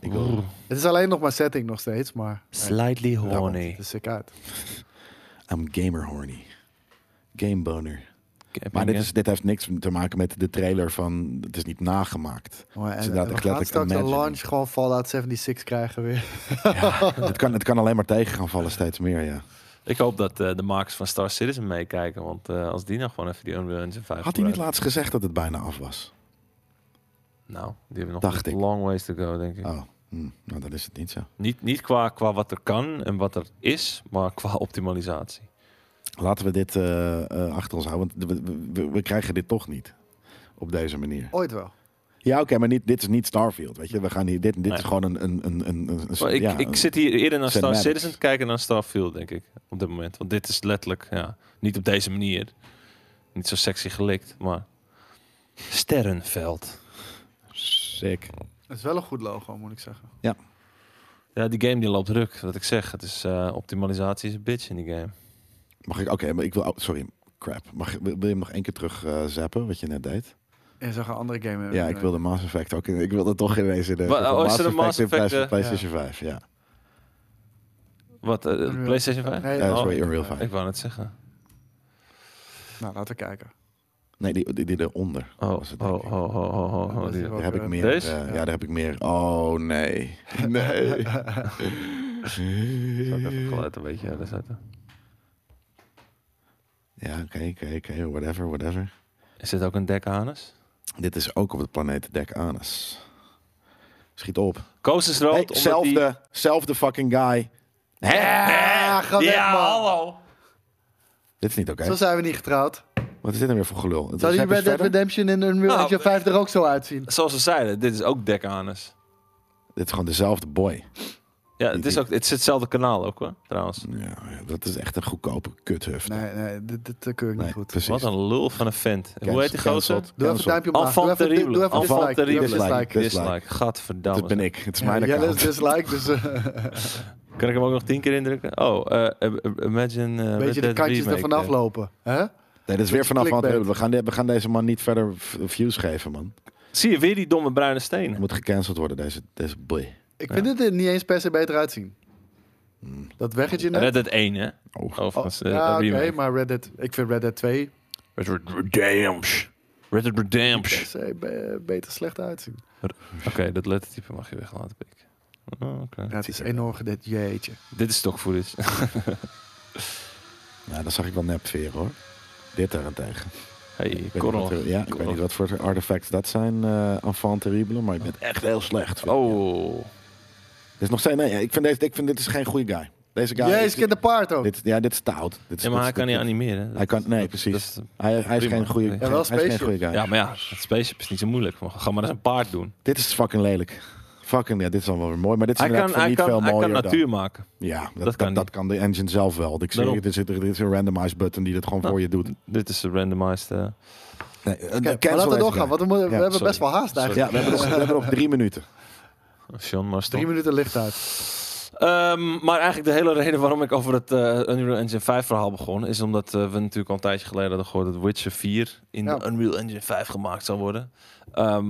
Speaker 3: Ik wil...
Speaker 2: Het is alleen nog maar setting nog steeds, maar...
Speaker 1: Slightly
Speaker 2: Ja,
Speaker 1: horny.
Speaker 2: Het is sick uit.
Speaker 3: I'm gamer horny. Game boner.
Speaker 1: Camping,
Speaker 3: Maar dit,
Speaker 1: hè?
Speaker 3: is, dit heeft niks te maken met de trailer van... Het is niet nagemaakt.
Speaker 2: Maar, en,
Speaker 3: Ze laten
Speaker 2: we
Speaker 3: echt
Speaker 2: gaan
Speaker 3: letterlijk
Speaker 2: straks de
Speaker 3: imagine.
Speaker 2: launch gewoon Fallout 76 krijgen weer.
Speaker 3: het, kan, het kan alleen maar tegen gaan vallen steeds meer, ja.
Speaker 1: Ik hoop dat eh, de makers van Star Citizen meekijken. Want eh, als die nou gewoon even die Unreal Engine 5
Speaker 3: Had hij niet
Speaker 1: gebruiken-
Speaker 3: laatst gezegd dat het bijna af was?
Speaker 1: Nou, die hebben nog
Speaker 3: Dacht
Speaker 1: een
Speaker 3: ik.
Speaker 1: long ways to go, denk ik.
Speaker 3: Oh, hm, nou dan is het niet zo.
Speaker 1: Niet, niet qua, qua wat er kan en wat er is, maar qua optimalisatie.
Speaker 3: Laten we dit eh, eh, achter ons houden, want we, we- we, we krijgen dit toch niet. Op deze manier.
Speaker 2: Ooit wel.
Speaker 3: Ja, oké, maar niet, dit is niet Starfield, weet je. We gaan hier, dit, dit
Speaker 1: Nee.
Speaker 3: is gewoon een... een, een, een, een-
Speaker 1: Maar ik,
Speaker 3: ja,
Speaker 1: ik zit hier eerder naar Star
Speaker 3: cinematics.
Speaker 1: Citizen te kijken dan Starfield, denk ik. Op dit moment. Want dit is letterlijk, ja, niet op deze manier. Niet zo sexy gelikt, maar... Sterrenveld.
Speaker 3: Sick.
Speaker 2: Het is wel een goed logo, moet ik zeggen.
Speaker 1: Ja, die game die loopt druk, wat ik zeg. Het is, eh, optimalisatie is een bitch in die game.
Speaker 3: Mag ik? Oké, maar ik wil. oh, sorry, crap. Mag, wil wil je hem nog één keer terug eh, zappen, wat je net deed?
Speaker 2: En zag een andere game hebben.
Speaker 3: Ja, ik wilde Mass Effect ook. in- Ik wilde toch ineens in de.
Speaker 1: Wa- oh, is er een Mass
Speaker 3: in plaats van
Speaker 1: Effect,
Speaker 3: PlayStation 5, ja.
Speaker 1: Wat, eh,
Speaker 2: Unreal.
Speaker 1: PlayStation 5?
Speaker 2: Nee,
Speaker 3: Eh,
Speaker 1: oh,
Speaker 3: sorry, Unreal 5.
Speaker 1: Ik wou net zeggen.
Speaker 2: Nou, laten we kijken.
Speaker 3: Nee, die, die, die eronder.
Speaker 1: Oh,
Speaker 3: Was het,
Speaker 1: oh,
Speaker 3: denk
Speaker 1: oh,
Speaker 3: ik.
Speaker 1: oh, oh, oh, oh,
Speaker 2: Dat
Speaker 1: die-
Speaker 2: is
Speaker 3: Daar heb ik
Speaker 2: eh,
Speaker 3: meer.
Speaker 1: Deze?
Speaker 3: eh, ja.
Speaker 2: Ja.
Speaker 3: daar heb ik meer. Oh, nee. Nee.
Speaker 1: Zal ik
Speaker 3: nee.
Speaker 1: even geluid een beetje harder zetten.
Speaker 3: Ja, oké, oké, oké. Whatever, whatever.
Speaker 1: Is dit ook een dekhanus?
Speaker 3: Dit is ook op het planeet Dek Anus. Schiet op.
Speaker 1: Koos is rood.
Speaker 3: Hey,
Speaker 1: omdat die-
Speaker 3: zelfde, zelfde fucking guy. Hè?
Speaker 2: Ja, ga weg,
Speaker 1: Ja,
Speaker 2: Ah, man.
Speaker 1: hallo.
Speaker 3: Dit is niet oké.
Speaker 2: Zo zijn we niet getrouwd.
Speaker 3: Wat is dit nou weer voor gelul?
Speaker 2: Zou die
Speaker 3: Zap eens
Speaker 2: Red Dead
Speaker 3: verder.
Speaker 2: Redemption in Unreal
Speaker 1: Nou,
Speaker 2: Engine 5 er ook zo uitzien?
Speaker 1: Zoals ze zeiden, dit is ook dekhanus.
Speaker 3: Dit is gewoon dezelfde boy.
Speaker 1: Ja, het is, ook, het is hetzelfde kanaal ook hoor, trouwens.
Speaker 3: Ja, dat is echt een goedkope kuthuf.
Speaker 2: Nee, nee, dit, dit eh, keur ik niet
Speaker 3: Nee,
Speaker 2: goed.
Speaker 3: precies.
Speaker 1: Wat een lul van een vent. Hoe heet die gozer?
Speaker 3: Cancelled.
Speaker 2: Doe even een
Speaker 3: Cancelled.
Speaker 2: duimpje omlaag. Doe
Speaker 1: Enfant
Speaker 2: even, doe,
Speaker 1: terrible.
Speaker 2: doe even
Speaker 1: Enfant
Speaker 2: dislike. Doe even
Speaker 1: terrible.
Speaker 2: dislike.
Speaker 3: Dislike.
Speaker 1: Dislike. Gadverdamme.
Speaker 3: Dat ben ik. Het is
Speaker 2: Ja,
Speaker 3: mijn
Speaker 2: Jelle is
Speaker 3: account.
Speaker 2: dislike, dus eh,
Speaker 1: Kan ik hem ook nog tien keer indrukken? Oh, eh, eh, Imagine eh,
Speaker 2: een beetje
Speaker 1: Red
Speaker 2: de
Speaker 1: Dead
Speaker 2: kantjes er
Speaker 1: Remake,
Speaker 2: vanaf
Speaker 1: eh.
Speaker 2: lopen. Hè?
Speaker 3: Nee, dat is weer vanaf
Speaker 2: Clickbait.
Speaker 3: want we gaan, de- we gaan deze man niet verder v- views geven, man.
Speaker 1: Zie je weer die domme bruine
Speaker 3: Hij
Speaker 1: stenen?
Speaker 3: moet gecanceld worden, deze, deze boy.
Speaker 2: Ik vind dit er niet eens per se beter uitzien.
Speaker 3: Mm,
Speaker 2: Dat weggetje net.
Speaker 1: Red Dead 1 hè?
Speaker 3: Oh.
Speaker 2: Oh,
Speaker 1: Overigens. eh,
Speaker 2: ja, oké,
Speaker 1: remake.
Speaker 2: maar Red Dead, ik vind Red Dead 2
Speaker 1: Red Dead Redemption. Red Dead Redemption.
Speaker 2: per se be- beter slecht uitzien.
Speaker 1: Oké, dat lettertype mag je weglaten, pik. Oh, oké.
Speaker 2: Ja, het is
Speaker 3: Zeker.
Speaker 2: enorm gedet, jeetje.
Speaker 1: Dit is toch footage.
Speaker 3: Nou, dat zag ik wel nep veren, hoor. Dit daarentegen.
Speaker 1: Hey,
Speaker 3: Ik weet
Speaker 1: korrel.
Speaker 3: niet wat er- ja, ik weet
Speaker 1: Korrel.
Speaker 3: niet wat voor artifacts dat zijn, eh enfant terrible, maar ik ben echt heel slecht.
Speaker 1: Oh.
Speaker 3: Dit is nog steeds, nee, ik vind, deze, ik vind dit is geen goede guy. Deze guy
Speaker 2: Jezus,
Speaker 3: is,
Speaker 2: kind apart ook.
Speaker 3: dit, ja, dit is te oud. Dit is,
Speaker 1: Ja, maar hij
Speaker 3: dit is-
Speaker 1: kan niet
Speaker 3: dit-
Speaker 1: animeren.
Speaker 3: Hij kan, nee,
Speaker 1: Dat
Speaker 3: precies.
Speaker 1: is-
Speaker 3: Hij, hij is
Speaker 1: prima.
Speaker 3: geen goede
Speaker 1: Ja,
Speaker 2: wel
Speaker 3: hij is geen
Speaker 2: spaceship.
Speaker 3: goede guy.
Speaker 1: ja, dus- maar ja, het spaceship is niet zo moeilijk. Maar Ga maar eens een paard doen.
Speaker 3: Dit is fucking lelijk. Fucking, ja, dit is dan wel weer mooi, maar dit is
Speaker 1: Hij kan,
Speaker 3: inderdaad
Speaker 1: hij
Speaker 3: voor niet
Speaker 1: kan,
Speaker 3: veel
Speaker 1: hij
Speaker 3: mooier
Speaker 1: kan
Speaker 3: dan.
Speaker 1: natuur maken.
Speaker 3: Ja, dat,
Speaker 1: Dat
Speaker 3: dat,
Speaker 1: kan
Speaker 3: dat,
Speaker 1: niet.
Speaker 3: kan de engine zelf wel. Ik zie,
Speaker 1: Daarom.
Speaker 3: het, er, zit, er is een randomize button die dat gewoon
Speaker 1: Nou.
Speaker 3: voor je doet.
Speaker 1: Dit is de randomized. eh,
Speaker 3: Nee, eh,
Speaker 2: Oké,
Speaker 3: cancel
Speaker 2: maar laten
Speaker 3: deze
Speaker 2: we doorgaan,
Speaker 3: guy.
Speaker 2: want we, moeten- we
Speaker 3: Ja,
Speaker 2: hebben
Speaker 1: sorry.
Speaker 2: best wel haast eigenlijk.
Speaker 3: Ja, we hebben, nog, we hebben nog drie minuten.
Speaker 1: Sean maar stop.
Speaker 2: Drie minuten licht uit.
Speaker 1: Ehm, maar eigenlijk de hele reden waarom ik over het eh, Unreal Engine 5 verhaal begon, is omdat eh, we natuurlijk al een tijdje geleden hadden gehoord dat Witcher 4 in
Speaker 2: Ja.
Speaker 1: de Unreal Engine 5 gemaakt zou worden. Ehm,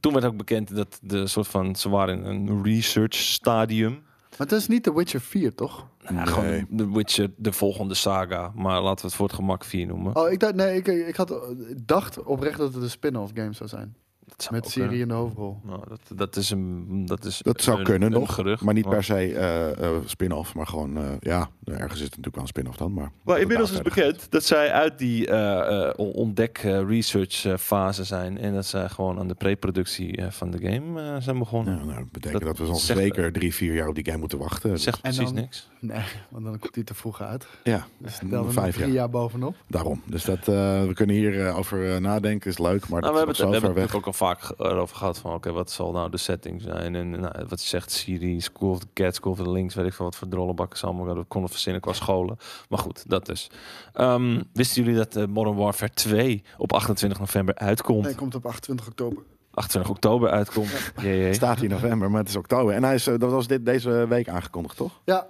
Speaker 1: toen werd ook bekend dat de soort van, ze waren in een research stadium.
Speaker 2: Maar het is niet The Witcher 4, toch?
Speaker 1: Ja,
Speaker 3: Nee.
Speaker 1: Nou, Gewoon de Witcher, de volgende saga, maar laten we het voor het gemak 4 noemen.
Speaker 2: Oh, ik dacht, nee, ik, ik had, ik dacht oprecht dat het een spin-off game zou zijn.
Speaker 1: Dat zou
Speaker 2: Met
Speaker 1: ook eh,
Speaker 2: Siri
Speaker 1: kunnen.
Speaker 2: in de hoofdrol.
Speaker 1: Nou, dat, dat is een. Dat, is
Speaker 3: Dat zou
Speaker 1: een-
Speaker 3: kunnen
Speaker 1: een
Speaker 3: nog,
Speaker 1: gerucht,
Speaker 3: maar niet per se eh, eh, spin-off. Maar gewoon, eh, ja, nou, ergens is het natuurlijk wel een spin-off dan. Maar,
Speaker 1: Maar inmiddels is
Speaker 3: Inderdaad,
Speaker 1: bekend dat zij uit die eh, eh, on- ontdek eh, research eh, fase zijn en dat zij gewoon aan de preproductie eh, van de game eh, zijn begonnen.
Speaker 3: Nou, nou, dat betekent
Speaker 1: Dat
Speaker 3: dat, we ons
Speaker 1: zegt-
Speaker 3: zeker drie, vier jaar op die game moeten wachten. Dus
Speaker 1: Zegt
Speaker 2: En
Speaker 1: precies
Speaker 2: dan-
Speaker 1: niks.
Speaker 2: Nee, want dan komt die te vroeg uit.
Speaker 3: Ja,
Speaker 2: Dan hebben we nog
Speaker 3: vijf
Speaker 2: drie
Speaker 3: jaar.
Speaker 2: jaar. bovenop.
Speaker 3: Daarom. Dus dat, eh, we kunnen hier eh, over eh, nadenken, is leuk.
Speaker 1: Nou, we
Speaker 3: Maar dat
Speaker 1: hebben het, Nou, we
Speaker 3: is nog zo
Speaker 1: hebben
Speaker 3: ver
Speaker 1: het
Speaker 3: weg.
Speaker 1: natuurlijk ook al vaak ge- erover gehad van, oké, wat zal nou de setting zijn? En nou, wat je zegt, Siri, School of the Cat, School of the Links, weet ik veel wat voor drollenbakken ze allemaal hadden- konden verzinnen qua scholen. Maar goed, dat dus. Ehm, wisten jullie dat eh, Modern Warfare 2 op 28 november uitkomt?
Speaker 2: Nee, komt op 28 oktober.
Speaker 1: 28 oktober uitkomt. Jee, jee.
Speaker 3: Staat hier november, maar het is oktober. En hij is, eh, dat was dit, deze week aangekondigd, toch?
Speaker 2: Ja,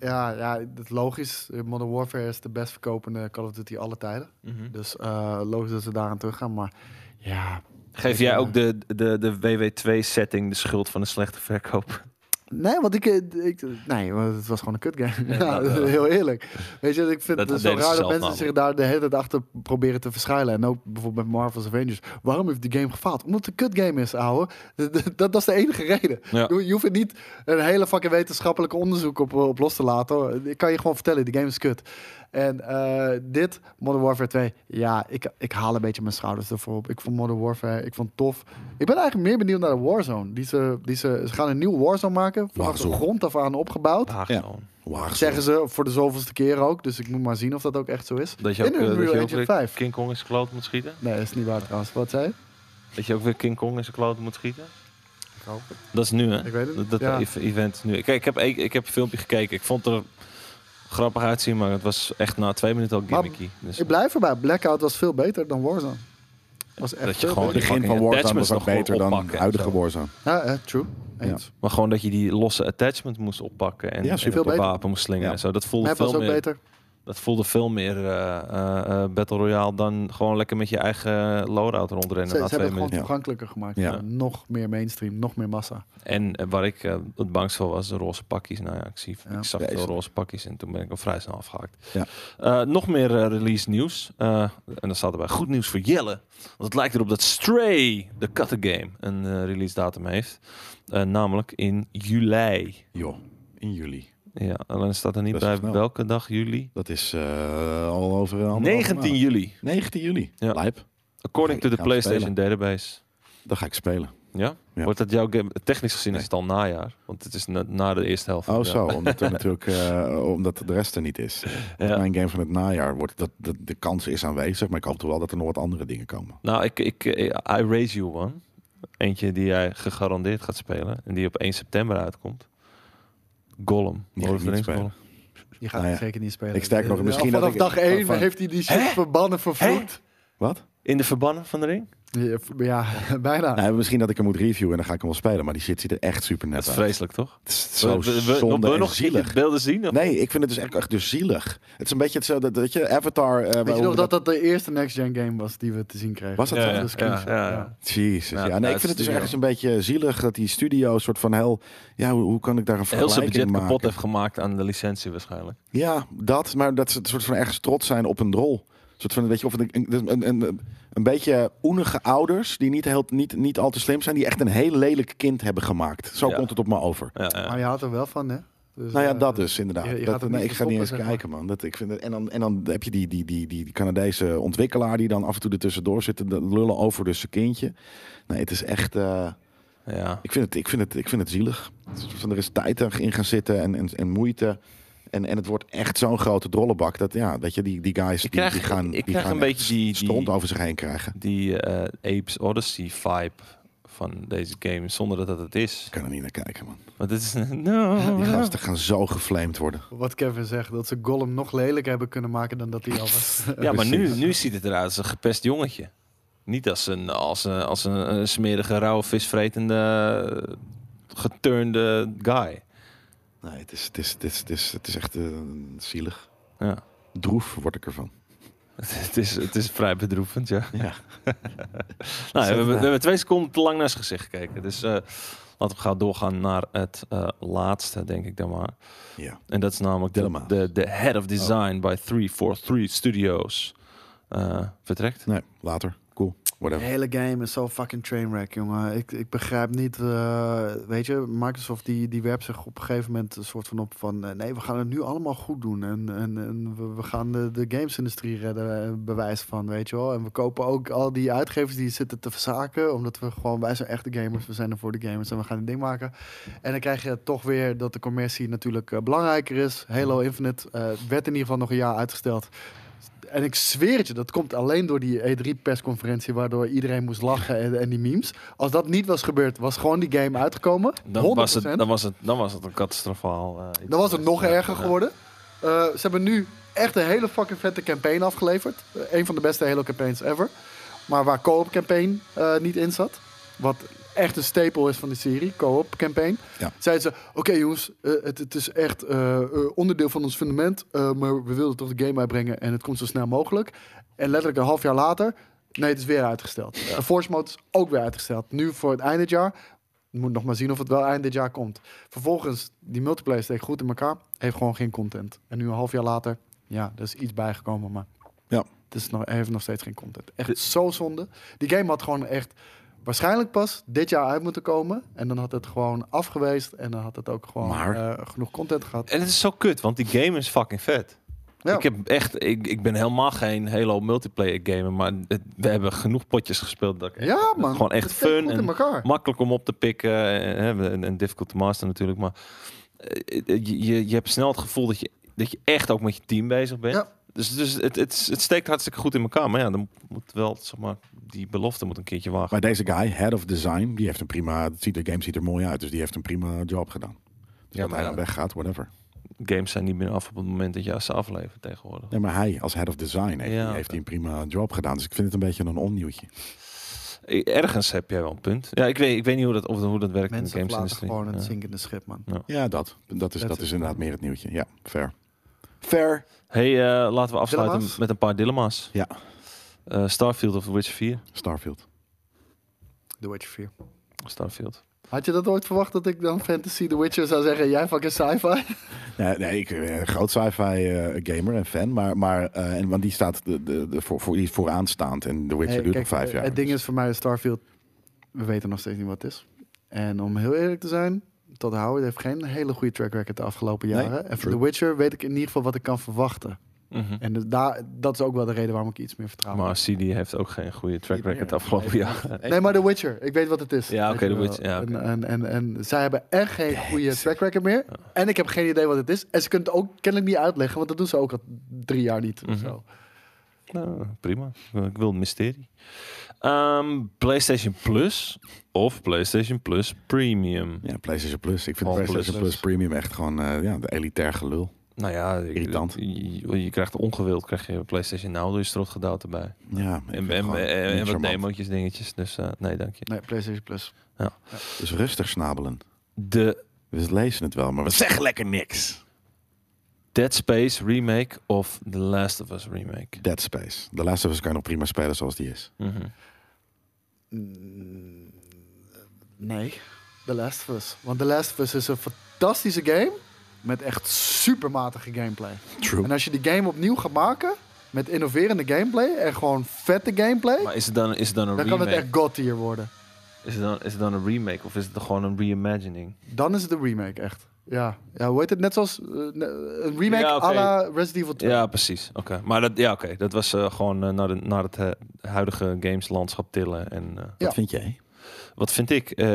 Speaker 2: ja, ja dat is logisch. Modern Warfare is de best verkopende Call of Duty alle tijden.
Speaker 1: Mhm.
Speaker 2: Dus eh, logisch dat ze daaraan teruggaan. Maar ja,
Speaker 1: Geef jij ook de, de, de WW2-setting de schuld van een slechte verkoop?
Speaker 2: Nee, want ik, eh, ik nee, want het was gewoon een kut game.
Speaker 1: Ja,
Speaker 2: Ja,
Speaker 1: dat, eh,
Speaker 2: heel eerlijk. Weet je, ik vind
Speaker 1: dat
Speaker 2: het zo
Speaker 1: deden ze
Speaker 2: raar dat
Speaker 1: zelf
Speaker 2: mensen zich daar de hele tijd achter proberen te verschuilen. En ook bijvoorbeeld met Marvel's Avengers. Waarom heeft die game gefaald? Omdat het een kut game is, ouwe. Dat, dat, dat is de enige reden.
Speaker 1: Ja.
Speaker 2: Je, je hoeft er niet een hele fucking wetenschappelijk onderzoek op, op los te laten. hoor. Ik kan je gewoon vertellen, die game is kut. En eh, dit, Modern Warfare 2, ja, ik, ik haal een beetje mijn schouders ervoor op. Ik vond Modern Warfare, ik vond het tof. Ik ben eigenlijk meer benieuwd naar de Warzone. Die ze, die ze, ze gaan een nieuwe Warzone maken, vanaf
Speaker 3: Warzone.
Speaker 2: de grond af aan opgebouwd.
Speaker 1: Haagzoon.
Speaker 3: Waagzoon.
Speaker 2: Zeggen ze voor de zoveelste keer ook, dus ik moet maar zien of dat ook echt zo is.
Speaker 1: Dat je ook,
Speaker 2: In
Speaker 1: eh, dat
Speaker 2: Unreal
Speaker 1: je ook
Speaker 2: Engine
Speaker 1: weer
Speaker 2: 5.
Speaker 1: King Kong in zijn kloot moet schieten?
Speaker 2: Nee, dat is niet waar trouwens. Wat zei je?
Speaker 1: Dat je ook weer King Kong in zijn kloot moet schieten?
Speaker 2: Ik hoop het.
Speaker 1: Dat is nu, hè?
Speaker 2: Ik weet het
Speaker 1: Dat,
Speaker 2: niet.
Speaker 1: dat
Speaker 2: Ja.
Speaker 1: ev- event is nu. Kijk, ik heb, ik, ik heb een filmpje gekeken. Ik vond het er grappig uitzien, maar het was echt na twee minuten al
Speaker 2: Maar
Speaker 1: gimmicky. Dus
Speaker 2: Ik blijf erbij. Blackout was veel beter dan Warzone. Was echt
Speaker 1: dat je
Speaker 2: veel
Speaker 1: gewoon
Speaker 3: Het
Speaker 2: beter.
Speaker 1: die
Speaker 3: begin van
Speaker 1: fucking
Speaker 3: Warzone
Speaker 1: attachments
Speaker 3: was ook
Speaker 1: nog gewoon
Speaker 3: beter dan
Speaker 1: oppakken
Speaker 3: de
Speaker 1: en
Speaker 3: huidige
Speaker 1: zo.
Speaker 3: Warzone.
Speaker 2: Ja, eh, true. Eens.
Speaker 1: maar gewoon dat je die losse attachment moest oppakken en,
Speaker 3: Ja,
Speaker 1: en
Speaker 3: veel
Speaker 1: op een
Speaker 2: beter.
Speaker 1: wapen moest slingen
Speaker 3: Ja.
Speaker 1: en zo. Dat voelde,
Speaker 2: Map was
Speaker 1: veel
Speaker 2: ook
Speaker 1: meer,
Speaker 2: beter.
Speaker 1: dat voelde veel meer eh, eh, eh, Battle Royale dan gewoon lekker met je eigen eh, loadout
Speaker 2: Ze,
Speaker 1: rondrennen na
Speaker 2: ze hebben
Speaker 1: twee
Speaker 2: het gewoon
Speaker 1: minuten.
Speaker 3: minuten.
Speaker 2: toegankelijker gemaakt.
Speaker 3: Ja.
Speaker 2: Ja, Nog meer mainstream, nog meer massa.
Speaker 1: En eh, waar ik eh, het bangst voor was, de roze pakjes. Nou ja, ik, zie,
Speaker 2: Ja.
Speaker 1: ik zag
Speaker 3: Ja, is
Speaker 1: veel
Speaker 3: het.
Speaker 1: roze pakjes en toen ben ik al vrij snel afgehaakt.
Speaker 3: Ja.
Speaker 1: Eh, nog meer eh, release nieuws. Eh, en dan staat erbij goed nieuws voor Jelle. Want het lijkt erop dat Stray, de kattengame, een eh, release datum heeft. Eh, namelijk in juli.
Speaker 3: Joh, in juli.
Speaker 1: Ja, alleen staat er niet
Speaker 3: Best wel
Speaker 1: bij
Speaker 3: snel.
Speaker 1: welke dag juli.
Speaker 3: Dat is eh, al over... een anderhalve
Speaker 1: 19
Speaker 3: maand.
Speaker 1: juli,
Speaker 3: 19 juli.
Speaker 1: Ja.
Speaker 3: Lijp.
Speaker 1: according to the
Speaker 3: Gaan we
Speaker 1: PlayStation database.
Speaker 3: Dan ga ik spelen.
Speaker 1: Ja?
Speaker 3: Ja.
Speaker 1: Wordt dat jouw game? Technisch gezien
Speaker 3: Nee.
Speaker 1: is het al najaar, want het is na, na de eerste helft.
Speaker 3: Oh
Speaker 1: Ja.
Speaker 3: zo, omdat, er natuurlijk, eh, omdat de rest er niet is.
Speaker 1: Ja.
Speaker 3: Mijn game van het najaar wordt dat, dat de kans is aanwezig, maar ik hoop toch wel dat er nog wat andere dingen komen.
Speaker 1: Nou, ik, ik, eh, I Raise You One. Eentje die jij gegarandeerd gaat spelen. En die op 1 september uitkomt. Gollum.
Speaker 3: Die ga
Speaker 1: Lord
Speaker 3: ik
Speaker 1: of the Rings
Speaker 3: niet spelen.
Speaker 2: Je gaat
Speaker 3: Nou ja,
Speaker 2: die zeker niet spelen.
Speaker 3: ik sterk nog,
Speaker 2: Eh,
Speaker 3: misschien
Speaker 2: al
Speaker 3: dat
Speaker 2: vanaf
Speaker 3: ik-
Speaker 2: dag 1
Speaker 3: van-
Speaker 2: heeft hij die shit verbannen vervloekt.
Speaker 3: Wat?
Speaker 1: In de verbannen van de ring?
Speaker 2: Ja, v- Ja, bijna.
Speaker 3: Nou, misschien dat ik hem moet reviewen en dan ga ik hem wel spelen, maar die shit ziet er echt super
Speaker 1: Dat
Speaker 3: net
Speaker 1: is
Speaker 3: uit.
Speaker 1: vreselijk, toch?
Speaker 3: Het is zo
Speaker 1: we,
Speaker 3: zonde
Speaker 1: we
Speaker 3: en
Speaker 1: nog
Speaker 3: zielig.
Speaker 1: beelden zien? Of?
Speaker 3: Nee, ik vind het dus echt, echt dus zielig. Het is een beetje hetzelfde, dat je Avatar... eh,
Speaker 2: Weet je
Speaker 3: waarom
Speaker 2: nog dat dat de eerste next-gen game was die we te zien kregen?
Speaker 3: Was dat
Speaker 1: Ja,
Speaker 3: zo?
Speaker 1: ja,
Speaker 2: De screenshot,
Speaker 1: ja, ja, ja.
Speaker 2: ja.
Speaker 3: Jezus, ja.
Speaker 1: Ja,
Speaker 3: Nee,
Speaker 1: uit
Speaker 3: ik vind het dus
Speaker 1: studio.
Speaker 3: ergens een beetje zielig dat die studio een soort van hel... Ja, hoe, hoe kan ik daar een
Speaker 1: Heel zijn
Speaker 3: vergelijking
Speaker 1: budget
Speaker 3: maken?
Speaker 1: kapot heeft gemaakt aan de licentie waarschijnlijk.
Speaker 3: Ja, dat. Maar dat ze een soort van ergens trots zijn op een rol. Een soort van, weet je, of een, een, een, een, een beetje oenige ouders die niet, heel, niet, niet al te slim zijn, die echt een heel lelijk kind hebben gemaakt. Zo
Speaker 1: Ja.
Speaker 3: komt het op me over.
Speaker 1: Ja, ja.
Speaker 2: Maar je had er wel van, hè? Dus,
Speaker 3: Nou ja,
Speaker 2: eh,
Speaker 3: dat dus inderdaad.
Speaker 2: je- je
Speaker 3: dat,
Speaker 2: gaat het
Speaker 3: nee,
Speaker 2: niet
Speaker 3: ik ga niet eens
Speaker 2: verstoppen, zeg
Speaker 3: kijken, man. Dat, ik vind het, en, dan, en dan heb je die, die, die, die, die Canadese ontwikkelaar die dan af en toe ertussendoor zit te lullen over dus zijn kindje. Nee, het is echt. eh,
Speaker 1: Ja.
Speaker 3: ik, vind het, ik, vind het, ik vind het zielig. Het is Van, er is tijd in gaan zitten en, en, en moeite. En, en het wordt echt zo'n grote drollenbak. Dat, ja, dat je die, die guys die,
Speaker 1: krijg-
Speaker 3: die gaan,
Speaker 1: ik- ik
Speaker 3: die
Speaker 1: krijg
Speaker 3: gaan
Speaker 1: een
Speaker 3: echt
Speaker 1: beetje die- die-
Speaker 3: stront over zich heen krijgen.
Speaker 1: Die eh, Apes Odyssey vibe van deze game. Zonder dat dat het is.
Speaker 3: Ik kan er niet naar kijken, man.
Speaker 1: Want het is... No.
Speaker 3: Die gasten gaan zo geflamed worden.
Speaker 2: Wat Kevin zegt, dat ze Gollum nog lelijker hebben kunnen maken dan dat hij al was.
Speaker 1: Ja, maar nu,
Speaker 3: Precies.
Speaker 1: nu ziet het eruit als een gepest jongetje. Niet als een, als een, als een, een smerige, rauwe, visvretende, eh, geturnde guy.
Speaker 3: Nee, het is, het is, het is, het is, het is echt eh, zielig.
Speaker 1: Ja.
Speaker 3: Droef word ik ervan.
Speaker 1: Het is, het is vrij bedroevend, ja.
Speaker 3: Ja.
Speaker 1: Nou, we, hebben, we hebben twee seconden te lang naar zijn gezicht gekeken. Dus eh, laten we gaan doorgaan naar het eh, laatste, denk ik dan maar.
Speaker 3: Ja.
Speaker 1: En dat is namelijk de,
Speaker 3: Dilemma's.
Speaker 1: de, de head of
Speaker 3: Oh.
Speaker 1: design by 343 Studios. eh, vertrekt.
Speaker 3: Nee, later. Cool.
Speaker 2: De
Speaker 3: Whatever.
Speaker 2: hele game is zo fucking trainwreck, jongen. Ik, ik begrijp niet, eh, weet je, Microsoft die, die werpt zich op een gegeven moment een soort van op van... eh, nee, we gaan het nu allemaal goed doen en, en, en we, we gaan de, de gamesindustrie redden, eh, bewijs van, weet je wel. En we kopen ook al die uitgevers die zitten te verzaken, omdat we gewoon, wij zijn echte gamers, we zijn er voor de gamers en we gaan dit ding maken. En dan krijg je toch weer dat de commercie natuurlijk eh, belangrijker is. Halo Infinite eh, werd in ieder geval nog een jaar uitgesteld. En ik zweer het je, dat komt alleen door die E3-persconferentie... waardoor iedereen moest lachen en, en die memes. Als dat niet was gebeurd, was gewoon die game uitgekomen.
Speaker 1: Dan was, het,
Speaker 2: 100%.
Speaker 1: dan, was het, dan was het een catastrofaal. eh, iets
Speaker 2: Dan was het nog
Speaker 1: geweest. Ja,
Speaker 2: erger
Speaker 1: ja.
Speaker 2: geworden. Eh, ze hebben nu echt een hele fucking vette campaign afgeleverd. Eh, een van de beste Halo campaigns ever. Maar waar co-op campaign eh, niet in zat. Wat echt een stapel is van die serie, co-op campaign.
Speaker 3: Ja.
Speaker 2: Zeiden ze, oké jongens, eh, het, het is echt eh, eh, onderdeel van ons fundament. eh, maar we wilden toch de game uitbrengen en het komt zo snel mogelijk. En letterlijk een half jaar later, nee het is weer uitgesteld. De Force Mode is ook weer uitgesteld. Nu voor het einde dit jaar. Moet nog maar zien of het wel eind dit jaar komt. Vervolgens, die multiplayer steekt goed in elkaar. Heeft gewoon geen content. En nu een half jaar later, ja, er is iets bijgekomen, maar...
Speaker 3: Ja.
Speaker 2: Het is nog, heeft nog steeds geen content. Echt zo zonde. Die game had gewoon echt waarschijnlijk pas dit jaar uit moeten komen. En dan had het gewoon afgeweest. En dan had het ook gewoon
Speaker 3: Maar-
Speaker 2: eh, genoeg content gehad.
Speaker 1: En het is zo kut, want die game is fucking vet.
Speaker 2: Ja.
Speaker 1: Ik, heb echt, ik, ik ben helemaal geen Halo multiplayer gamer, maar het- we hebben genoeg potjes gespeeld. Dat ik echt-
Speaker 2: ja, man.
Speaker 1: gewoon echt
Speaker 2: het steekt
Speaker 1: fun
Speaker 2: goed
Speaker 1: en-
Speaker 2: in elkaar.
Speaker 1: makkelijk om op te pikken eh, hè, en, en difficult te masteren natuurlijk, maar eh, eh, je, je hebt snel het gevoel dat je, dat je echt ook met je team bezig bent.
Speaker 2: Ja.
Speaker 1: Dus, dus het, het, is- het steekt hartstikke goed in elkaar, maar ja, dan moet wel, zeg maar, die belofte moet een keertje wagen.
Speaker 3: Maar deze guy, head of design, die heeft een prima. Het ziet, de game ziet er mooi uit, dus die heeft een prima job gedaan. Dus
Speaker 1: Ja,
Speaker 3: dat
Speaker 1: maar
Speaker 3: hij
Speaker 1: ja.
Speaker 3: dan weggaat, whatever.
Speaker 1: Games zijn niet meer af op het moment dat je ze aflevert tegenwoordig.
Speaker 3: Nee, maar hij als head of design heeft,
Speaker 1: Ja,
Speaker 3: heeft
Speaker 1: oké.
Speaker 3: hij een prima job gedaan. Dus ik vind het een beetje een onnieuwtje.
Speaker 1: Eh, Ergens heb jij wel een punt. Ja, ik weet, ik weet niet hoe dat, of, hoe dat werkt
Speaker 2: Mensen
Speaker 1: in de
Speaker 2: verlaten
Speaker 1: gamesindustrie.
Speaker 2: gewoon het
Speaker 1: Ja.
Speaker 2: zinkende schip, man.
Speaker 3: Ja, dat. Dat is,
Speaker 2: Dat
Speaker 3: dat
Speaker 2: is-
Speaker 3: is inderdaad meer het nieuwtje. Ja, fair. Fair.
Speaker 1: Hey, eh, laten we afsluiten
Speaker 2: Dilemma's?
Speaker 1: met een paar dilemma's.
Speaker 3: Ja.
Speaker 1: Eh, Starfield of The Witcher 4?
Speaker 3: Starfield.
Speaker 2: The Witcher 4.
Speaker 1: Starfield.
Speaker 2: Had je dat ooit verwacht dat ik dan Fantasy The Witcher zou zeggen? Jij fucking sci-fi?
Speaker 3: Nee, nee ik ben een groot sci-fi eh, gamer en fan, maar, maar eh, en, want die staat de, de, de, voor, voor, die is vooraanstaand en The Witcher
Speaker 2: Hey,
Speaker 3: duurt
Speaker 2: kijk, eh,
Speaker 3: nog vijf jaar.
Speaker 2: Het ding
Speaker 1: dus-
Speaker 2: is voor mij, Starfield, we weten nog steeds niet wat het is. En om heel eerlijk te zijn, Todd Howard heeft geen hele goede track record de afgelopen
Speaker 3: Nee,
Speaker 2: jaren. en voor
Speaker 3: true.
Speaker 2: The Witcher weet ik in ieder geval wat ik kan verwachten. En dus daar, dat is ook wel de reden waarom ik iets meer vertrouw.
Speaker 1: Maar CD heeft ook geen goede track
Speaker 3: Niet meer.
Speaker 1: record afgelopen jaar.
Speaker 2: nee, maar The Witcher, ik weet wat het is.
Speaker 1: Ja, oké,
Speaker 2: Weet
Speaker 1: The
Speaker 2: je wel.
Speaker 1: Witcher, ja, oké.
Speaker 2: en, en, en, en zij hebben echt geen goede
Speaker 3: Jezus.
Speaker 2: track record meer. En ik heb geen idee wat het is. En ze kunnen het ook kennelijk niet uitleggen, want dat doen ze ook al drie jaar niet. of
Speaker 1: Mhm.
Speaker 2: zo.
Speaker 1: Nou, prima. Ik wil een mysterie. Ehm, PlayStation Plus of PlayStation Plus Premium?
Speaker 3: Ja, PlayStation Plus. Ik vind
Speaker 1: Oh, Plus.
Speaker 3: PlayStation Plus. Premium echt gewoon eh, ja, de elitair gelul.
Speaker 1: Nou ja, ik-
Speaker 3: Irritant.
Speaker 1: Je, je- je krijgt ongewild, krijg je PlayStation Now door je strot gedouwd erbij.
Speaker 3: Ja, ik vind
Speaker 1: En,
Speaker 3: het
Speaker 1: en,
Speaker 3: gewoon
Speaker 1: en-
Speaker 3: niet
Speaker 1: en wat
Speaker 3: charmant.
Speaker 1: demootjes, dingetjes. Dus eh, nee, dank je.
Speaker 2: Nee, PlayStation Plus.
Speaker 3: Dus rustig snabelen.
Speaker 1: De
Speaker 3: We lezen het wel, maar we zeggen lekker niks.
Speaker 1: Dead Space remake of The Last of Us remake?
Speaker 3: Dead Space. De laatste was kan je nog prima spelen zoals die is.
Speaker 1: Mhm.
Speaker 2: Mm, Nee. The Last of Us. Want The Last of Us is een fantastische game met echt supermatige gameplay.
Speaker 3: True.
Speaker 2: En als je die game opnieuw gaat maken met innoverende gameplay en gewoon vette gameplay,
Speaker 1: Maar is het dan, is het dan een
Speaker 2: dan kan het
Speaker 1: remake?
Speaker 2: echt god tier worden.
Speaker 1: Is, het dan, is het dan een remake of is het dan gewoon een reimagining?
Speaker 2: Dan is het een remake echt. Ja, ja hoe heet het? Net zoals eh, ne- een remake
Speaker 1: Ja, oké.
Speaker 2: à la Resident Evil 2.
Speaker 1: Ja, precies. Oké, maar dat, ja, oké dat was eh, gewoon eh, naar, de, naar het eh, huidige gameslandschap tillen. En eh,
Speaker 2: Ja.
Speaker 3: Wat vind jij?
Speaker 1: wat vind ik? Eh,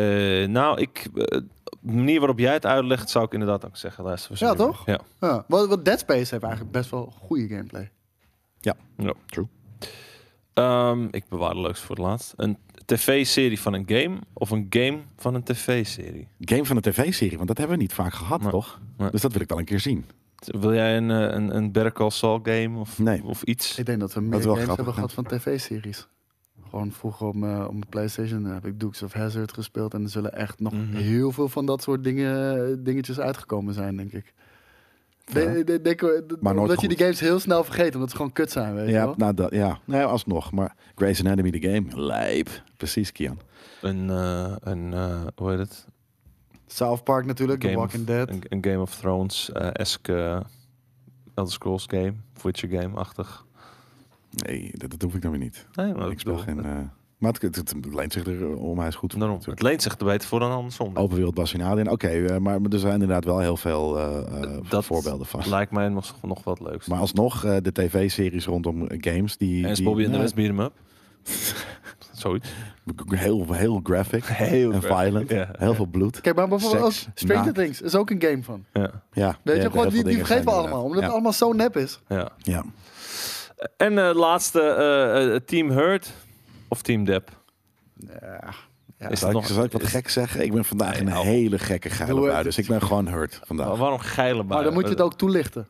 Speaker 1: nou, ik, eh, de manier waarop jij het uitlegt, zou ik inderdaad ook zeggen. Last of Us
Speaker 2: Ja,
Speaker 1: Remake.
Speaker 2: toch?
Speaker 1: Ja.
Speaker 2: Ja, Want, want Dead Space heeft eigenlijk best wel goede gameplay.
Speaker 1: Ehm, ik bewaar de leukste voor het laatst. Een tv-serie van een game of een game van een tv-serie?
Speaker 3: Game van een tv-serie, want dat hebben we niet vaak gehad,
Speaker 1: Nee.
Speaker 3: toch?
Speaker 1: Nee.
Speaker 3: Dus dat wil ik wel een keer zien.
Speaker 1: Wil jij een, eh, een, een Better Call Saul game of,
Speaker 3: Nee.
Speaker 1: of iets?
Speaker 2: Ik denk dat we
Speaker 3: wel
Speaker 2: meer games
Speaker 3: grappig,
Speaker 2: hebben
Speaker 3: ja.
Speaker 2: gehad van tv-series. Gewoon vroeger op mijn, op mijn PlayStation heb ik Dukes of Hazard gespeeld. En er zullen echt nog
Speaker 1: Mhm.
Speaker 2: heel veel van dat soort dingen, dingetjes uitgekomen zijn, denk ik. De, de, denk- eh,
Speaker 3: Maar nooit
Speaker 2: omdat je die
Speaker 3: goed.
Speaker 2: games heel snel vergeet, omdat ze gewoon kut zijn, weet je
Speaker 3: Ja,
Speaker 2: wel.
Speaker 3: nou, dat, ja. Nee, alsnog. Maar Grey's Anatomy, de game. Lijp. Precies, Kian.
Speaker 1: Een, eh, een eh, hoe heet het?
Speaker 2: South Park natuurlijk, The
Speaker 1: Game
Speaker 2: Walking
Speaker 1: of,
Speaker 2: Dead.
Speaker 1: Een, een Game of Thrones-esque eh, Elder Scrolls game, Witcher game-achtig.
Speaker 3: Nee, dat, dat hoef ik dan weer niet.
Speaker 1: Nee, maar
Speaker 3: ik speel geen...
Speaker 1: het,
Speaker 3: eh, maar het, het, het leent zich er om, hij is goed voor.
Speaker 1: daarom,
Speaker 3: natuurlijk. Oh,
Speaker 1: het leent zich er beter voor dan andersom.
Speaker 3: Open wereld Bassinade. En Oké, eh, maar maar er zijn inderdaad wel heel veel eh, eh,
Speaker 1: Dat
Speaker 3: voorbeelden van.
Speaker 1: Lijkt mij nog, nog wat leuks.
Speaker 3: Maar alsnog, eh, de tv-series rondom eh, games... Die,
Speaker 1: en is
Speaker 3: die-
Speaker 1: Bobby en de
Speaker 3: nou,
Speaker 1: rest beat hem up? Zoiets.
Speaker 3: Heel, heel graphic.
Speaker 1: Heel
Speaker 3: en
Speaker 1: graphic,
Speaker 3: violent.
Speaker 1: ja.
Speaker 3: Heel veel bloed.
Speaker 2: Kijk, maar bijvoorbeeld ook
Speaker 3: Seks,
Speaker 2: Stranger
Speaker 3: naakt.
Speaker 2: Things is ook een game van.
Speaker 1: Ja,
Speaker 3: Ja,
Speaker 2: Weet
Speaker 3: ja,
Speaker 2: je,
Speaker 3: heel
Speaker 2: gewoon,
Speaker 3: veel
Speaker 2: die, die
Speaker 3: dingen
Speaker 2: vergeten we
Speaker 3: zijn
Speaker 2: allemaal, omdat
Speaker 3: inderdaad-
Speaker 2: het allemaal zo nep is.
Speaker 1: ja.
Speaker 3: Ja, ja.
Speaker 1: En eh, laatste, eh, eh, Team Hurt of Team Dep?
Speaker 2: Ja. Ja,
Speaker 1: Is
Speaker 3: Zal
Speaker 1: dat
Speaker 3: ik,
Speaker 1: nog-
Speaker 3: zal ik wat
Speaker 1: is-
Speaker 3: gek zeggen? Ik ben vandaag in een
Speaker 1: Nou.
Speaker 3: hele gekke geile
Speaker 2: Doe
Speaker 3: bui.
Speaker 2: het.
Speaker 3: Dus ik ben gewoon hurt
Speaker 1: Wa-
Speaker 3: vandaag.
Speaker 1: Waarom geile
Speaker 2: Maar dan moet je het ook toelichten.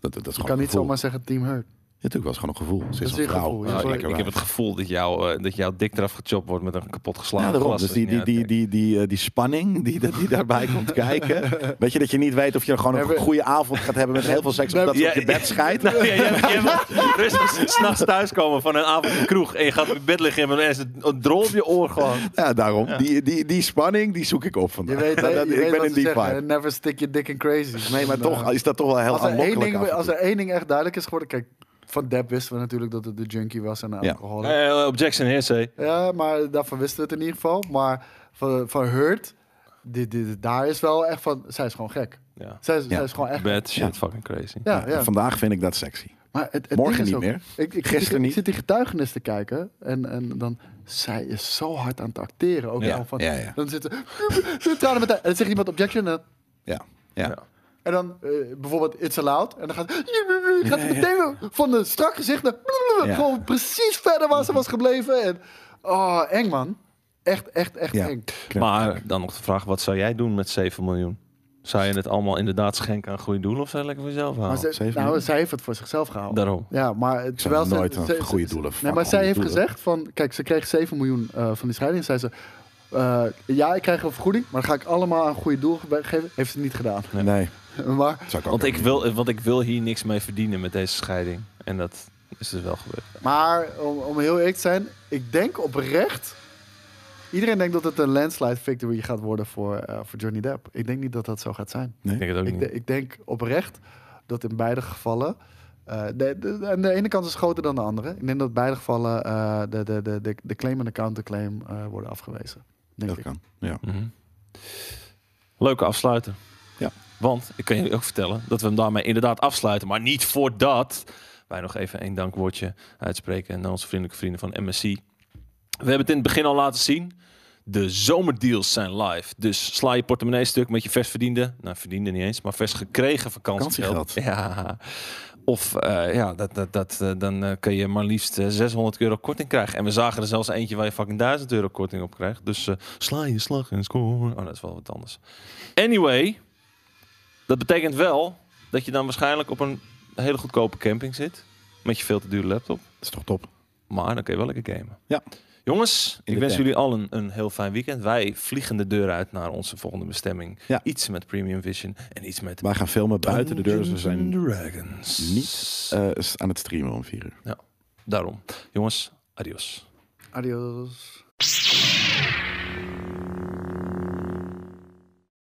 Speaker 3: Dat, dat is
Speaker 2: Je
Speaker 3: gewoon
Speaker 2: kan
Speaker 3: een
Speaker 2: niet
Speaker 3: gevoel.
Speaker 2: zomaar zeggen Team Hurt.
Speaker 3: Ja, Natuurlijk was het gewoon een gevoel. Ze
Speaker 2: Dat
Speaker 3: is
Speaker 2: is
Speaker 3: een
Speaker 2: een
Speaker 3: vrouw.
Speaker 2: gevoel, ja.
Speaker 3: Een
Speaker 1: Nou, ik,
Speaker 3: lekker
Speaker 1: ik heb
Speaker 3: wijf.
Speaker 1: het gevoel dat, jou, eh, dat jouw dik eraf gechopt wordt met een kapot
Speaker 3: Ja,
Speaker 1: geslagen
Speaker 3: daarom.
Speaker 1: glas.
Speaker 3: Dus die, die,
Speaker 1: Ja,
Speaker 3: die,
Speaker 1: kijk.
Speaker 3: die, die, eh, die spanning die, die, die daarbij komt kijken. Weet je dat je niet weet of je gewoon een
Speaker 2: Hebben-
Speaker 3: goede avond gaat hebben met heel veel seks. Of dat ze op je bed scheidt.
Speaker 1: Nou, ja, jij- jij moet rustig s'nachts thuiskomen van een avond in de kroeg. En je gaat in bed liggen en dan is het een drol op je oor gewoon.
Speaker 3: Ja, daarom. Die, die, die spanning die zoek ik op
Speaker 2: Je
Speaker 3: vandaag.
Speaker 2: weet,
Speaker 3: Dat-
Speaker 2: je
Speaker 3: dat-
Speaker 2: weet
Speaker 3: ik ben
Speaker 2: wat
Speaker 3: in
Speaker 2: ze
Speaker 3: die
Speaker 2: zeggen,
Speaker 3: vibe.
Speaker 2: hè, Never stick your dick in crazy.
Speaker 3: Nee, maar
Speaker 2: En,
Speaker 3: toch
Speaker 2: eh,
Speaker 3: is dat toch wel heel
Speaker 2: als er, één
Speaker 3: aanlokkelijk.
Speaker 2: ding,
Speaker 3: af en
Speaker 2: als
Speaker 3: toe.
Speaker 2: er één ding echt duidelijk is geworden... Kijk, van Deb wisten we natuurlijk dat het de junkie was en
Speaker 3: Ja.
Speaker 2: alcohol. Ja.
Speaker 1: Eh, op Jackson Hersey.
Speaker 2: maar daarvan wisten we het in ieder geval. Maar van, van Hurt, die, die, die- daar is wel echt van... Zij is gewoon gek.
Speaker 1: Ja.
Speaker 2: Zij is,
Speaker 3: Ja.
Speaker 2: zij is gewoon echt...
Speaker 1: Bad shit,
Speaker 3: Ja.
Speaker 1: fucking crazy.
Speaker 2: Ja, ja.
Speaker 3: Vandaag vind ik dat sexy.
Speaker 2: Maar het, het
Speaker 3: Morgen
Speaker 2: ding is
Speaker 3: niet
Speaker 2: ook-
Speaker 3: meer.
Speaker 2: Ik, ik,
Speaker 3: Gisteren
Speaker 2: ik, ik
Speaker 3: niet.
Speaker 2: zit die getuigenis te kijken en, en dan... Zij is zo hard aan het acteren. Ook
Speaker 1: Ja,
Speaker 2: al van,
Speaker 3: ja, ja.
Speaker 2: Dan zitten... tranen met- En dan zegt iemand objection en dan-
Speaker 3: Ja. ja.
Speaker 1: Ja.
Speaker 2: En dan eh, bijvoorbeeld It's Allowed. En dan gaat, gaat het meteen weer van de strak gezicht naar...
Speaker 3: Ja.
Speaker 2: Gewoon precies verder waar ze was gebleven. En, oh, eng man. Echt, echt, echt
Speaker 3: Ja. Oh,
Speaker 2: eng.
Speaker 1: Maar dan nog de vraag, wat zou jij doen met 7 miljoen? Zou je het allemaal inderdaad schenken aan goede doelen of zou je het lekker voor jezelf
Speaker 2: Maar
Speaker 1: houden?
Speaker 2: ze-
Speaker 3: zeven
Speaker 2: nou,
Speaker 3: minuten.
Speaker 2: zij heeft het voor zichzelf gehouden.
Speaker 1: Daarom.
Speaker 2: Ja, maar het-
Speaker 3: zou
Speaker 2: terwijl ze...
Speaker 3: nooit aan
Speaker 2: ze-
Speaker 3: goede
Speaker 2: ze-
Speaker 3: doelen-
Speaker 2: Nee,
Speaker 3: aan
Speaker 2: maar zij
Speaker 3: goede
Speaker 2: heeft
Speaker 3: doelen.
Speaker 2: gezegd van... Kijk, ze kreeg 7 miljoen eh, van die scheiding. Zei ze... eh, ja, ik krijg een vergoeding, maar dan ga ik allemaal aan goede doel ge- geven. Heeft ze niet gedaan.
Speaker 3: Nee,
Speaker 2: maar,
Speaker 3: zou ik ook
Speaker 1: Want ik,
Speaker 3: niet
Speaker 1: wil, want ik wil hier niks mee verdienen met deze scheiding. En dat is dus wel gebeurd.
Speaker 2: maar om, om heel eerlijk te zijn, ik denk oprecht... Iedereen denkt dat het een landslide victory gaat worden voor, eh, voor Johnny Depp. Ik denk niet dat dat zo gaat zijn.
Speaker 1: Ik denk het ook
Speaker 2: Ik,
Speaker 1: niet.
Speaker 2: de- ik denk oprecht dat in beide gevallen. eh, de, de, aan de ene kant is groter dan de andere. Ik denk dat in beide gevallen eh, de, de, de, de, de claim en de counterclaim eh, worden afgewezen. Denk
Speaker 3: Dat
Speaker 2: ik.
Speaker 3: kan. Ja.
Speaker 1: Mhm. Leuke afsluiter.
Speaker 3: Ja.
Speaker 1: Want ik kan jullie ook vertellen dat we hem daarmee inderdaad afsluiten. Maar niet voordat wij nog even een dankwoordje uitspreken naar onze vriendelijke vrienden van MSC. We hebben het in het begin al laten zien. De zomerdeals zijn live. Dus sla je portemonnee stuk met je vers verdiende. Nou, verdiende niet eens, maar vers gekregen vakantiegeld. Ja. Of eh, ja, dat, dat, dat, eh, dan eh, kun je maar liefst eh, 600 euro korting krijgen. En we zagen er zelfs eentje waar je fucking 1000 euro korting op krijgt. Dus eh, sla je slag en score. Oh, dat is wel wat anders. Anyway, dat betekent wel dat je dan waarschijnlijk op een hele goedkope camping zit. Met je veel te dure laptop.
Speaker 3: Dat is toch top.
Speaker 1: Maar dan kun je wel lekker gamen.
Speaker 3: Ja.
Speaker 1: Jongens,
Speaker 3: de
Speaker 1: ik wens
Speaker 3: tent.
Speaker 1: jullie allen een heel fijn weekend. Wij vliegen de deur uit naar onze volgende bestemming.
Speaker 3: Ja.
Speaker 1: Iets met Premium Vision en iets met
Speaker 3: Wij gaan filmen buiten de deur. Dus we
Speaker 1: Dungeons and
Speaker 3: zijn
Speaker 1: Dragons.
Speaker 3: niet eh, aan het streamen om vier uur.
Speaker 1: Daarom. Jongens, adios.
Speaker 2: Adios.